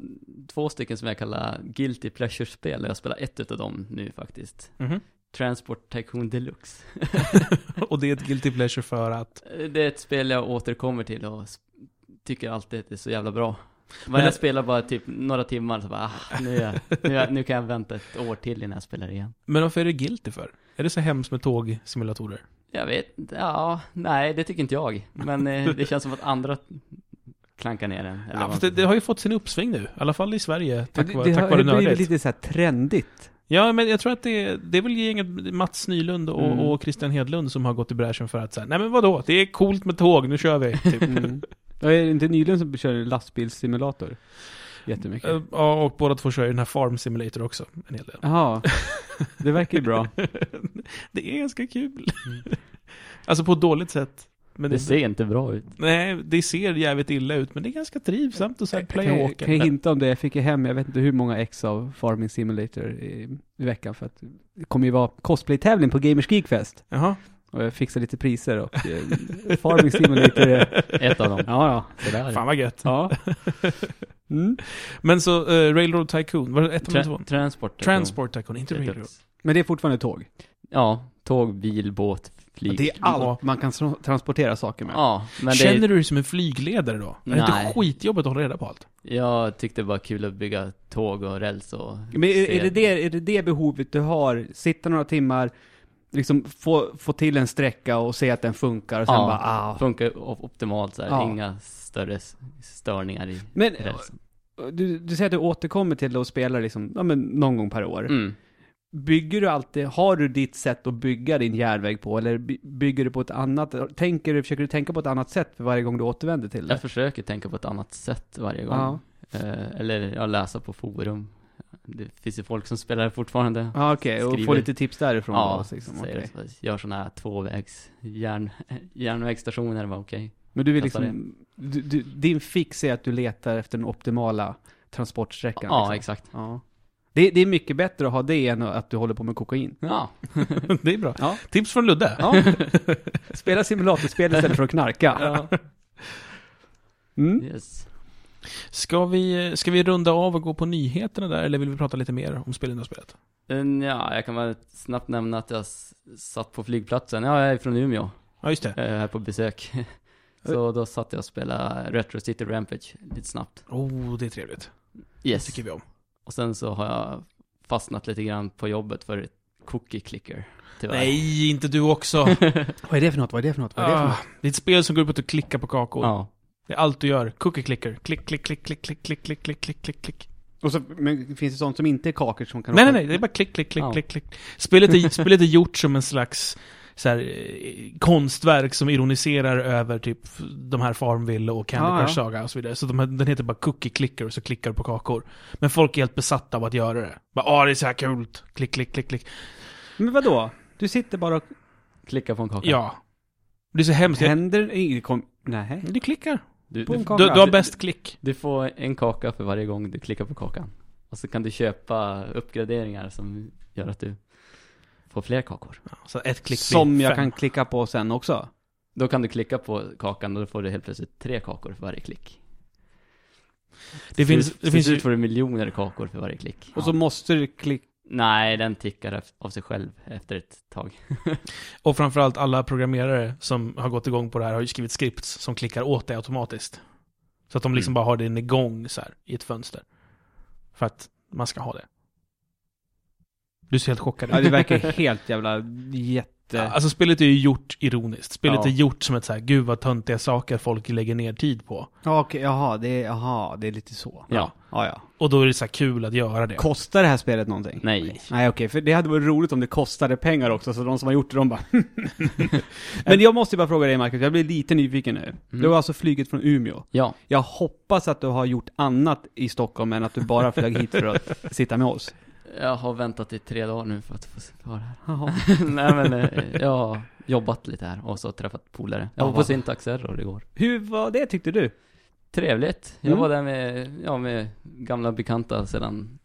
Speaker 3: två stycken som jag kallar Guilty Pleasure-spel, och jag spelar ett utav dem nu faktiskt.
Speaker 1: Mhm.
Speaker 3: Transport Tycoon Deluxe.
Speaker 1: Och det är ett guilty pleasure för att...
Speaker 3: Det är ett spel jag återkommer till och s- tycker alltid att det är så jävla bra.
Speaker 1: Men
Speaker 3: Men
Speaker 1: det-
Speaker 3: jag spelar bara typ några timmar, så bara, ah, nu, är jag, nu, är jag, nu kan jag vänta ett år till innan jag spelar igen.
Speaker 1: Men varför är det guilty för? Är det så hemskt med tågsimulatorer?
Speaker 3: Jag vet inte, ja, nej det tycker inte jag. Men eh, det känns som att andra klankar ner den. eller
Speaker 1: Ja,
Speaker 3: vad-
Speaker 1: fast det, det har ju fått sin uppsving nu, i alla fall i Sverige, tack,
Speaker 2: det,
Speaker 1: vare-
Speaker 2: det
Speaker 1: tack vare
Speaker 2: har
Speaker 1: nördigt.
Speaker 2: blivit lite så här trendigt.
Speaker 1: Ja, men jag tror att det, det är väl gänget Mats Nylund och,
Speaker 2: Mm.
Speaker 1: och Christian Hedlund som har gått i bräschen för att säga nej men vadå, det är coolt med tåg, nu kör vi. Typ.
Speaker 2: Mm. Ja, är det inte Nylund som kör lastbilssimulator? Jättemycket.
Speaker 1: Eh, Ja, och båda två kör ju den här Farm Simulator också, en hel del.
Speaker 2: Jaha. Det verkar ju bra.
Speaker 1: det är ganska kul. alltså på ett dåligt sätt. Men
Speaker 3: det
Speaker 1: det,
Speaker 3: ser inte bra ut.
Speaker 1: nej, det ser jävligt illa ut, men det är ganska trivsamt och så här
Speaker 2: Kan
Speaker 1: playa
Speaker 2: jag,
Speaker 1: walker.
Speaker 2: kan jag hinta om det? Jag fick ju hem, jag vet inte hur många ex av Farming Simulator i, i veckan för att det kommer ju vara cosplay-tävling på Gamers Geekfest.
Speaker 1: Jaha.
Speaker 2: Och jag fixade lite priser och eh, Farming Simulator är...
Speaker 3: Ett av dem.
Speaker 2: Ja,
Speaker 3: Sådär.
Speaker 1: Fan vad gött.
Speaker 2: ja. ja. Mm.
Speaker 1: Men så, eh, Railroad Tycoon, var det ett av
Speaker 3: Tra-
Speaker 1: två?
Speaker 3: transport. Tycoon.
Speaker 1: Transport Tycoon, inte Railroad.
Speaker 3: Deluxe.
Speaker 2: Men det är fortfarande tåg.
Speaker 3: Ja, tåg, bil, båt, flyg.
Speaker 2: Det är allt man kan tra- transportera saker med.
Speaker 3: Ja, men det,
Speaker 1: Känner du dig som en flygledare då? Är det
Speaker 3: Nej.
Speaker 1: inte skitjobbigt att hålla reda på allt?
Speaker 3: jag tyckte det var kul att bygga tåg och räls och...
Speaker 2: Men är,
Speaker 3: se-
Speaker 2: är, det det, är det det behovet du har? Sitta några timmar, liksom få, få till en sträcka och se att den funkar och sen
Speaker 3: Ja.
Speaker 2: bara ah.
Speaker 3: Funkar op- optimalt så här.
Speaker 2: Ja.
Speaker 3: inga större s- störningar i
Speaker 2: Men
Speaker 3: rälsen.
Speaker 2: du, du säger att du återkommer till det och spelar liksom, ja, men någon gång per år.
Speaker 3: Mm.
Speaker 2: Bygger du alltid, har du ditt sätt att bygga din järnväg på eller by- bygger du på ett annat, tänker du, försöker du tänka på ett annat sätt för varje gång du återvänder till det?
Speaker 3: Jag försöker tänka på ett annat sätt varje gång.
Speaker 2: Ja,
Speaker 3: Eh, eller jag läser på forum. Det finns ju folk som spelar fortfarande.
Speaker 2: ja okej, och få
Speaker 3: Skriver.
Speaker 2: lite tips därifrån
Speaker 3: Ja,
Speaker 2: då, liksom.
Speaker 3: säger
Speaker 2: okej.
Speaker 3: det. Så Gör sådana här tvåvägs järn, järnvägsstationer, var okej.
Speaker 2: Men du vill
Speaker 3: Testar
Speaker 2: liksom, du, du, din fix är att du letar efter den optimala transportsträckan?
Speaker 3: Ja,
Speaker 2: liksom.
Speaker 3: exakt.
Speaker 2: Ja. Det, det är mycket bättre att ha det än att du håller på med kokain.
Speaker 3: Ja,
Speaker 1: det är bra.
Speaker 2: Ja.
Speaker 1: Tips från Ludde.
Speaker 2: Ja. Spela simulatorspel istället för att knarka.
Speaker 3: ja.
Speaker 2: Mm.
Speaker 3: yes.
Speaker 1: Ska, vi, ska vi runda av och gå på nyheterna där, eller vill vi prata lite mer om spelen du har spelat?
Speaker 3: Mm, Ja, jag kan väl snabbt nämna att jag s- satt på flygplatsen. Ja, jag är från Umeå,
Speaker 1: Ja, just det.
Speaker 3: eh, här på besök. Så då satt jag och spelade Retro City Rampage lite snabbt.
Speaker 1: Oh, det är trevligt. Det
Speaker 3: Yes.
Speaker 1: tycker vi om.
Speaker 3: Och sen så har jag fastnat lite grann på jobbet för ett cookie clicker. Tyvärr.
Speaker 1: Nej, inte du också.
Speaker 2: Vad är det för något? Vad är det för något? Vad är det för
Speaker 1: ah,
Speaker 2: något?
Speaker 1: det är ett spel som går ut på att du klickar på kakor.
Speaker 3: Ja.
Speaker 1: Det är allt du gör. Cookie clicker. Klick, klick, klick, klick, klick, klick, klick, klick, klick, klick, klick.
Speaker 2: Och så, men finns det sånt som inte är kakor som kan
Speaker 1: Nej, nej,
Speaker 2: åka-
Speaker 1: nej. Det är bara klick, klick, klick,
Speaker 3: Ja.
Speaker 1: klick, klick. Spelet är, spelet är gjort som en slags så här, eh, konstverk som ironiserar över typ de här Farmville och Candy
Speaker 2: Ja,
Speaker 1: Crush
Speaker 2: ja.
Speaker 1: Saga och så vidare. Så de, här- den heter bara Cookie Clicker och så klickar du på kakor. Men folk är helt besatta av att göra det. Bara, ah, det är så här kul. Klick, klick, klick, klick.
Speaker 2: Men vadå? Du sitter bara och...
Speaker 3: Klicka på en kaka.
Speaker 1: Ja. Det är så hemskt. Jag,
Speaker 2: Händer inget? Kom... Nej.
Speaker 1: du klickar.
Speaker 3: Du,
Speaker 2: På
Speaker 3: du,
Speaker 2: en
Speaker 1: Du,
Speaker 2: kaka.
Speaker 1: du har bäst klick.
Speaker 3: du får en kaka för varje gång du klickar på kakan. Och så kan du köpa uppgraderingar som gör att du får fler kakor.
Speaker 1: Ja, Så ett klick blir
Speaker 2: som jag
Speaker 1: fem.
Speaker 2: kan klicka på sen också.
Speaker 3: Då kan du klicka på kakan och då får du helt plötsligt tre kakor för varje klick.
Speaker 1: Det
Speaker 3: Till
Speaker 1: finns,
Speaker 3: slut-
Speaker 1: det
Speaker 3: till
Speaker 1: finns
Speaker 3: slut
Speaker 1: ju...
Speaker 3: får du miljoner kakor för varje klick.
Speaker 2: Och så måste du klicka...
Speaker 3: Nej, den tickar ef- av sig själv efter ett tag.
Speaker 1: Och framförallt alla programmerare som har gått igång på det här har ju skrivit scripts som klickar åt dig automatiskt. Så att de liksom
Speaker 3: Mm.
Speaker 1: bara har den igång så här i ett fönster. För att man ska ha det. Du ser helt chockad ut.
Speaker 2: Ja, det verkar helt jävla jätte...
Speaker 1: Ja, Alltså spelet är ju gjort ironiskt. Spelet
Speaker 2: Ja.
Speaker 1: är gjort som ett så här, gud vad töntiga saker folk lägger ner tid på.
Speaker 2: Ja, okej, jaha, det är, jaha, det är lite så.
Speaker 3: Ja.
Speaker 2: Ja, ja.
Speaker 1: Och då är det så här kul att göra det.
Speaker 2: Kostar det här spelet någonting?
Speaker 3: Nej.
Speaker 2: Nej okej, för det hade varit roligt om det kostade pengar också, så de som har gjort det, de bara Men jag måste ju bara fråga dig Marcus, jag blir lite nyfiken nu. Du har alltså flugit från Umeå.
Speaker 3: Ja,
Speaker 2: Jag hoppas att du har gjort annat i Stockholm än att du bara flög hit för att sitta med oss.
Speaker 3: jag har väntat i tre dagar nu för att få vara här.
Speaker 2: Jaha.
Speaker 3: Nej men, eh, jag har jobbat lite här och så träffat polare. Jag var
Speaker 2: Ja.
Speaker 3: på Syntax Error igår.
Speaker 2: Hur var det tyckte du?
Speaker 3: Trevligt. Jag
Speaker 2: Mm.
Speaker 3: var där med, ja, med gamla bekanta sedan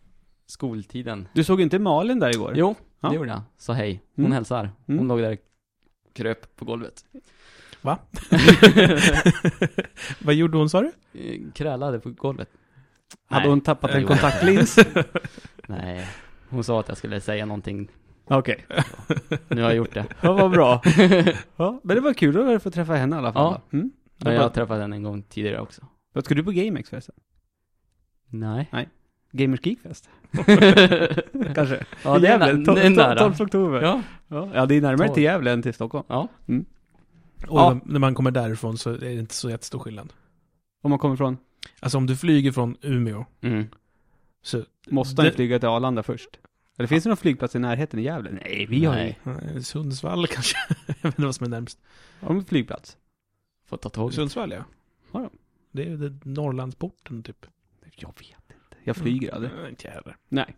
Speaker 3: skoltiden.
Speaker 2: Du såg inte Malin där igår?
Speaker 3: Jo,
Speaker 2: Ja.
Speaker 3: det gjorde jag. Sa hej. Hon
Speaker 2: Mm.
Speaker 3: hälsar. Hon
Speaker 2: Mm.
Speaker 3: låg där och kröp på golvet.
Speaker 1: Va? vad gjorde hon sa du?
Speaker 3: Eh, Krälade på golvet.
Speaker 2: Hade
Speaker 3: Nej.
Speaker 2: hon tappat
Speaker 3: Jag
Speaker 2: en
Speaker 3: gjorde inte.
Speaker 2: kontaktlins?
Speaker 3: Nej. Hon sa att jag skulle säga någonting.
Speaker 2: Okej,
Speaker 3: Nu har jag gjort det.
Speaker 2: ja, vad bra. Ja, men det var kul att få träffa henne i alla fall.
Speaker 3: Ja.
Speaker 2: då. Mm.
Speaker 3: Men jag har träffat henne en gång tidigare också.
Speaker 2: Vad ska du på GameX förresten?
Speaker 3: Nej.
Speaker 2: Gamers Geekfest? Kanske?
Speaker 3: ja,
Speaker 2: I
Speaker 3: det är,
Speaker 2: Gävle,
Speaker 3: nä- det är
Speaker 2: 12,
Speaker 3: nära.
Speaker 2: 12 oktober.
Speaker 3: Ja.
Speaker 2: Ja, ja, det är närmare
Speaker 3: Tolv.
Speaker 2: till Gävle än till Stockholm.
Speaker 3: ja.
Speaker 1: Och
Speaker 2: Ja.
Speaker 1: när man kommer därifrån så är det inte så jättestor skillnad.
Speaker 2: Om man kommer från,
Speaker 1: Alltså om du flyger från Umeå
Speaker 3: Mm.
Speaker 1: så...
Speaker 2: måste man ju
Speaker 1: Det-
Speaker 2: flyga till Arlanda först? Eller finns det någon flygplats i närheten i Gävle? Nej, vi har ju
Speaker 3: Nej.
Speaker 1: eh, Sundsvall kanske? jag vet inte vad som är närmst.
Speaker 2: har de en flygplats.
Speaker 3: Får ta tåget.
Speaker 1: Sundsvall ja.
Speaker 2: Har de?
Speaker 1: Det är ju det- Norrlandsporten typ.
Speaker 2: Jag vet inte.
Speaker 3: Mm.
Speaker 2: Jag flyger aldrig.
Speaker 1: Nej, inte jag heller.
Speaker 2: Nej.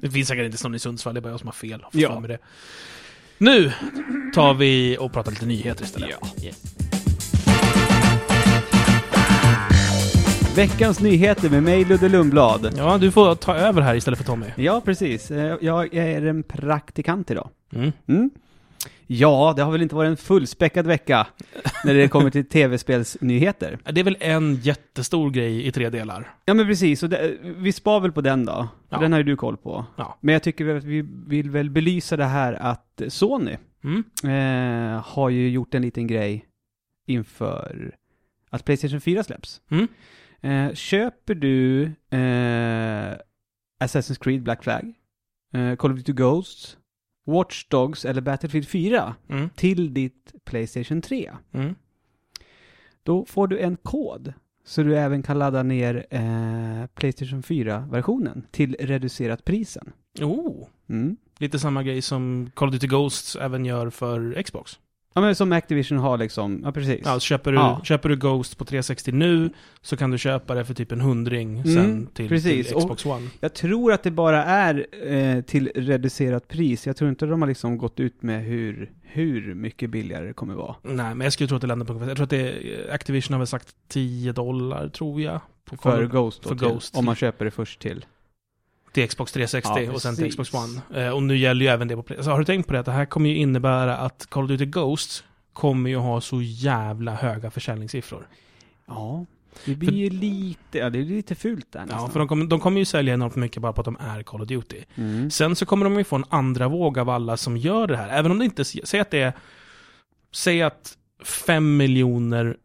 Speaker 1: Det finns säkert inte sån i Sundsvall, det är bara jag som har fel. Får
Speaker 2: Ja.
Speaker 1: fan Med det. Nu tar vi och pratar lite nyheter istället.
Speaker 3: Yes.
Speaker 2: Veckans nyheter med mig, Ludde Lundblad.
Speaker 1: Ja, du får ta över här istället för Tommy.
Speaker 2: Ja, precis. Eh, Jag är en praktikant idag. Mm. Ja, det har väl inte varit en fullspäckad vecka när det kommer till tv-spelsnyheter.
Speaker 1: Eh, Det är väl en jättestor grej i tre delar.
Speaker 2: Ja men precis, och det, vi spar väl på den då. För
Speaker 1: Ja.
Speaker 2: Den har ju du koll på.
Speaker 1: Ja.
Speaker 2: Men jag tycker väl att vi vill väl belysa det här att Sony
Speaker 1: Mm.
Speaker 2: eh, har ju gjort en liten grej inför att Playstation 4 släpps.
Speaker 1: Mm.
Speaker 2: Eh, köper du eh, Assassin's Creed Black Flag, eh, Call of Duty Ghosts, Watch Dogs eller Battlefield 4
Speaker 1: Mm.
Speaker 2: till ditt Playstation 3
Speaker 1: Mm.
Speaker 2: då får du en kod så du även kan ladda ner eh, Playstation 4-versionen till reducerat prisen.
Speaker 1: Oh.
Speaker 2: Mm.
Speaker 1: Lite samma grej som Call of Duty Ghosts även gör för Xbox.
Speaker 2: Ja men som Activision har liksom, ja precis.
Speaker 1: Ja, så Alltså, köper, du,
Speaker 2: Ja.
Speaker 1: köper du Ghost på 360 nu så kan du köpa det för typ en hundring sen
Speaker 2: Mm,
Speaker 1: till,
Speaker 2: precis.
Speaker 1: till Xbox One.
Speaker 2: Jag tror att det bara är eh, till reducerat pris. Jag tror inte de har liksom gått ut med hur, hur mycket billigare det kommer vara.
Speaker 1: Nej, men jag skulle tro att det landar på ungefär... Jag tror att det är, Activision har väl sagt 10 dollar, tror jag. På
Speaker 2: För
Speaker 1: Call of-
Speaker 2: Ghost då,
Speaker 1: för
Speaker 2: till,
Speaker 1: Ghost.
Speaker 2: Om man köper det först till.
Speaker 1: till Xbox 360
Speaker 2: Ja,
Speaker 1: och sen till Xbox
Speaker 2: precis.
Speaker 1: One. Eh, och nu gäller ju även det på Play. Alltså, har du tänkt på det? Att det här kommer ju innebära att Call of Duty Ghosts kommer ju ha så jävla höga försäljningssiffror.
Speaker 2: Ja. Det blir
Speaker 1: För-
Speaker 2: ju lite, ja det är lite fult där nästan.
Speaker 1: Ja, för de kommer, de kommer ju sälja enormt mycket bara på att de är Call of Duty.
Speaker 2: mm.
Speaker 1: Sen så kommer de ju få en andra våg av alla som gör det här. Även om det inte, säg att det är, säg att 5 miljoner,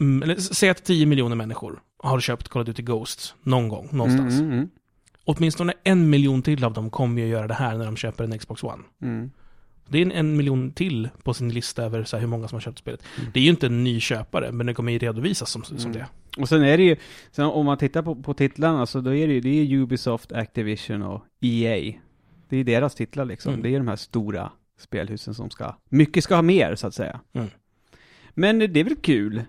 Speaker 1: mm, eller säg att 10 miljoner människor har köpt Call of Duty Ghost någon gång, någonstans.
Speaker 2: Mm, mm,
Speaker 1: Åtminstone en miljon till av dem kommer ju göra det här när de köper en Xbox One.
Speaker 2: mm. Mm.
Speaker 1: Det är en, en miljon till på sin lista över så här, hur många som har köpt spelet. Det är ju inte en ny köpare, men det kommer ju redovisas som, som
Speaker 2: Mm.
Speaker 1: det.
Speaker 2: Och sen är det ju, sen om man tittar på, på titlarna så då är det ju, det är Ubisoft, Activision och EA. Det är deras titlar liksom.
Speaker 1: Mm.
Speaker 2: Det är de här stora spelhusen som ska, mycket ska ha mer så att säga.
Speaker 1: Mm.
Speaker 2: Men det är väl kul?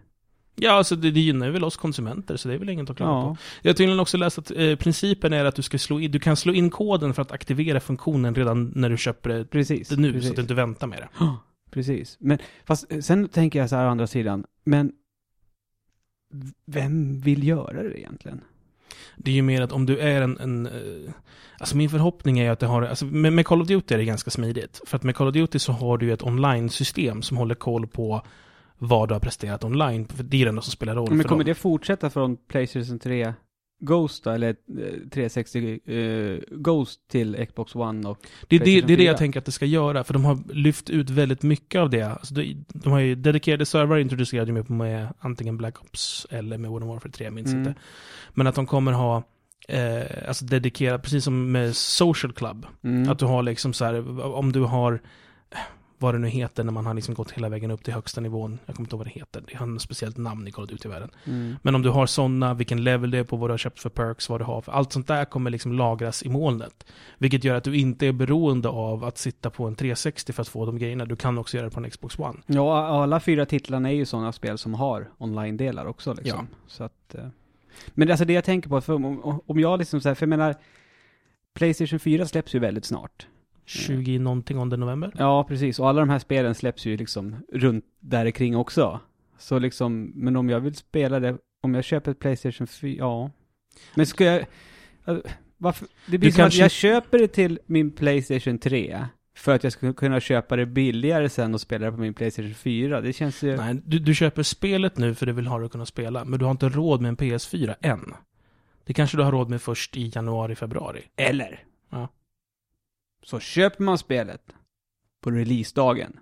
Speaker 1: Ja, alltså det, det gynnar ju väl oss konsumenter, så det är väl inget att klaga på.
Speaker 2: Ja.
Speaker 1: Jag har tydligen också läst att eh, principen är att du, ska slå in, du kan slå in koden för att aktivera funktionen redan när du köper det
Speaker 2: Precis.
Speaker 1: nu, så
Speaker 2: precis.
Speaker 1: att du inte väntar med det.
Speaker 2: precis. Men fast eh, sen tänker jag så här å andra sidan, men v- vem vill göra det egentligen?
Speaker 1: Det är ju mer att om du är en... en eh, alltså min förhoppning är ju att det har... Alltså med, med Call of Duty är det ganska smidigt. För att med Call of Duty så har du ju ett online-system som håller koll på vad du har presterat online. För det är det enda som spelar roll
Speaker 2: Men
Speaker 1: för
Speaker 2: kommer
Speaker 1: dem.
Speaker 2: det fortsätta från Playstation 3 Ghost då, eller eh, 360 eh, Ghost till Xbox One och...
Speaker 1: Det är det, det, är det
Speaker 2: 4.
Speaker 1: jag tänker att det ska göra, för de har lyft ut väldigt mycket av det. Alltså de, de har ju dedikerade servrar introducerade ju med, med antingen Black Ops eller med Modern Warfare 3, jag minns
Speaker 2: Mm.
Speaker 1: inte. Men att de kommer ha eh, alltså dedikerat, precis som med Social Club,
Speaker 2: Mm.
Speaker 1: att du har liksom så här, om du har eh, vad det nu heter när man har liksom gått hela vägen upp till högsta nivån. Jag kommer inte ihåg vad det heter. Det har ett speciellt namn i Call of Duty i världen.
Speaker 2: Mm.
Speaker 1: Men om du har sådana, vilken level det är på, vad du har köpt för perks, vad du har för, allt sånt där kommer liksom lagras i molnet. Vilket gör att du inte är beroende av att sitta på en 360 för att få de grejerna. Du kan också göra det på en Xbox One.
Speaker 2: Ja, alla fyra titlarna är ju sådana spel som har online-delar också liksom. Så att, eh. men alltså det jag tänker på, för om, om jag liksom så här, för jag menar, Playstation 4 släpps ju väldigt snart. Mm.
Speaker 1: 20 någonting om det november.
Speaker 2: Ja, precis. Och alla de här spelen släpps ju liksom runt där kring också. Så liksom, men om jag vill spela det, om jag köper ett Playstation 4, ja. Men ska jag, alltså, varför? Det blir
Speaker 1: Du
Speaker 2: som
Speaker 1: kanske-
Speaker 2: att jag köper det till min Playstation 3 för att jag ska kunna köpa det billigare sen och spela det på min Playstation 4. Det känns ju...
Speaker 1: Nej, du, du köper spelet nu för du vill ha det att kunna spela, men du har inte råd med en PS4 än. Det kanske du har råd med först i januari, februari.
Speaker 2: Eller?
Speaker 1: Ja.
Speaker 2: Så köper man spelet på releasedagen.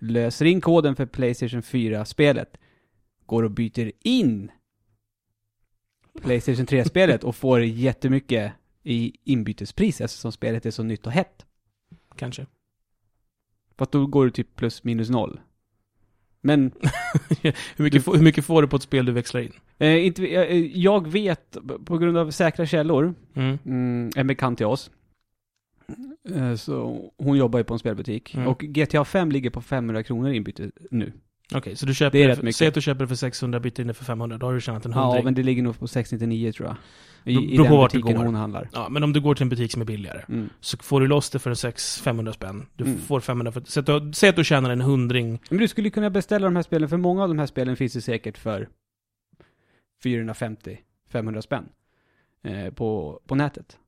Speaker 2: Löser in koden för Playstation 4-spelet. Går och byter in Playstation 3-spelet och får jättemycket i inbytespris eftersom spelet är så nytt och hett.
Speaker 1: Kanske.
Speaker 2: Fast då går det typ plus minus noll. Men
Speaker 1: Hur mycket, får- hur mycket får du på ett spel du växlar in?
Speaker 2: eh, inte, jag, jag vet på grund av säkra källor
Speaker 1: Mm.
Speaker 2: mm, en bekant till oss. Eh, Så hon jobbar ju på en spelbutik.
Speaker 1: Mm.
Speaker 2: Och GTA 5 ligger på 500 kronor inbyte nu.
Speaker 1: Okej, så du köper
Speaker 2: Det är
Speaker 1: det
Speaker 2: rätt
Speaker 1: för,
Speaker 2: mycket.
Speaker 1: säg att du köper det för 600, byter in det för 500, då har du tjänat en hundring.
Speaker 2: Ja, men det ligger nog på 699 tror jag. I,
Speaker 1: Bero- beror
Speaker 2: i
Speaker 1: på
Speaker 2: den
Speaker 1: vart det
Speaker 2: butiken
Speaker 1: går.
Speaker 2: hon handlar.
Speaker 1: Ja, men om du går till en butik som är billigare,
Speaker 2: Mm.
Speaker 1: så får du loss det för en 600-500 spänn. Du
Speaker 2: Mm.
Speaker 1: får 500 för... Säg att, du, säg att du tjänar en hundring.
Speaker 2: Men du skulle kunna beställa de här spelen, för många av de här spelen finns ju säkert för 450-500 spänn eh, på, på nätet.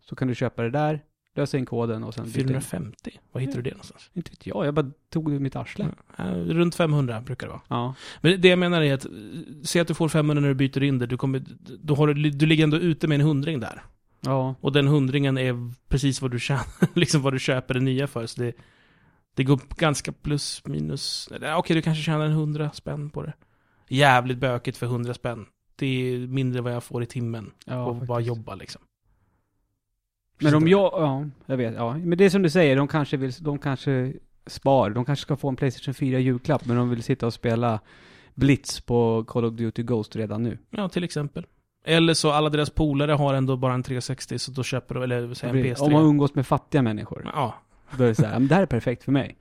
Speaker 2: Så kan du köpa det där, lösa in koden och sen byta in.
Speaker 1: 450? Var hittar du det någonstans?
Speaker 2: Inte vet jag, jag bara tog det ur mitt arsle.
Speaker 1: Ja, runt 500 brukar det vara.
Speaker 2: Ja.
Speaker 1: Men det jag menar är att, eh, säg att du får 500 när du byter in det, du kommer... Då har du, du ligger ändå ute med en hundring där.
Speaker 2: ja.
Speaker 1: Och den hundringen är precis vad du tjänar, liksom vad du köper det nya för. Så det, det går ganska plus minus... Nej, Okej, du kanske tjänar en hundra spänn på det. Jävligt bökigt för hundra spänn. Det är mindre än vad jag får i timmen.
Speaker 2: ja
Speaker 1: och bara
Speaker 2: faktiskt.
Speaker 1: jobba liksom.
Speaker 2: Men om
Speaker 1: Förstår
Speaker 2: jag, ja, jag vet, ja. Men det är som du säger, de kanske vill, de kanske spar, de kanske ska få en Playstation 4 julklapp, men de vill sitta och spela Blitz på Call of Duty Ghost redan nu.
Speaker 1: Ja, till exempel. Eller så alla deras polare har ändå bara en 360, så då köper de, eller säg en PS3.
Speaker 2: om man umgås med fattiga människor,
Speaker 1: Ja,
Speaker 2: då är det så här, "Ja, men det här är perfekt för mig.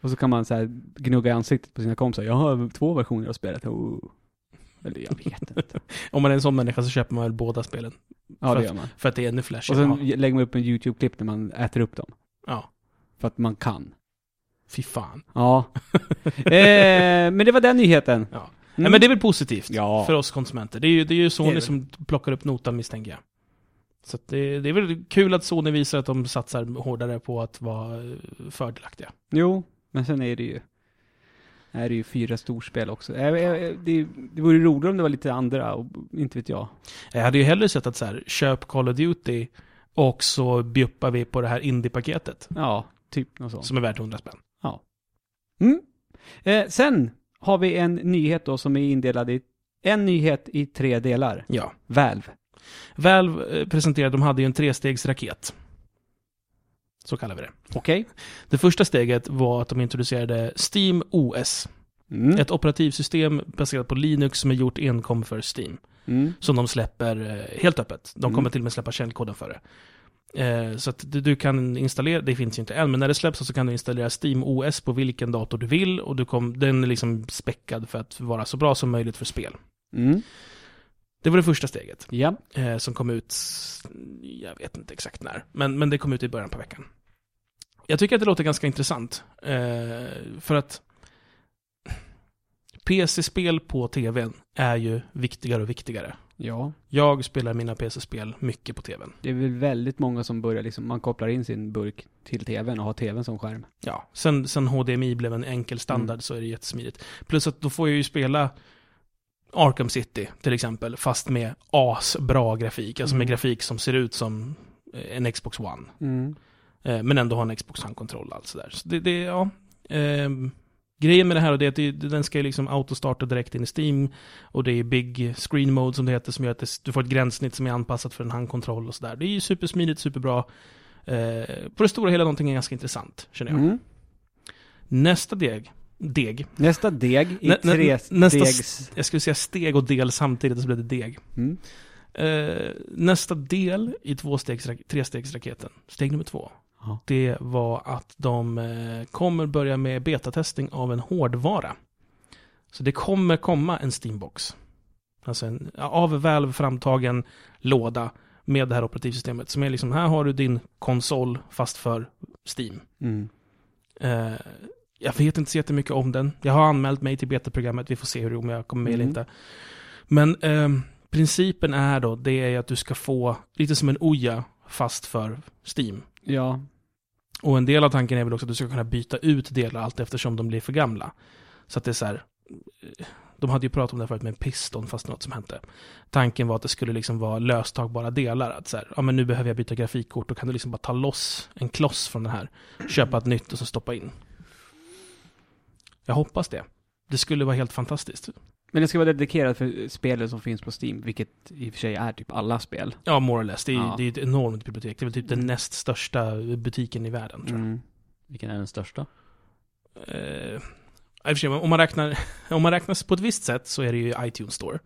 Speaker 2: Och så kan man så här gnugga i ansiktet på sina kompisar, jag har två versioner av spelet. Oh. Eller jag vet inte.
Speaker 1: om man är en sån människa så köper man väl båda spelen.
Speaker 2: Ja, det gör man.
Speaker 1: För att det är ännu
Speaker 2: Och
Speaker 1: flashigare.
Speaker 2: sen lägger man upp en YouTube-klipp när man äter upp dem.
Speaker 1: Ja,
Speaker 2: För att man kan.
Speaker 1: fy fan.
Speaker 2: Ja. eh, men det var den nyheten.
Speaker 1: Ja.
Speaker 2: Mm.
Speaker 1: Nej, men det är väl positivt
Speaker 2: Ja.
Speaker 1: för oss konsumenter. Det är ju, det är ju Sony
Speaker 2: Det är det.
Speaker 1: som plockar upp notan misstänker jag. Så att det, det är väl kul att Sony visar att de satsar hårdare på att vara eh, fördelaktiga.
Speaker 2: Jo, men sen är det ju är det ju fyra storspel också. Äh, äh, Det, det vore roligare om det var lite andra, och, inte vet jag.
Speaker 1: Jag hade ju hellre sett att så här, köp Call of Duty och så bjuppar vi på det här indie-paketet
Speaker 2: Ja, typ något sånt.
Speaker 1: som är värt 100 spänn.
Speaker 2: Mm. Eh, sen har vi en nyhet då som är indelad i en nyhet i tre delar.
Speaker 1: Ja.
Speaker 2: Valve.
Speaker 1: Valve eh, presenterade, de hade ju en trestegsraket. Så kallar vi det.
Speaker 2: Okej?
Speaker 1: Det första steget var att de introducerade Steam OS.
Speaker 2: Mm.
Speaker 1: Ett operativsystem baserat på Linux som är gjort enkom för Steam.
Speaker 2: Mm.
Speaker 1: Som de släpper eh, helt öppet. De
Speaker 2: Mm.
Speaker 1: kommer till och med släppa källkoden för det. Eh, Så att du- du kan installera, det finns ju inte än, men när det släpps så kan du installera Steam OS på vilken dator du vill och du kom, den är liksom späckad för att vara så bra som möjligt för spel.
Speaker 2: Mm.
Speaker 1: Det var det första steget.
Speaker 2: Ja.
Speaker 1: eh, som kom ut, jag vet inte exakt när, men, men det kom ut i början på veckan. Jag tycker att det låter ganska intressant, eh, för att PC-spel på tvn är ju viktigare och viktigare.
Speaker 2: Ja.
Speaker 1: Jag spelar mina PC-spel mycket på tvn.
Speaker 2: Det är väl väldigt många som börjar liksom, man kopplar in sin burk till tvn och har tvn som skärm.
Speaker 1: Ja, sen, sen HDMI blev en enkel standard
Speaker 2: Mm.
Speaker 1: så är det jättesmidigt. Plus att då får jag ju spela Arkham City till exempel, fast med asbra grafik. Alltså med
Speaker 2: Mm.
Speaker 1: grafik som ser ut som eh, en Xbox One.
Speaker 2: Mm.
Speaker 1: Eh, Men ändå ha en Xbox handkontroll och allt sådär. Så det, det ja. Ehm, grejen med det här och det är att det, den ska ju liksom autostarta direkt in i Steam. Och det är big screen mode som det heter som gör att det, du får ett gränssnitt som är anpassat för en handkontroll och sådär. Det är ju supersmidigt, superbra. Eh, på det stora hela någonting är ganska intressant, känner jag.
Speaker 2: Mm.
Speaker 1: Nästa deg, deg.
Speaker 2: Nästa deg i
Speaker 1: Nä- nä-
Speaker 2: tre
Speaker 1: nästa
Speaker 2: stegs...
Speaker 1: Jag skulle säga steg och del samtidigt, så blev det deg.
Speaker 2: Mm.
Speaker 1: Eh, nästa del i tvåstegsra- trestegsraketen, steg nummer två,
Speaker 2: Ja.
Speaker 1: det var att de eh, kommer börja med betatestning av en hårdvara. Så det kommer komma en Steambox. Alltså en av Valve framtagen låda med det här operativsystemet som är liksom, här har du din konsol fast för Steam.
Speaker 2: Mm.
Speaker 1: Eh, jag vet inte så jättemycket om den. Jag har anmält mig till betaprogrammet, vi får se hur om jag kommer med eller
Speaker 2: Mm.
Speaker 1: inte. Men ehm, principen är då, det är att du ska få lite som en OJA fast för Steam.
Speaker 2: Ja.
Speaker 1: Och en del av tanken är väl också att du ska kunna byta ut delar allt eftersom de blir för gamla. Så att det är så här, eh, de hade ju pratat om det här förut med en piston fast något som hände. Tanken var att det skulle liksom vara löstagbara delar. Att så här, ja men nu behöver jag byta grafikkort, då kan du liksom bara ta loss en kloss från den här, köpa ett nytt och så stoppa in. Jag hoppas det. Det skulle vara helt fantastiskt.
Speaker 2: Men det ska vara dedikerat för spelen som finns på Steam, vilket i och för sig är typ alla spel.
Speaker 1: Ja, more or less. Det är,
Speaker 2: Ja.
Speaker 1: det är ett enormt bibliotek. Det är väl typ den näst största butiken i världen. Tror jag.
Speaker 2: Mm.
Speaker 3: Vilken är den största?
Speaker 1: Eh, i och för sig, om, man räknar, om man räknas på ett visst sätt så är det ju iTunes Store.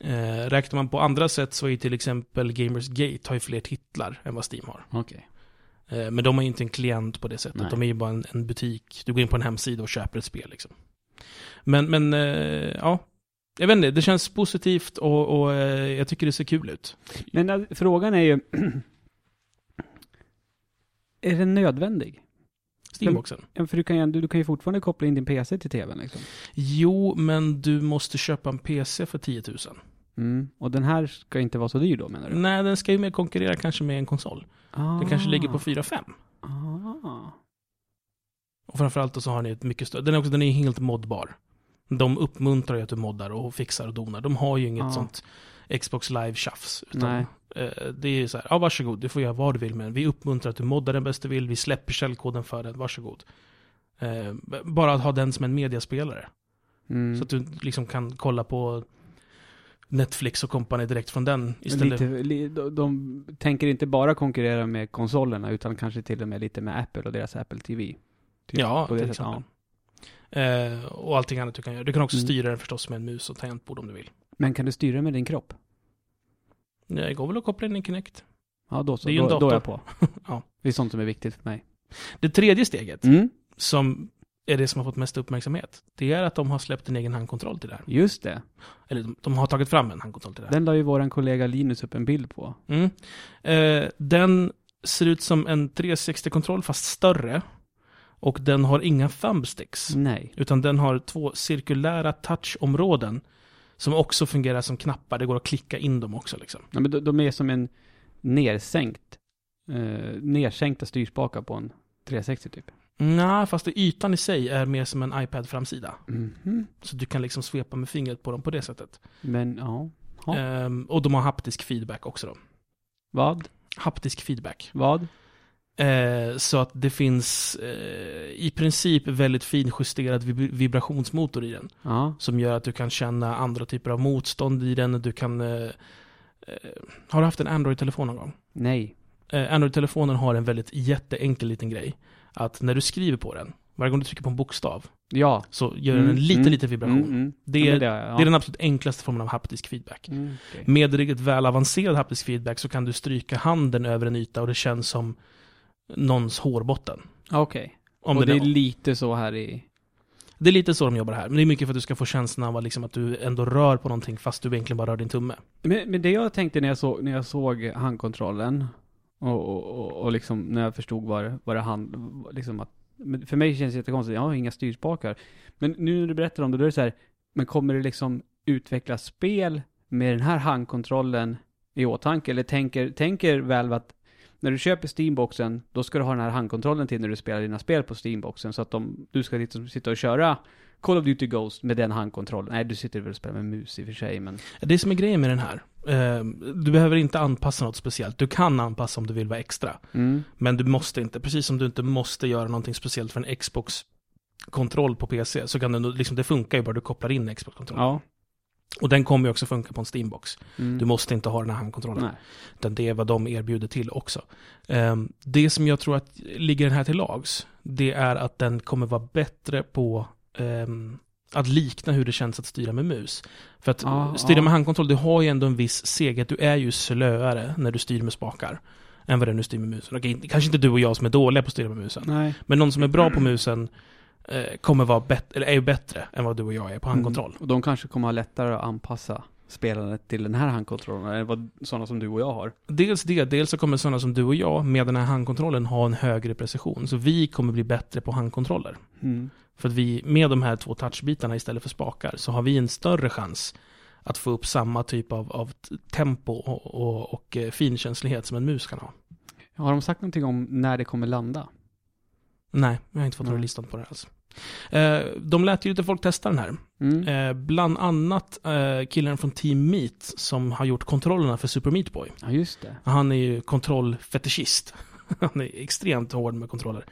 Speaker 1: Eh, räknar man på andra sätt så är ju till exempel Gamers Gate har ju fler titlar än vad Steam har.
Speaker 3: Okej.
Speaker 1: Eh, men de har ju inte en klient på det sättet.
Speaker 3: Nej.
Speaker 1: De är ju bara en, en butik. Du går in på en hemsida och köper ett spel liksom. Men, men eh, ja. Jag vet inte, det känns positivt och, och eh, jag tycker det ser kul ut.
Speaker 2: Men eh, frågan är ju... är den nödvändig?
Speaker 1: Steamboxen.
Speaker 2: Ja, För du kan, ju, ändå- du kan ju fortfarande koppla in din PC till TVn liksom.
Speaker 1: Jo, men du måste köpa en PC för 10 000.
Speaker 2: Mm. Och den här ska inte vara så dyr då menar du?
Speaker 1: Nej, den ska ju mer konkurrera kanske med en konsol.
Speaker 2: Ah.
Speaker 1: Den kanske ligger på 4-5.
Speaker 2: Ah.
Speaker 1: Och framförallt då så har ni ett mycket större, den är också, den är helt moddbar. De uppmuntrar ju att du moddar och fixar och donar. De har ju inget
Speaker 2: Ja.
Speaker 1: sånt Xbox live-tjafs. Utan,
Speaker 2: Ah. Nej.
Speaker 1: eh, det är ju så här, ja varsågod, du får göra vad du vill med den. Vi uppmuntrar att du moddar den bäst du vill, vi släpper källkoden för den, varsågod. Eh, b- bara att ha den som en mediaspelare.
Speaker 2: Mm.
Speaker 1: Så att du liksom kan kolla på Netflix och kompani direkt från den istället.
Speaker 2: Lite, li, de, de tänker inte bara konkurrera med konsolerna utan kanske till och med lite med Apple och deras Apple TV. typ,
Speaker 1: ja,
Speaker 2: på det
Speaker 1: till
Speaker 2: sättet,
Speaker 1: exempel. Eh, och allting annat du kan göra. Du kan också
Speaker 2: Mm.
Speaker 1: styra den förstås med en mus och tangentbord om du vill.
Speaker 2: Men kan du styra med din kropp?
Speaker 1: Det går väl att koppla in en Kinect.
Speaker 2: Ja, då så.
Speaker 1: Det är ju en
Speaker 2: då, då är jag
Speaker 1: dator.
Speaker 2: på.
Speaker 1: Ja.
Speaker 2: Det är sånt som är viktigt för mig.
Speaker 1: Det tredje steget,
Speaker 2: Mm.
Speaker 1: som är det som har fått mest uppmärksamhet, det är att de har släppt en egen handkontroll till det här.
Speaker 2: Just det.
Speaker 1: Eller de, de har tagit fram en handkontroll till det här.
Speaker 2: Den la ju våran kollega Linus upp en bild på.
Speaker 1: Mm. Eh, den ser ut som en 360-kontroll fast större. Och den har inga thumbsticks.
Speaker 2: Nej.
Speaker 1: Utan den har två cirkulära touchområden som också fungerar som knappar. Det går att klicka in dem också liksom.
Speaker 2: Ja, men de, de är som en nersänkt, eh, nersänkta styrspakar på en 360 typ.
Speaker 1: Nej, fast det- ytan i sig är mer som en iPad-framsida.
Speaker 2: Mhm.
Speaker 1: Så du kan liksom svepa med fingret på dem på det sättet.
Speaker 2: Men ja. Ja.
Speaker 1: Ehm, och de har haptisk feedback också då.
Speaker 2: Vad?
Speaker 1: Haptisk feedback.
Speaker 2: Vad?
Speaker 1: Eh, så att det finns eh, i princip väldigt finjusterad vib- vibrationsmotor i den.
Speaker 2: Ja.
Speaker 1: Som gör att du kan känna andra typer av motstånd i den. Du kan... Eh, eh, har du haft en Android-telefon någon gång?
Speaker 2: Nej.
Speaker 1: Eh, Android-telefonen har en väldigt jätteenkel liten grej. Att när du skriver på den, varje gång du trycker på en bokstav,
Speaker 2: Ja.
Speaker 1: så gör
Speaker 2: Mm,
Speaker 1: den en liten,
Speaker 2: mm,
Speaker 1: liten vibration.
Speaker 2: Mm, mm.
Speaker 1: Det,
Speaker 2: Ja,
Speaker 1: är,
Speaker 2: men
Speaker 1: det,
Speaker 2: har jag, ja.
Speaker 1: är den absolut enklaste formen av haptisk feedback.
Speaker 2: Mm, okej.
Speaker 1: Med riktigt väl avancerad haptisk feedback så kan du stryka handen över en yta och det känns som någons hårbotten.
Speaker 2: Okej.
Speaker 1: Om
Speaker 2: och
Speaker 1: det,
Speaker 2: det
Speaker 1: är
Speaker 2: är lite så här i...
Speaker 1: det är lite så de jobbar här, men det är mycket för att du ska få känslan av att liksom att du ändå rör på någonting fast du egentligen bara rör din tumme.
Speaker 2: Men, men det jag tänkte när jag, såg när jag såg handkontrollen och, och, och, och liksom när jag förstod vad, vad det hand... Liksom att, men för mig känns det jättekonstigt, jag har inga styrspakar. Men nu när du berättar om det, då är det så här, men kommer det liksom utvecklas spel med den här handkontrollen i åtanke? Eller tänker, tänker Valve att när du köper Steamboxen, då ska du ha den här handkontrollen till när du spelar dina spel på Steamboxen, så att de, du ska liksom sitta och köra Call of Duty Ghost med den handkontrollen. Nej, du sitter väl och spelar med mus i och för sig, men...
Speaker 1: Det som är grejen med den här, eh, du behöver inte anpassa något speciellt. Du kan anpassa om du vill vara extra.
Speaker 2: Mm.
Speaker 1: Men du måste inte, precis som du inte måste göra någonting speciellt för en Xbox-kontroll på PC, så kan du, liksom, det funkar ju bara du kopplar in Xbox-kontrollen.
Speaker 2: Ja.
Speaker 1: Och den kommer ju också funka på en Steambox.
Speaker 2: Mm.
Speaker 1: Du måste inte ha den här handkontrollen.
Speaker 2: Nej.
Speaker 1: Utan det är vad de erbjuder till också. Ehm, Det som jag tror att ligger den här till lags, det är att den kommer vara bättre på ehm, att likna hur det känns att styra med mus. För att
Speaker 2: Ja,
Speaker 1: styra
Speaker 2: ja.
Speaker 1: med handkontroll, du har ju ändå en viss seghet. Du är ju slöare när du styr med spakar än vad det är när du styr med musen. Okej, kanske inte du och jag som är dåliga på att styra med musen.
Speaker 2: Nej.
Speaker 1: Men någon som är bra på musen eh, kommer vara bättre, eller är ju bättre än vad du och jag är på handkontroll.
Speaker 2: Mm. Och de kanske kommer ha lättare att anpassa spelandet till den här handkontrollen, än vad sådana som du och jag har.
Speaker 1: Dels det, dels så kommer sådana som du och jag med den här handkontrollen ha en högre precision. Så vi kommer bli bättre på handkontroller.
Speaker 2: Mm.
Speaker 1: För att vi med de här två touchbitarna istället för spakar så har vi en större chans att få upp samma typ av, av t- tempo och, och, och eh, finkänslighet som en mus kan ha.
Speaker 2: Har de sagt någonting om när det kommer landa?
Speaker 1: Nej, jag har inte fått några
Speaker 2: Nej.
Speaker 1: listan på det alls. Eh, de lät ju lite folk testa den här.
Speaker 2: Mm.
Speaker 1: Eh, bland annat eh, killen från Team Meat som har gjort kontrollerna för Super Meat Boy.
Speaker 2: Ja, just det.
Speaker 1: Han är ju kontrollfetischist. Han är extremt hård med kontroller.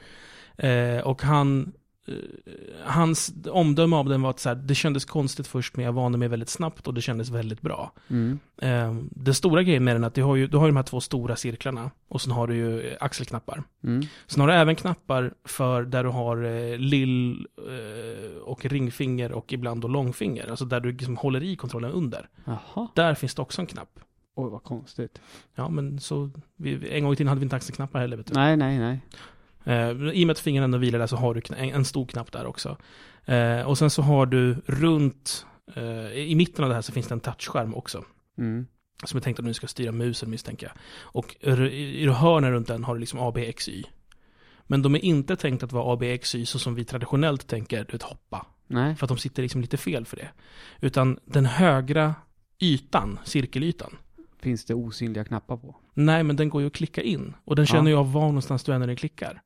Speaker 1: Eh, och han, eh, hans omdöme av den var att så här, det kändes konstigt först men jag vande mig väldigt snabbt och det kändes väldigt bra.
Speaker 2: Mm.
Speaker 1: Eh, den stora grejen med den är att du har, ju, du har ju de här två stora cirklarna och sen har du ju eh, axelknappar.
Speaker 2: Mm.
Speaker 1: Sen har du även knappar för där du har eh, lill eh, och ringfinger och ibland då långfinger. Alltså där du liksom håller i kontrollen under.
Speaker 2: Jaha. Typ.
Speaker 1: Där finns det också en knapp.
Speaker 2: Oj, vad konstigt.
Speaker 1: Ja men så, vi, en gång i tiden hade vi inte axelknappar heller vet du.
Speaker 2: Nej, nej, nej.
Speaker 1: Eh, I och med att fingrarna ändå vilar där så har du kn- en, en stor knapp där också. Eh, och sen så har du runt, eh, i mitten av det här så finns det en touchskärm också.
Speaker 2: Mm.
Speaker 1: Som är tänkt att du ska styra musen misstänker jag. Och r- i i hörnen runt den har du liksom ABXY. Men de är inte tänkt att vara ABXY så som vi traditionellt tänker, du vet hoppa.
Speaker 2: Nej.
Speaker 1: För att de sitter liksom lite fel för det. Utan den högra ytan, cirkelytan,
Speaker 2: Finns det osynliga knappar på?
Speaker 1: Nej, men den går ju att klicka in. Och den
Speaker 2: Ja.
Speaker 1: känner ju av var någonstans du är när den klickar.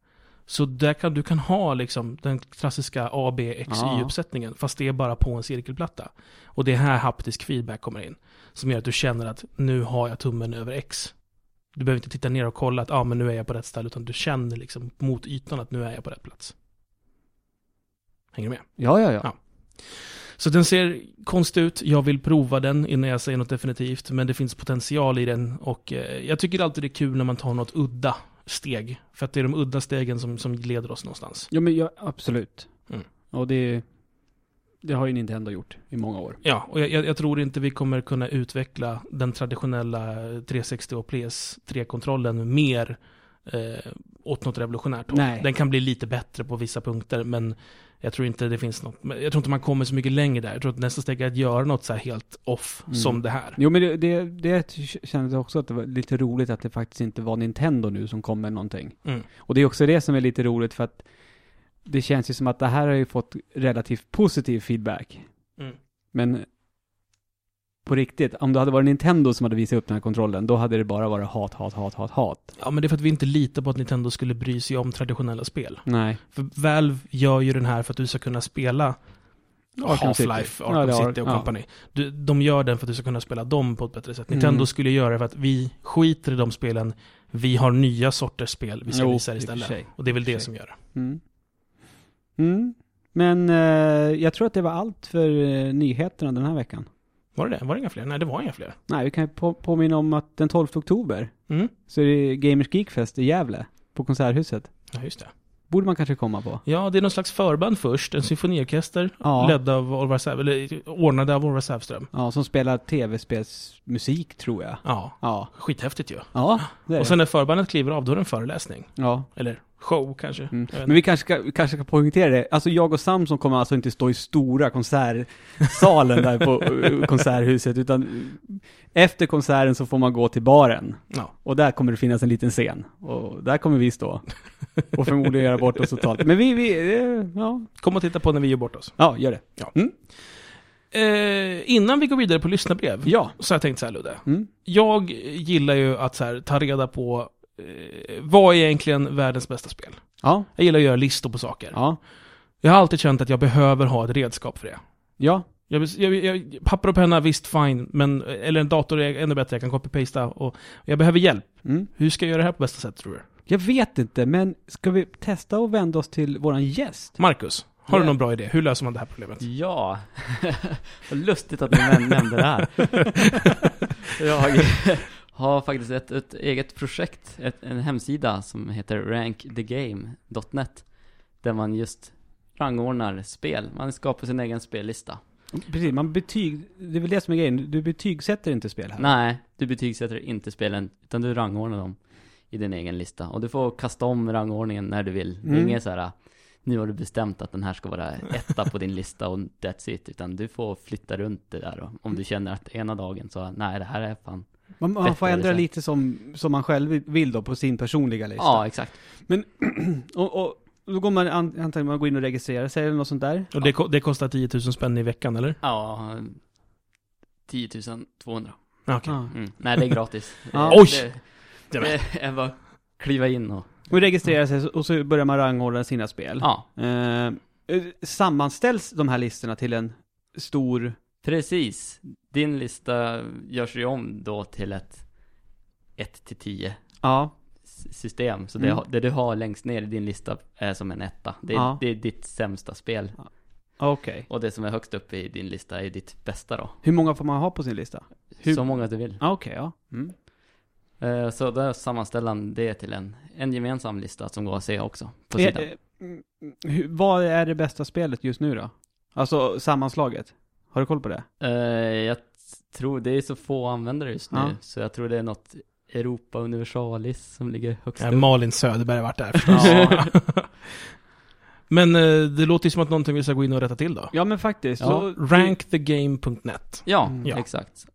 Speaker 1: Så där kan, du kan ha liksom den klassiska A, B, X,
Speaker 2: Ja.
Speaker 1: Y-uppsättningen, fast det är bara på en cirkelplatta. Och det är här haptisk feedback kommer in, som gör att du känner att nu har jag tummen över X. Du behöver inte titta ner och kolla att ah, men nu är jag på rätt ställe, utan du känner liksom mot ytan att nu är jag på rätt plats. Hänger du med?
Speaker 2: Ja, ja, ja.
Speaker 1: Ja. Så den ser konstig ut, jag vill prova den innan jag säger något definitivt, men det finns potential i den och eh, jag tycker alltid det är kul när man tar något udda steg, för att det är de udda stegen som, som leder oss någonstans.
Speaker 2: Ja, men ja, absolut.
Speaker 1: Mm.
Speaker 2: Och det, det har ju Nintendo gjort i många år.
Speaker 1: Ja, och jag, jag, jag tror inte vi kommer kunna utveckla den traditionella 360 och PS3-kontrollen mer eh, åt något revolutionärt håll.
Speaker 2: Nej.
Speaker 1: Den kan bli lite bättre på vissa punkter, men jag tror inte det finns något, men jag tror inte man kommer så mycket längre där. Jag tror att nästa steg är att göra något så här helt off,
Speaker 2: Mm.
Speaker 1: som det här.
Speaker 2: Jo, men det, det, det kändes också att det var lite roligt att det faktiskt inte var Nintendo nu som kom med någonting.
Speaker 1: Mm.
Speaker 2: Och det är också det som är lite roligt för att det känns ju som att det här har ju fått relativt positiv feedback.
Speaker 1: Mm.
Speaker 2: Men på riktigt, om det hade varit Nintendo som hade visat upp den här kontrollen, då hade det bara varit hat, hat, hat, hat, hat.
Speaker 1: Ja, men det är för att vi inte litar på att Nintendo skulle bry sig om traditionella spel.
Speaker 2: Nej.
Speaker 1: För Valve gör ju den här för att du ska kunna spela
Speaker 2: Arkham City.
Speaker 1: Half-Life,
Speaker 2: Ja,
Speaker 1: Arkham
Speaker 2: det har-
Speaker 1: City och
Speaker 2: ja.
Speaker 1: company. Du, de gör den för att du ska kunna spela dem på ett bättre sätt. Nintendo
Speaker 2: Mm.
Speaker 1: skulle göra det för att vi skiter i de spelen, vi har nya sorters spel vi ska
Speaker 2: Jo,
Speaker 1: visa
Speaker 2: i och för
Speaker 1: istället.
Speaker 2: sig.
Speaker 1: Och det är väl
Speaker 2: I och
Speaker 1: det
Speaker 2: för
Speaker 1: som gör det.
Speaker 2: Mm. Mm. Men eh, jag tror att det var allt för eh, nyheterna den här veckan.
Speaker 1: Var det det? Var det inga fler? Nej, det var inga fler.
Speaker 2: Nej, vi kan ju på- påminna om att den 12 oktober
Speaker 1: Mm.
Speaker 2: så är det Gamers Geekfest i Gävle på Konserthuset.
Speaker 1: Ja, just det.
Speaker 2: Borde man kanske komma på.
Speaker 1: Ja, det är någon slags förband först, en symfoniorkester,
Speaker 2: Ja.
Speaker 1: ledd av Orvar Säv, eller ordnade av Orvar Sävström.
Speaker 2: Ja, som spelar tv-spelsmusik tror jag.
Speaker 1: Ja,
Speaker 2: Ja.
Speaker 1: skithäftigt ju.
Speaker 2: Ja, det är
Speaker 1: Och sen när förbandet kliver av, då är det en föreläsning.
Speaker 2: det. Ja.
Speaker 1: Eller show kanske.
Speaker 2: Mm.
Speaker 1: Jag vet
Speaker 2: Men vi kanske ska, vi kanske ska poängtera det. Alltså jag och Samson kommer alltså inte stå i stora konsertsalen där på eh, konserthuset, utan eh, efter konserten så får man gå till baren.
Speaker 1: Ja.
Speaker 2: Och där kommer det finnas en liten scen. Och där kommer vi stå. Och förmodligen göra bort oss totalt. Men vi, vi, eh, ja.
Speaker 1: Kom och titta på när vi gör bort oss.
Speaker 2: Ja, gör det.
Speaker 1: Eh, innan vi går vidare på lyssnarbrev,
Speaker 2: Ja.
Speaker 1: så har jag tänkt så här Ludde.
Speaker 2: Mm.
Speaker 1: Jag gillar ju att så här, ta reda på eh, vad är egentligen världens bästa spel?
Speaker 2: Ja.
Speaker 1: Jag gillar att göra listor på saker.
Speaker 2: Ja.
Speaker 1: Jag har alltid känt att jag behöver ha ett redskap för det.
Speaker 2: Ja,
Speaker 1: Jag, jag, jag, papper och penna, visst fine, men, eller en dator är ännu bättre, jag kan copy-pasta och jag behöver hjälp.
Speaker 2: mm.
Speaker 1: Hur ska jag göra det här på bästa sätt tror du?
Speaker 2: jag vet inte, men ska vi testa och vända oss till våran gäst?
Speaker 1: Marcus, har du
Speaker 3: Ja.
Speaker 1: någon bra idé? Hur löser man det här problemet?
Speaker 3: Ja, vad lustigt att ni näm- nämnde det här. Jag har faktiskt ett, ett eget projekt, ett, en hemsida som heter rankthegame.net där man just rangordnar spel. Man skapar sin egen spellista.
Speaker 2: Precis, man betyg, det är väl det som är grejen, du betygsätter inte spel här?
Speaker 3: Nej, du betygsätter inte spelen, utan du rangordnar dem i din egen lista. Och du får kasta om rangordningen när du vill. Det
Speaker 2: Mm.
Speaker 3: är inget så här, nu har du bestämt att den här ska vara etta på din lista och that's it. Utan du får flytta runt det där då. Om du känner att ena dagen så, nej det här är fan.
Speaker 2: Man, man får
Speaker 3: Bättre
Speaker 2: ändra
Speaker 3: design.
Speaker 2: lite som, som man själv vill då, på sin personliga lista.
Speaker 3: Ja, exakt.
Speaker 2: Och, och då går man, an- antagligen man går in och registrerar sig eller något sånt där.
Speaker 1: Och det, ko- det kostar 10 000 spänn i veckan, eller?
Speaker 3: Ja, 10 200.
Speaker 1: Ah, Okej.
Speaker 2: Ja.
Speaker 3: Mm. Nej, det är gratis.
Speaker 2: Ja.
Speaker 3: Det-
Speaker 1: Oj!
Speaker 3: Det, det är bara att kliva in och,
Speaker 2: Och registrerar sig och så börjar man rangordna sina spel.
Speaker 3: ja,
Speaker 2: Eh, sammanställs de här listorna till en stor...
Speaker 3: precis. Din lista görs ju om då till ett 1 till 10
Speaker 2: Ja,
Speaker 3: system. Så
Speaker 2: Mm.
Speaker 3: det, det du har längst ner i din lista är som en etta. Det är,
Speaker 2: Ja.
Speaker 3: det är ditt sämsta spel.
Speaker 2: okej.
Speaker 3: Och det som är högst upp i din lista är ditt bästa då.
Speaker 2: Hur många får man ha på sin lista? Hur-
Speaker 3: Så många du vill.
Speaker 2: Ja, okej, ja. Mm.
Speaker 3: Eh, Så då sammanställer han det till en, en gemensam lista som går att se också på
Speaker 2: Eh,
Speaker 3: sidan.
Speaker 2: eh, mm, hur, vad är det bästa spelet just nu då? Alltså sammanslaget. Har du koll på det?
Speaker 3: Eh, Jag t- tror det är så få användare just nu,
Speaker 2: Ja.
Speaker 3: så jag tror det är något Europa Universalis som ligger högst
Speaker 1: Ja,
Speaker 3: upp.
Speaker 1: Malin Söderberg har varit där förstås.
Speaker 3: Ja.
Speaker 1: Men eh, det låter ju som att någonting vi ska gå in och rätta till då.
Speaker 2: Ja, men faktiskt.
Speaker 3: Ja.
Speaker 2: Så,
Speaker 1: Rankthegame.net.
Speaker 3: Ja,
Speaker 2: Mm.
Speaker 1: Ja.
Speaker 3: exakt.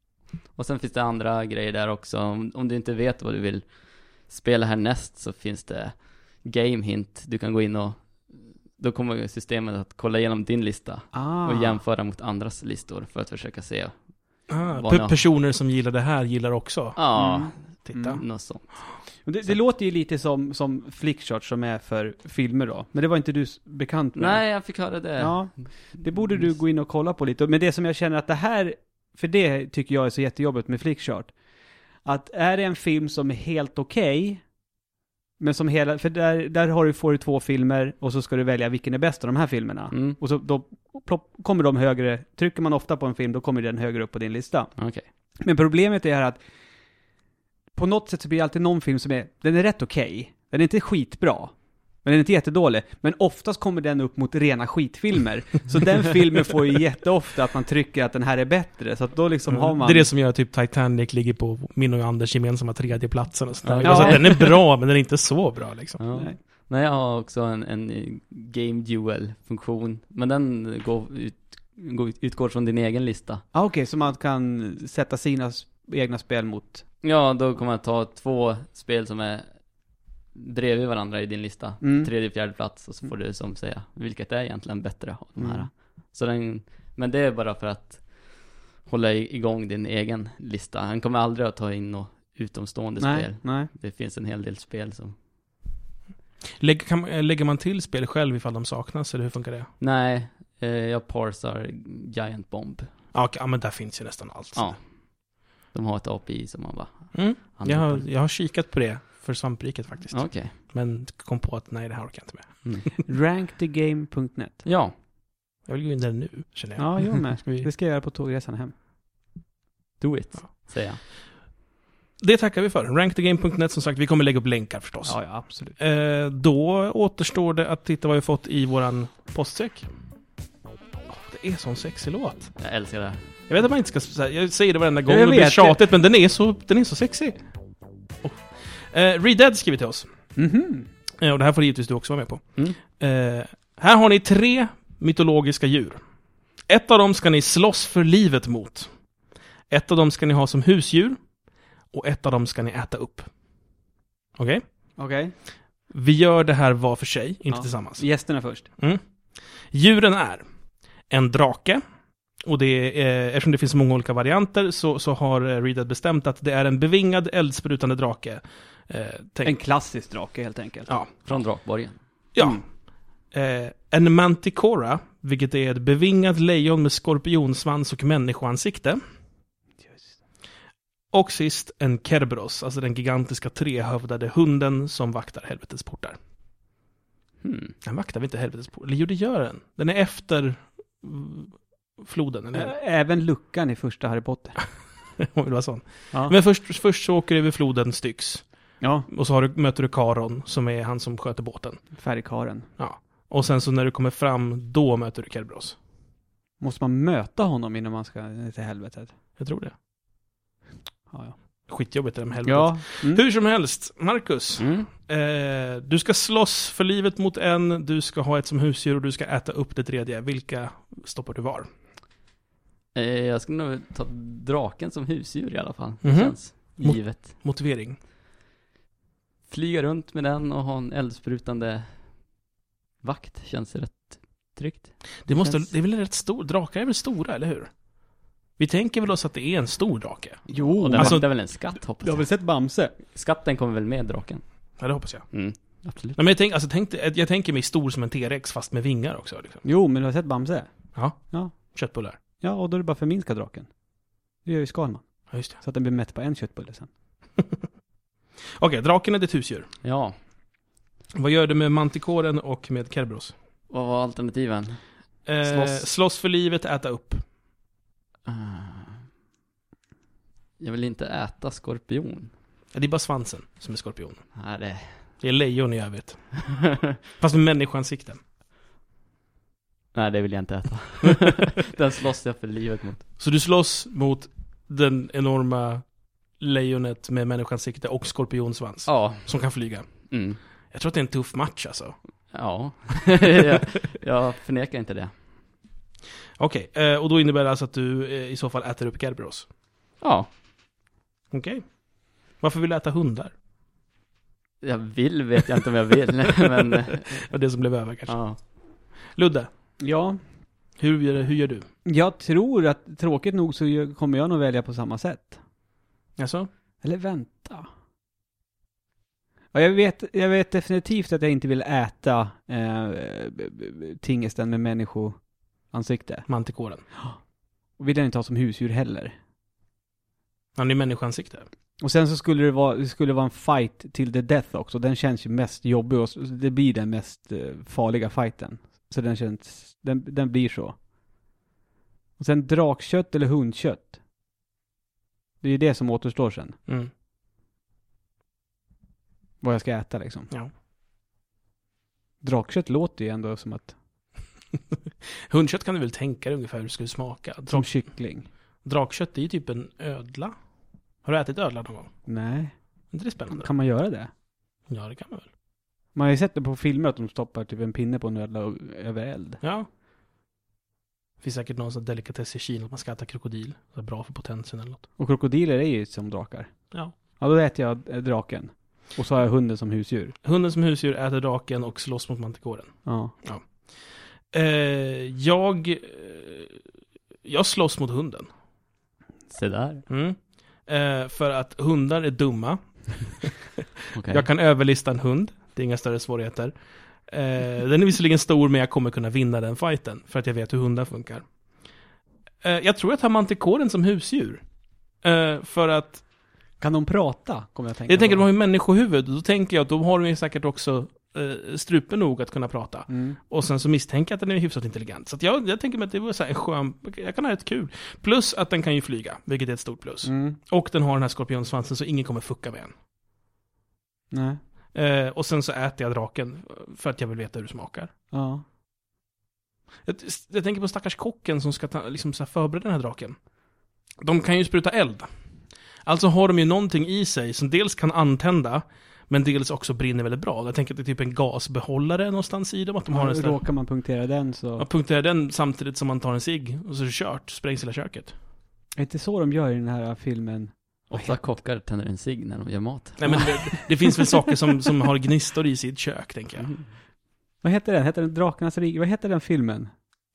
Speaker 3: Och sen finns det andra grejer där också. Om, om du inte vet vad du vill spela härnäst så finns det game hint. Du kan gå in och då kommer systemet att kolla igenom din lista
Speaker 2: Ah.
Speaker 3: och jämföra mot andras listor för att försöka se.
Speaker 1: Ah,
Speaker 3: Vad Ah.
Speaker 1: pe-
Speaker 3: då?
Speaker 1: personer som gillar det här gillar också.
Speaker 3: Ja,
Speaker 2: Mm.
Speaker 1: Titta.
Speaker 2: Mm.
Speaker 3: något sånt.
Speaker 2: Men Det,
Speaker 3: Så
Speaker 2: det
Speaker 3: att-
Speaker 2: låter ju lite som, som flickchart som är för filmer då. Men det var inte du s- bekant med.
Speaker 3: Nej, jag fick höra det.
Speaker 2: Ja, det borde du gå in och kolla på lite. Men det som jag känner att det här, för det tycker jag är så jättejobbigt med flickchart. Att är det en film som är helt okej, men som hela, för där, där har du, får du två filmer och så ska du välja vilken är bäst av de här filmerna.
Speaker 3: Mm,
Speaker 2: Och så då plopp, kommer de högre, trycker man ofta på en film då kommer den högre upp på din lista.
Speaker 3: okej.
Speaker 2: Men problemet är här att på något sätt så blir det alltid någon film som är, den är rätt okej, den är inte skitbra, men den är inte jättedålig, men oftast kommer den upp mot rena skitfilmer. Så den filmen får ju jätteofta att man trycker att den här är bättre, så att då liksom har man...
Speaker 1: Det är det som gör att typ Titanic ligger på min och Anders gemensamma tredjeplatsen och sådär.
Speaker 3: Ja.
Speaker 1: Alltså, den är bra, men den är inte så bra liksom.
Speaker 3: Ja.
Speaker 2: Nej.
Speaker 3: Nej. jag har också en, en game duel-funktion, men den går ut, går, utgår från din egen lista.
Speaker 2: Ah, Okej, så man kan sätta sina s- egna spel mot...
Speaker 3: Ja, då kommer jag ta två spel som är bredvid varandra i din lista.
Speaker 2: Mm.
Speaker 3: Tredje, fjärde plats och så får du som säga vilket är egentligen bättre av de här.
Speaker 2: Mm.
Speaker 3: Så den, men det är bara för att hålla i- igång din egen lista. Han kommer aldrig att ta in något utomstående
Speaker 2: Nej,
Speaker 3: spel.
Speaker 2: nej.
Speaker 3: Det finns en hel del spel som...
Speaker 1: Lägger, kan, man- eh, lägger man till spel själv ifall de saknas, eller hur funkar det?
Speaker 3: Nej, eh, jag parsar Giant Bomb.
Speaker 1: Ja, okej, ja, men där finns ju nästan allt.
Speaker 3: Ja. De har ett API som man bara...
Speaker 1: Mm. Jag, har,
Speaker 3: använder.
Speaker 1: jag har kikat på det för svampriket faktiskt.
Speaker 3: Okej.
Speaker 1: Men kom på att nej, det här orkar jag inte med.
Speaker 2: Rankthegame.net.
Speaker 3: Ja.
Speaker 1: Jag vill gå in där nu, känner jag.
Speaker 2: Ja, jag med.
Speaker 1: Ska vi-
Speaker 2: Det ska jag göra på tågresan hem.
Speaker 3: Do it,
Speaker 1: Ja.
Speaker 3: säger jag.
Speaker 1: Det tackar vi för. Rankthegame.net som sagt, vi kommer lägga upp länkar förstås.
Speaker 2: Ja, ja, absolut.
Speaker 1: Eh, då återstår det att titta vad vi fått i våran postsäck. Åh, det är sån sexig låt.
Speaker 3: Jag älskar det. här.
Speaker 1: Jag vet att man inte ska säga, jag säger det varenda gång,
Speaker 2: Jag
Speaker 1: det blir
Speaker 2: vet.
Speaker 1: tjatigt, men den är så, den är så sexig. Oh. Eh, Reed Dead skriver till oss,
Speaker 2: Mhm.
Speaker 1: eh, och det här får givetvis du också vara med på.
Speaker 3: Mm.
Speaker 1: Eh, här har ni tre mytologiska djur. Ett av dem ska ni slåss för livet mot. Ett av dem ska ni ha som husdjur. Och ett av dem ska ni äta upp. Okej?
Speaker 2: Okej.
Speaker 1: Vi gör det här var för sig, inte
Speaker 2: Ja.
Speaker 1: tillsammans.
Speaker 2: Gästerna först.
Speaker 1: Djuren är en drake. Och det är, eh, eftersom det finns så många olika varianter så, så har eh, Reedad bestämt att det är en bevingad eldsprutande drake. Eh, tänk,
Speaker 2: En klassisk drake helt enkelt.
Speaker 1: Ja.
Speaker 3: Från Drakborgen.
Speaker 1: ja.
Speaker 2: Mm.
Speaker 1: Eh, En manticora, vilket är ett bevingat lejon med skorpionsvans och människoansikte. Och sist en kerberos, alltså den gigantiska trehövdade hunden som vaktar helvetets portar.
Speaker 3: Hmm.
Speaker 1: Den vaktar väl inte helvetets portar? Eller jo, det gör den. Den är efter mm, floden, eller hur?
Speaker 2: Även luckan i första Harry Potter.
Speaker 1: Om det var sån.
Speaker 2: Ja.
Speaker 1: Men först, först så åker du över floden Styx.
Speaker 2: ja,
Speaker 1: Och så har du, möter du Karon, som är han som sköter båten.
Speaker 2: färgkaren.
Speaker 1: Och sen så när du kommer fram, då möter du Kerberos.
Speaker 2: Måste man möta honom innan man ska till helvetet?
Speaker 1: Jag tror det.
Speaker 2: Ja, ja.
Speaker 1: Skitjobbigt det där med helvetet.
Speaker 2: ja mm.
Speaker 1: Hur som helst, Marcus.
Speaker 3: Mm.
Speaker 1: Eh, du ska slåss för livet mot en, du ska ha ett som husdjur och du ska äta upp det tredje. Vilka stoppar du var?
Speaker 3: Eh, jag skulle nog ta draken som husdjur i alla fall.
Speaker 1: Mhm.
Speaker 3: Det känns
Speaker 1: Mot-
Speaker 3: givet.
Speaker 1: Motivering.
Speaker 3: Flyga runt med den och ha en eldsprutande vakt känns rätt tryggt.
Speaker 1: Det, måste,
Speaker 3: Känns-
Speaker 1: det är väl en rätt stor, drakar är väl stora, eller hur? Vi tänker väl oss att det är en stor drake?
Speaker 2: Jo,
Speaker 3: Och den
Speaker 1: Alltså-
Speaker 3: vaktar väl en skatt hoppas
Speaker 2: du har
Speaker 3: jag.
Speaker 2: väl sett Bamse?
Speaker 3: Skatten kommer väl med draken?
Speaker 1: Ja, det hoppas jag.
Speaker 3: Mm. Absolut.
Speaker 1: Nej, men jag, tänk, alltså, tänk, jag tänker mig stor som en T-rex, fast med vingar också. Liksom.
Speaker 2: Jo, men du har sett Bamse?
Speaker 1: Köttbullar.
Speaker 2: Ja, och då är det bara förminska draken. Det gör ju Skalman.
Speaker 1: Ja, just det.
Speaker 2: Så att den blir mätt på en köttbulle sen.
Speaker 1: Okej, draken är ditt husdjur.
Speaker 3: Ja,
Speaker 1: Vad gör du med mantikoren och med Kerberos?
Speaker 3: vad var alternativen?
Speaker 1: Eh,
Speaker 3: Slåss.
Speaker 1: slåss för livet, äta upp.
Speaker 3: Ah. Jag vill inte äta skorpion.
Speaker 1: Ja, Det är bara svansen som är skorpion.
Speaker 3: Nej, det...
Speaker 1: Det är lejon i övrigt. Fast med människoansikten.
Speaker 3: Nej, det vill jag inte äta. den slåss jag för livet mot.
Speaker 1: Så du slåss mot den enorma lejonet med människansikte och skorpionsvans.
Speaker 3: Ja.
Speaker 1: Som kan flyga.
Speaker 3: Mm.
Speaker 1: Jag tror att det är en tuff match alltså.
Speaker 3: Ja. jag, jag förnekar inte det.
Speaker 1: Okej, eh, och då innebär det alltså att du eh, i så fall äter upp Kerberos.
Speaker 3: Ja.
Speaker 1: Okej. Varför vill du äta hundar?
Speaker 3: Jag vill vet jag inte om jag vill, men eh,
Speaker 1: Det var det som blev över kanske.
Speaker 3: ja.
Speaker 1: Ludde,
Speaker 2: Ja,
Speaker 1: hur, gör- hur gör du?
Speaker 2: jag tror att tråkigt nog så gör- kommer jag nog välja på samma sätt.
Speaker 1: Alltså?
Speaker 2: Eller vänta. Ja, jag, vet, jag vet definitivt att jag inte vill äta eh, b- b- tingesten med människoansikte.
Speaker 1: Mantikoren.
Speaker 2: Och vill jag inte ha som husdjur heller.
Speaker 1: Han är människoansikte.
Speaker 2: Och sen så skulle det vara, det skulle vara en fight till the death också. Den känns ju mest jobbig och s- det blir den mest eh, farliga fighten. Så den känns, den, den blir så. Och sen drakkött eller hundkött. Det är ju det som återstår sen.
Speaker 1: Mm.
Speaker 2: Vad jag ska äta liksom.
Speaker 1: Ja.
Speaker 2: Drakkött låter ju ändå som att,
Speaker 1: Hundkött kan du väl tänka dig ungefär hur det skulle smaka?
Speaker 2: som
Speaker 1: Drak,
Speaker 2: kyckling.
Speaker 1: drakkött det är ju typ en ödla. Har du ätit ödla någon gång?
Speaker 2: Nej,
Speaker 1: Är inte det spännande?
Speaker 2: kan man göra det?
Speaker 1: Ja, det kan man väl.
Speaker 2: Man har ju sett det på filmer att de stoppar typ en pinne på en ödla och- över eld.
Speaker 1: Ja. Finns säkert någon sån delikatess i Kina att man ska äta krokodil. Det är bra för potensen eller något.
Speaker 2: Och krokodiler är ju som drakar.
Speaker 1: Ja.
Speaker 2: Ja, då äter jag eh, draken. Och så har jag hunden som husdjur.
Speaker 1: Hunden som husdjur äter draken och slåss mot mantikoren.
Speaker 2: Ja.
Speaker 1: Eh, jag... Eh, jag slåss mot hunden.
Speaker 3: Se där.
Speaker 1: Mm. Eh, för att hundar är dumma.
Speaker 3: Okej.
Speaker 1: Jag kan överlista en hund. Det är inga större svårigheter. Eh, den är visserligen stor, men jag kommer kunna vinna den fighten. För att jag vet hur hundar funkar. Eh, jag tror jag tar mantikoren som husdjur. Eh, för att
Speaker 2: Kan de prata? Kommer jag att tänka
Speaker 1: Jag tänker,
Speaker 2: på.
Speaker 1: de har ju människohuvud, då tänker jag att de har de ju säkert också eh, strupe nog att kunna prata.
Speaker 2: Mm.
Speaker 1: Och sen så misstänker jag att den är hyfsat intelligent. Så att jag, jag tänker mig att det var så här en skön, jag kan ha ett kul. Plus att den kan ju flyga, vilket är ett stort plus.
Speaker 2: Mm.
Speaker 1: Och den har den här skorpionsvansen så ingen kommer fucka med en.
Speaker 2: Nej.
Speaker 1: Eh, och sen så äter jag draken för att jag vill veta hur det smakar.
Speaker 2: Ja.
Speaker 1: Jag, jag tänker på stackars kocken som ska ta, liksom så här förbereda den här draken. De kan ju spruta eld. Alltså har de ju någonting i sig som dels kan antända, men dels också brinner väldigt bra. Jag tänker att det är typ en gasbehållare någonstans i dem, att de har en sån här-
Speaker 2: Råkar man punktera den så...
Speaker 1: Ja, punkterar den samtidigt som man tar en cigg och så är det kört, sprängs hela köket.
Speaker 2: Är inte så de gör i den här filmen?
Speaker 3: Åtta kockar tänder en cigg när de gör mat.
Speaker 1: Nej men det, det finns väl saker som, som har gnistor i sitt kök, tänker jag.
Speaker 3: Mm.
Speaker 2: Vad heter den? Heter den Drakarnas rike? Vad heter den filmen?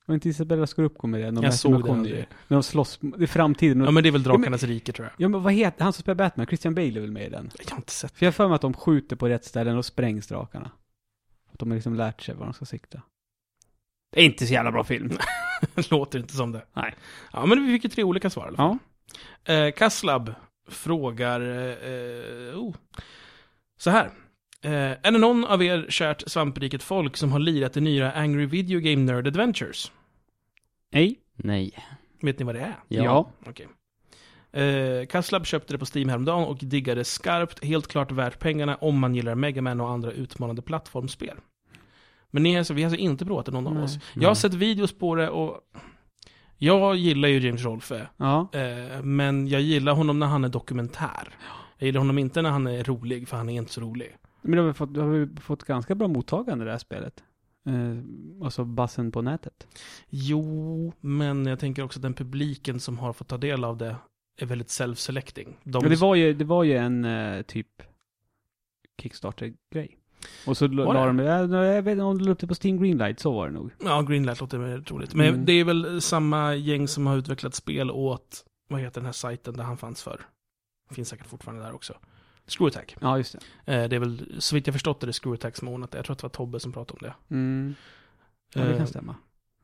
Speaker 2: Var inte Isabella Scorupco med den? De
Speaker 1: Jag
Speaker 2: äter
Speaker 1: såg
Speaker 2: med
Speaker 1: den
Speaker 2: Conny.
Speaker 1: aldrig.
Speaker 2: När de slåss, det är framtiden.
Speaker 1: Ja
Speaker 2: Ja,
Speaker 1: men det är väl drakarnas rike tror jag.
Speaker 2: ja men vad heter, han som spelar Batman, Christian Bale är väl med i den?
Speaker 1: Jag har inte sett.
Speaker 2: För jag har för mig att de skjuter på rätt ställen och sprängs drakarna. Att de har liksom lärt sig var de ska sikta. Det är inte så jävla bra film.
Speaker 1: Låter inte som det.
Speaker 2: Nej.
Speaker 1: Ja, men vi fick ju tre olika svar i alla fall.
Speaker 2: Ja.
Speaker 1: Eh, Kaslab frågar... Eh, oh. Så här. Eh, är det någon av er kärt svampriket folk som har lirat det nya Angry Video Game Nerd Adventures?
Speaker 2: Nej.
Speaker 3: Nej.
Speaker 1: Vet ni vad det är?
Speaker 3: Ja.
Speaker 1: Okej. Eh, Kaslab köpte det på Steam häromdagen och diggade skarpt, helt klart värt pengarna om man gillar Mega Man och andra utmanande plattformsspel. Men ni, är alltså, vi har alltså inte provat det, någon av
Speaker 2: Nej.
Speaker 1: oss. Jag har
Speaker 3: Nej.
Speaker 1: sett videos på det och jag gillar ju James Rolfe,
Speaker 2: Ja.
Speaker 1: eh, men jag gillar honom när han är dokumentär. Jag gillar honom inte när han är rolig, för han är inte så rolig.
Speaker 2: Men du har, vi fått, du har vi fått ganska bra mottagande i det här spelet. Eh, alltså bassen på nätet.
Speaker 1: Jo, men jag tänker också att den publiken som har fått ta del av det är väldigt self-selecting. De
Speaker 2: Ja, det, var ju, det var ju en eh, typ Kickstarter-grej. Och så la
Speaker 1: Var
Speaker 2: la
Speaker 1: det?
Speaker 2: de, ja, jag vet inte om de la upp det på Steam Greenlight, så var det nog.
Speaker 1: Ja, Greenlight låter mer troligt. Men
Speaker 2: Mm.
Speaker 1: det är väl samma gäng som har utvecklat spel åt, vad heter den här sajten där han fanns för? Finns säkert fortfarande där också. Screwattack.
Speaker 2: Ja, just det.
Speaker 1: Eh, det är väl, så vitt jag förstått det, det är Screwattack som har ordnat det. Jag tror att det var Tobbe som pratade om det.
Speaker 2: Mm. Ja, det
Speaker 1: Eh,
Speaker 2: kan stämma.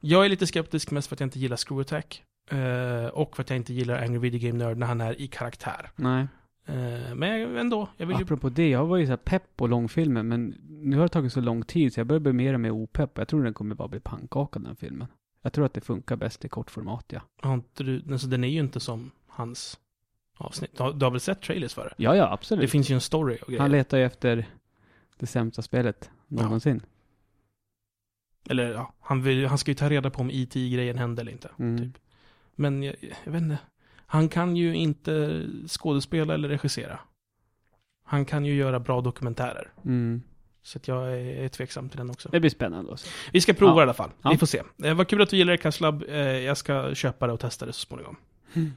Speaker 1: jag är lite skeptisk mest för att jag inte gillar Screwattack. Eh, och för att jag inte gillar Angry Video Game Nerd när han är i karaktär.
Speaker 2: Nej.
Speaker 1: Eh, men jag- ändå, jag vill ju...
Speaker 2: Apropå det, jag var ju så här pepp på långfilmen, men nu har det tagit så lång tid så jag börjar bli mer och mer opepp. Jag tror den kommer bara bli pannkaka, den filmen. Jag tror att det funkar bäst i kortformat, ja.
Speaker 1: Har inte du- Alltså, den är ju inte som hans avsnitt. Du har, du har väl sett trailers för det?
Speaker 2: Ja, ja, absolut.
Speaker 1: Det finns ju en story och grejer.
Speaker 2: Han letar ju efter det sämsta spelet någonsin.
Speaker 1: Eller ja, han, vill, han ska ju ta reda på om E IT-grejen hände eller inte.
Speaker 2: Mm.
Speaker 1: Typ. Men jag, jag vet inte. Han kan ju inte skådespela eller regissera. Han kan ju göra bra dokumentärer.
Speaker 2: Mm.
Speaker 1: Så att jag är, är tveksam till den också.
Speaker 2: Det blir spännande också.
Speaker 1: Vi ska prova
Speaker 2: Ja.
Speaker 1: i alla fall.
Speaker 2: Ja.
Speaker 1: Vi får se. Eh, vad kul att du gillar det, Kaslab. Eh, jag ska köpa det och testa det så småningom.
Speaker 2: Mm.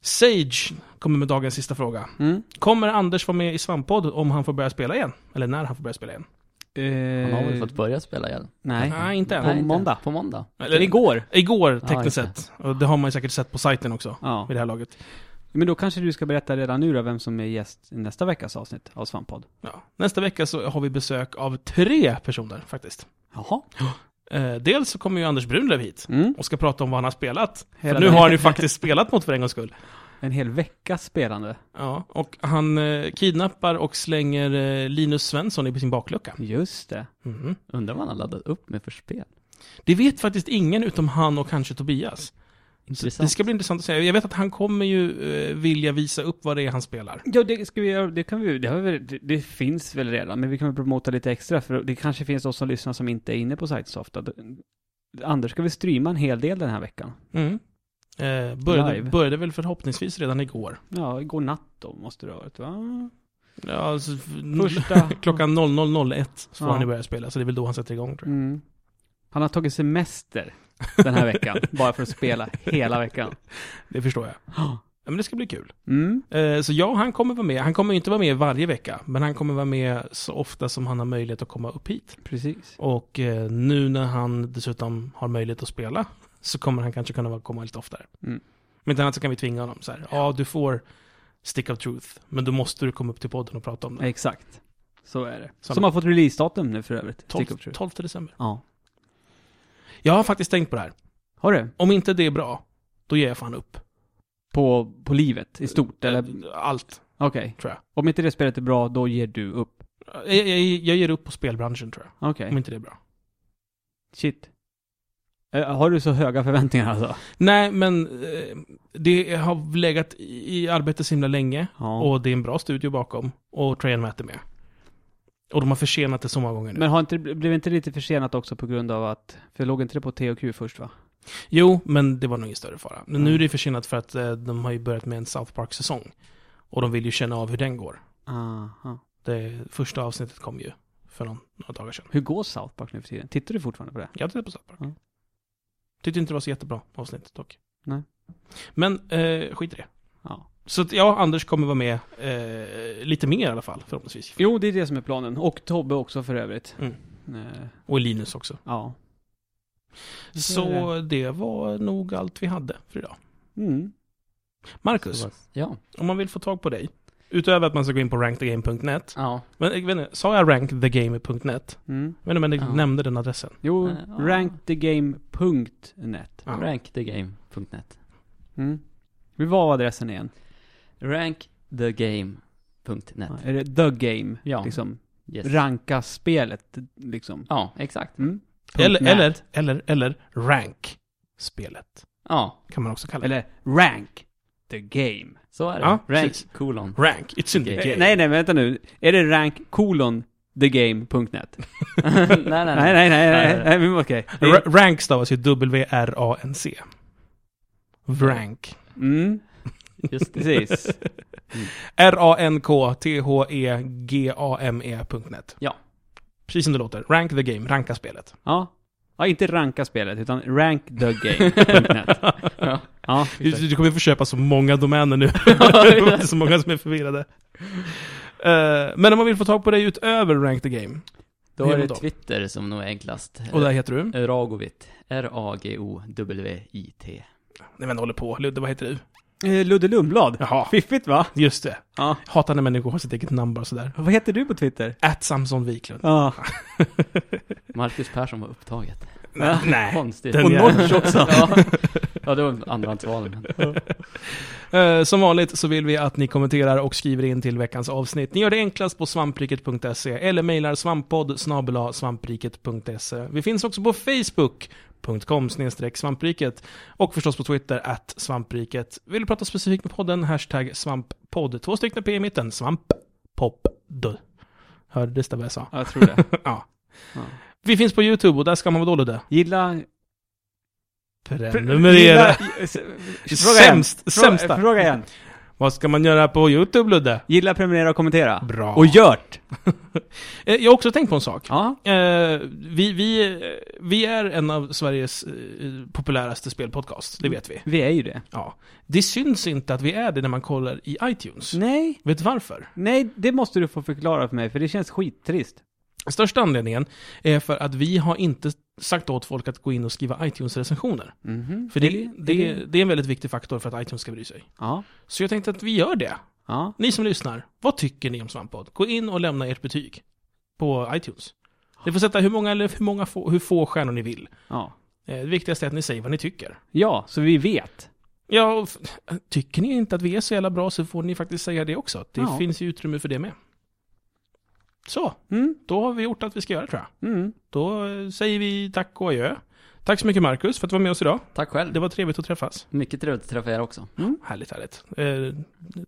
Speaker 1: Sage kommer med dagens sista fråga.
Speaker 2: Mm.
Speaker 1: Kommer Anders vara med i Svampodd om han får börja spela igen? Eller när han får börja spela igen?
Speaker 2: Eh,
Speaker 3: Han har väl fått börja spela igen?
Speaker 2: Nej.
Speaker 1: Nej, inte än.
Speaker 3: Nej, inte.
Speaker 2: måndag.
Speaker 3: På måndag.
Speaker 1: Eller igår,
Speaker 2: igår.
Speaker 1: igår
Speaker 3: Ja,
Speaker 1: tekniskt
Speaker 3: just
Speaker 1: sett. Och det har man ju säkert sett på sajten också.
Speaker 2: Ja.
Speaker 1: Vid det här laget.
Speaker 2: Men då kanske du ska berätta redan nu då vem som är gäst i nästa veckas avsnitt av Svampodd.
Speaker 1: Ja. Nästa vecka så har vi besök av tre personer faktiskt.
Speaker 2: Jaha.
Speaker 1: Eh, dels så kommer ju Anders Brunlöv hit
Speaker 2: Mm.
Speaker 1: och ska prata om vad han har spelat.
Speaker 2: Hela
Speaker 1: nu
Speaker 2: den-
Speaker 1: har han ju faktiskt spelat något för en gångs skull.
Speaker 2: En hel veckas spelande.
Speaker 1: Ja, och han eh, kidnappar och slänger eh, Linus Svensson i sin baklucka.
Speaker 2: Just det.
Speaker 1: Mhm.
Speaker 3: Undrar vad han har laddat upp med för spel.
Speaker 1: Det vet faktiskt ingen utom han och kanske Tobias. Så
Speaker 3: Intressant.
Speaker 1: det ska bli intressant att se. Jag vet att han kommer ju eh, vilja visa upp vad det är han spelar.
Speaker 2: Ja, det ska vi göra. Det kan vi det, har vi, det, det finns väl redan, men vi kan väl promota lite extra, för det kanske finns de som lyssnar som inte är inne på sajten så ofta. Anders ska vi streama en hel del den här veckan.
Speaker 1: Mm. Eh, började,
Speaker 2: Live.
Speaker 1: började väl förhoppningsvis redan igår.
Speaker 2: Ja, igår natt då måste det ha varit, va?
Speaker 1: Ja, alltså, f-
Speaker 2: Första...
Speaker 1: klockan 00.01 så får
Speaker 2: Ja.
Speaker 1: han ju börja spela, så det är väl då han sätter igång tror jag.
Speaker 2: Mm. Han har tagit semester den här veckan, bara för att spela hela veckan.
Speaker 1: Det förstår jag. Ja, men det ska bli kul.
Speaker 2: Mm.
Speaker 1: Eh, så ja, han kommer vara med. Han kommer ju inte vara med varje vecka, men han kommer vara med så ofta som han har möjlighet att komma upp hit.
Speaker 2: Precis.
Speaker 1: Och eh, nu när han dessutom har möjlighet att spela så kommer han kanske kunna vara- komma lite oftare.
Speaker 2: Mm.
Speaker 1: Men inte annat så kan vi tvinga honom så här. Ja, du får Stick of Truth, men då måste du komma upp till podden och prata om det.
Speaker 2: Exakt. Så är det.
Speaker 1: Så-
Speaker 2: Som har fått releasedatum nu för övrigt.
Speaker 1: 12,
Speaker 2: Stick of Truth.
Speaker 1: 12 december.
Speaker 2: Ja.
Speaker 1: Jag har faktiskt tänkt på det här.
Speaker 2: Har du?
Speaker 1: Om inte det är bra, då ger jag fan upp.
Speaker 2: På, på livet i stort, eller? Okej.
Speaker 1: Eh, Allt, tror jag.
Speaker 2: Om inte det spelet är bra, då ger du upp.
Speaker 1: Jag, jag, jag ger upp på spelbranschen tror jag,
Speaker 2: Okej.
Speaker 1: om inte det är bra.
Speaker 2: Shit. Eh, Har du så höga förväntningar alltså?
Speaker 1: Nej, men eh, det har legat i i arbete så himla länge
Speaker 2: Ja.
Speaker 1: och det är en bra studio bakom och Trajan Matt är med. Och de har försenat det så många gånger nu.
Speaker 2: men har inte, blev inte lite försenat också på grund av att, för låg inte det på THQ först va?
Speaker 1: Jo, men det var nog ingen större fara. Men nu
Speaker 2: Mm.
Speaker 1: är det försenat för att eh, de har ju börjat med en South Park-säsong. Och de vill ju känna av hur den går.
Speaker 2: Aha.
Speaker 1: Det första avsnittet kom ju för någon, några dagar sedan.
Speaker 2: Hur går South Park nu för tiden? Tittar du fortfarande på det?
Speaker 1: Jag tittade på South Park.
Speaker 2: Mm.
Speaker 1: Tyckte inte det var så jättebra avsnitt dock.
Speaker 2: Nej.
Speaker 1: Men eh, skit i det.
Speaker 2: Ja.
Speaker 1: Så att jag och Anders kommer vara med eh, lite mer i alla fall, förhoppningsvis.
Speaker 2: Jo, det är det som är planen. Och Tobbe också för övrigt.
Speaker 1: Mm.
Speaker 2: Eh,
Speaker 1: Och Linus också.
Speaker 2: ja.
Speaker 1: Så det var nog allt vi hade för idag.
Speaker 2: Mm.
Speaker 1: Marcus,
Speaker 3: Ja.
Speaker 1: om man vill få tag på dig utöver att man ska gå in på rankthegame.net.
Speaker 3: Ja.
Speaker 1: Men jag vet inte, sa jag rankthegame.net?
Speaker 2: Mm.
Speaker 1: Jag vet inte men jag
Speaker 3: Ja.
Speaker 1: nämnde den adressen.
Speaker 2: Jo,
Speaker 3: Eh, ja.
Speaker 2: rankthegame.net.
Speaker 1: Ja.
Speaker 3: Rankthegame.net
Speaker 2: Mm. Vi var adressen igen?
Speaker 3: Rankthegame.net
Speaker 2: Ja, är det the game?
Speaker 3: Ja.
Speaker 2: Liksom,
Speaker 3: yes.
Speaker 2: ranka spelet, liksom.
Speaker 3: Ja, exakt.
Speaker 2: Mm.
Speaker 1: Eller,
Speaker 2: Punkt net.
Speaker 1: eller, eller, eller rank-spelet.
Speaker 3: Ja,
Speaker 1: Kan man också kalla det.
Speaker 2: Eller rank the game.
Speaker 3: så är det.
Speaker 1: Ja,
Speaker 3: Rank
Speaker 1: precis.
Speaker 3: kolon.
Speaker 1: Rank, it's in the
Speaker 3: Okej.
Speaker 1: game.
Speaker 2: Eh, Nej, nej, vänta nu. Är det rank kolon thegame.net?
Speaker 3: nej, nej,
Speaker 2: Nej,
Speaker 3: nej.
Speaker 2: nej, nej, nej,
Speaker 3: Nej,
Speaker 2: nej, men okej.
Speaker 1: Ra- rank stavas ju W-R-A-N-C. Rank.
Speaker 2: Mm,
Speaker 3: Just det.
Speaker 2: precis.
Speaker 1: E R-A-N-K-T-H-E-G-A-M-E.net.
Speaker 3: Ja.
Speaker 1: E Precis som det låter. Rank the game, ranka spelet.
Speaker 2: Ja. Ja, inte ranka spelet, utan rankthegame.net.
Speaker 3: Ja.
Speaker 2: Ja,
Speaker 1: Du, du kommer få köpa så många domäner nu. det var inte så många som är förvirrade. Eh, men om man vill få tag på dig utöver Rank the Game,
Speaker 3: Då
Speaker 1: Hur
Speaker 3: är
Speaker 1: gör
Speaker 3: det
Speaker 1: man då?
Speaker 3: Twitter som nog är enklast.
Speaker 1: och där heter du?
Speaker 3: Ragovit. R-A-G-O-W-I-T.
Speaker 1: Nej men håller på, Ludde, vad heter du?
Speaker 2: eh, Ludde Lundblad.
Speaker 1: Jaha,
Speaker 2: Fiffigt va?
Speaker 1: just det.
Speaker 2: Ja.
Speaker 1: Hatar när människor har sitt eget namn bara sådär.
Speaker 2: Vad heter du på Twitter?
Speaker 1: At Samson Wiklund.
Speaker 2: Ja.
Speaker 3: Marcus Persson var upptaget.
Speaker 1: Nej, Nej.
Speaker 3: Konstigt.
Speaker 1: Äh, Den
Speaker 2: Och
Speaker 1: jäveln.
Speaker 2: Notch också.
Speaker 3: ja. ja, det var andrahandsvalen.
Speaker 1: Eh, som vanligt så vill vi att ni kommenterar och skriver in till veckans avsnitt. Ni gör det enklast på svampriket.se eller mejlar svamppodd snabel-a svampriket.se. Vi finns också på Facebook.com svampriket och förstås på Twitter att svampriket. Vill du prata specifikt med podden? Hashtag svamppodd. Två stycken P i mitten. Svamppodd. Hörde du det vad jag sa?
Speaker 2: Ja, jag tror det.
Speaker 1: ja.
Speaker 2: Ja.
Speaker 1: Vi finns på YouTube och där ska man vara dålig det.
Speaker 2: Gilla...
Speaker 1: Prenumerera.
Speaker 2: Gilla- s- Fråga igen.
Speaker 1: Sämst,
Speaker 2: Fråga-
Speaker 1: sämsta.
Speaker 2: Fråga igen.
Speaker 1: Vad ska man göra på YouTube, Ludde?
Speaker 2: Gilla, prenumerera och kommentera.
Speaker 1: Bra.
Speaker 2: Och gjort.
Speaker 1: Eh, Jag har också tänkt på en sak.
Speaker 2: Ja.
Speaker 1: Eh, vi, vi, eh, vi är en av Sveriges eh, populäraste spelpodcast, det vet vi.
Speaker 2: Vi är ju det.
Speaker 1: Ja. Det syns inte att vi är det när man kollar i iTunes.
Speaker 2: Nej.
Speaker 1: Vet du varför?
Speaker 2: Nej, det måste du få förklara för mig, för det känns skittrist.
Speaker 1: Största anledningen är för att vi har inte sagt åt folk att gå in och skriva iTunes-recensioner.
Speaker 2: Mhm.
Speaker 1: För det, det, det, är en väldigt viktig faktor för att iTunes ska bry sig.
Speaker 2: Ja.
Speaker 1: Så jag tänkte att vi gör det.
Speaker 2: Ja.
Speaker 1: Ni som lyssnar, vad tycker ni om Svamppodd? Gå in och lämna ert betyg på iTunes. Ni får sätta hur många eller hur, många få, hur få stjärnor ni vill.
Speaker 2: Ja.
Speaker 1: Eh, Det viktigaste är att ni säger vad ni tycker.
Speaker 2: Ja, så vi vet.
Speaker 1: Ja, och f- tycker ni inte att vi är så jävla bra så får ni faktiskt säga det också. Det
Speaker 2: Ja.
Speaker 1: finns ju utrymme för det med. Så,
Speaker 2: Mm.
Speaker 1: då har vi gjort att vi ska göra tror jag.
Speaker 2: Mm.
Speaker 1: Då eh, säger vi tack och adjö. Tack så mycket Marcus för att du var med oss idag.
Speaker 3: Tack själv.
Speaker 1: Det var trevligt att träffas.
Speaker 3: Mycket trevligt att träffa er också.
Speaker 1: Härligt, härligt. Eh,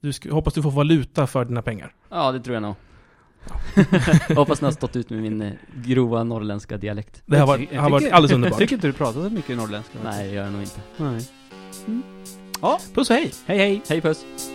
Speaker 1: Du sk- hoppas du får valuta för dina pengar.
Speaker 3: Ja, det tror jag nog. Hoppas ni har stått ut med min eh, grova norrländska dialekt.
Speaker 1: Det här
Speaker 2: Jag
Speaker 1: var,
Speaker 2: tycker- jag
Speaker 1: har varit
Speaker 2: tycker-
Speaker 1: alldeles
Speaker 2: Jag
Speaker 1: underbart.
Speaker 2: tycker inte du pratar så mycket norrländska.
Speaker 3: Nej, det gör jag nog inte.
Speaker 2: Nej.
Speaker 1: Puss och hej!
Speaker 2: Hej, hej.
Speaker 3: Hej puss!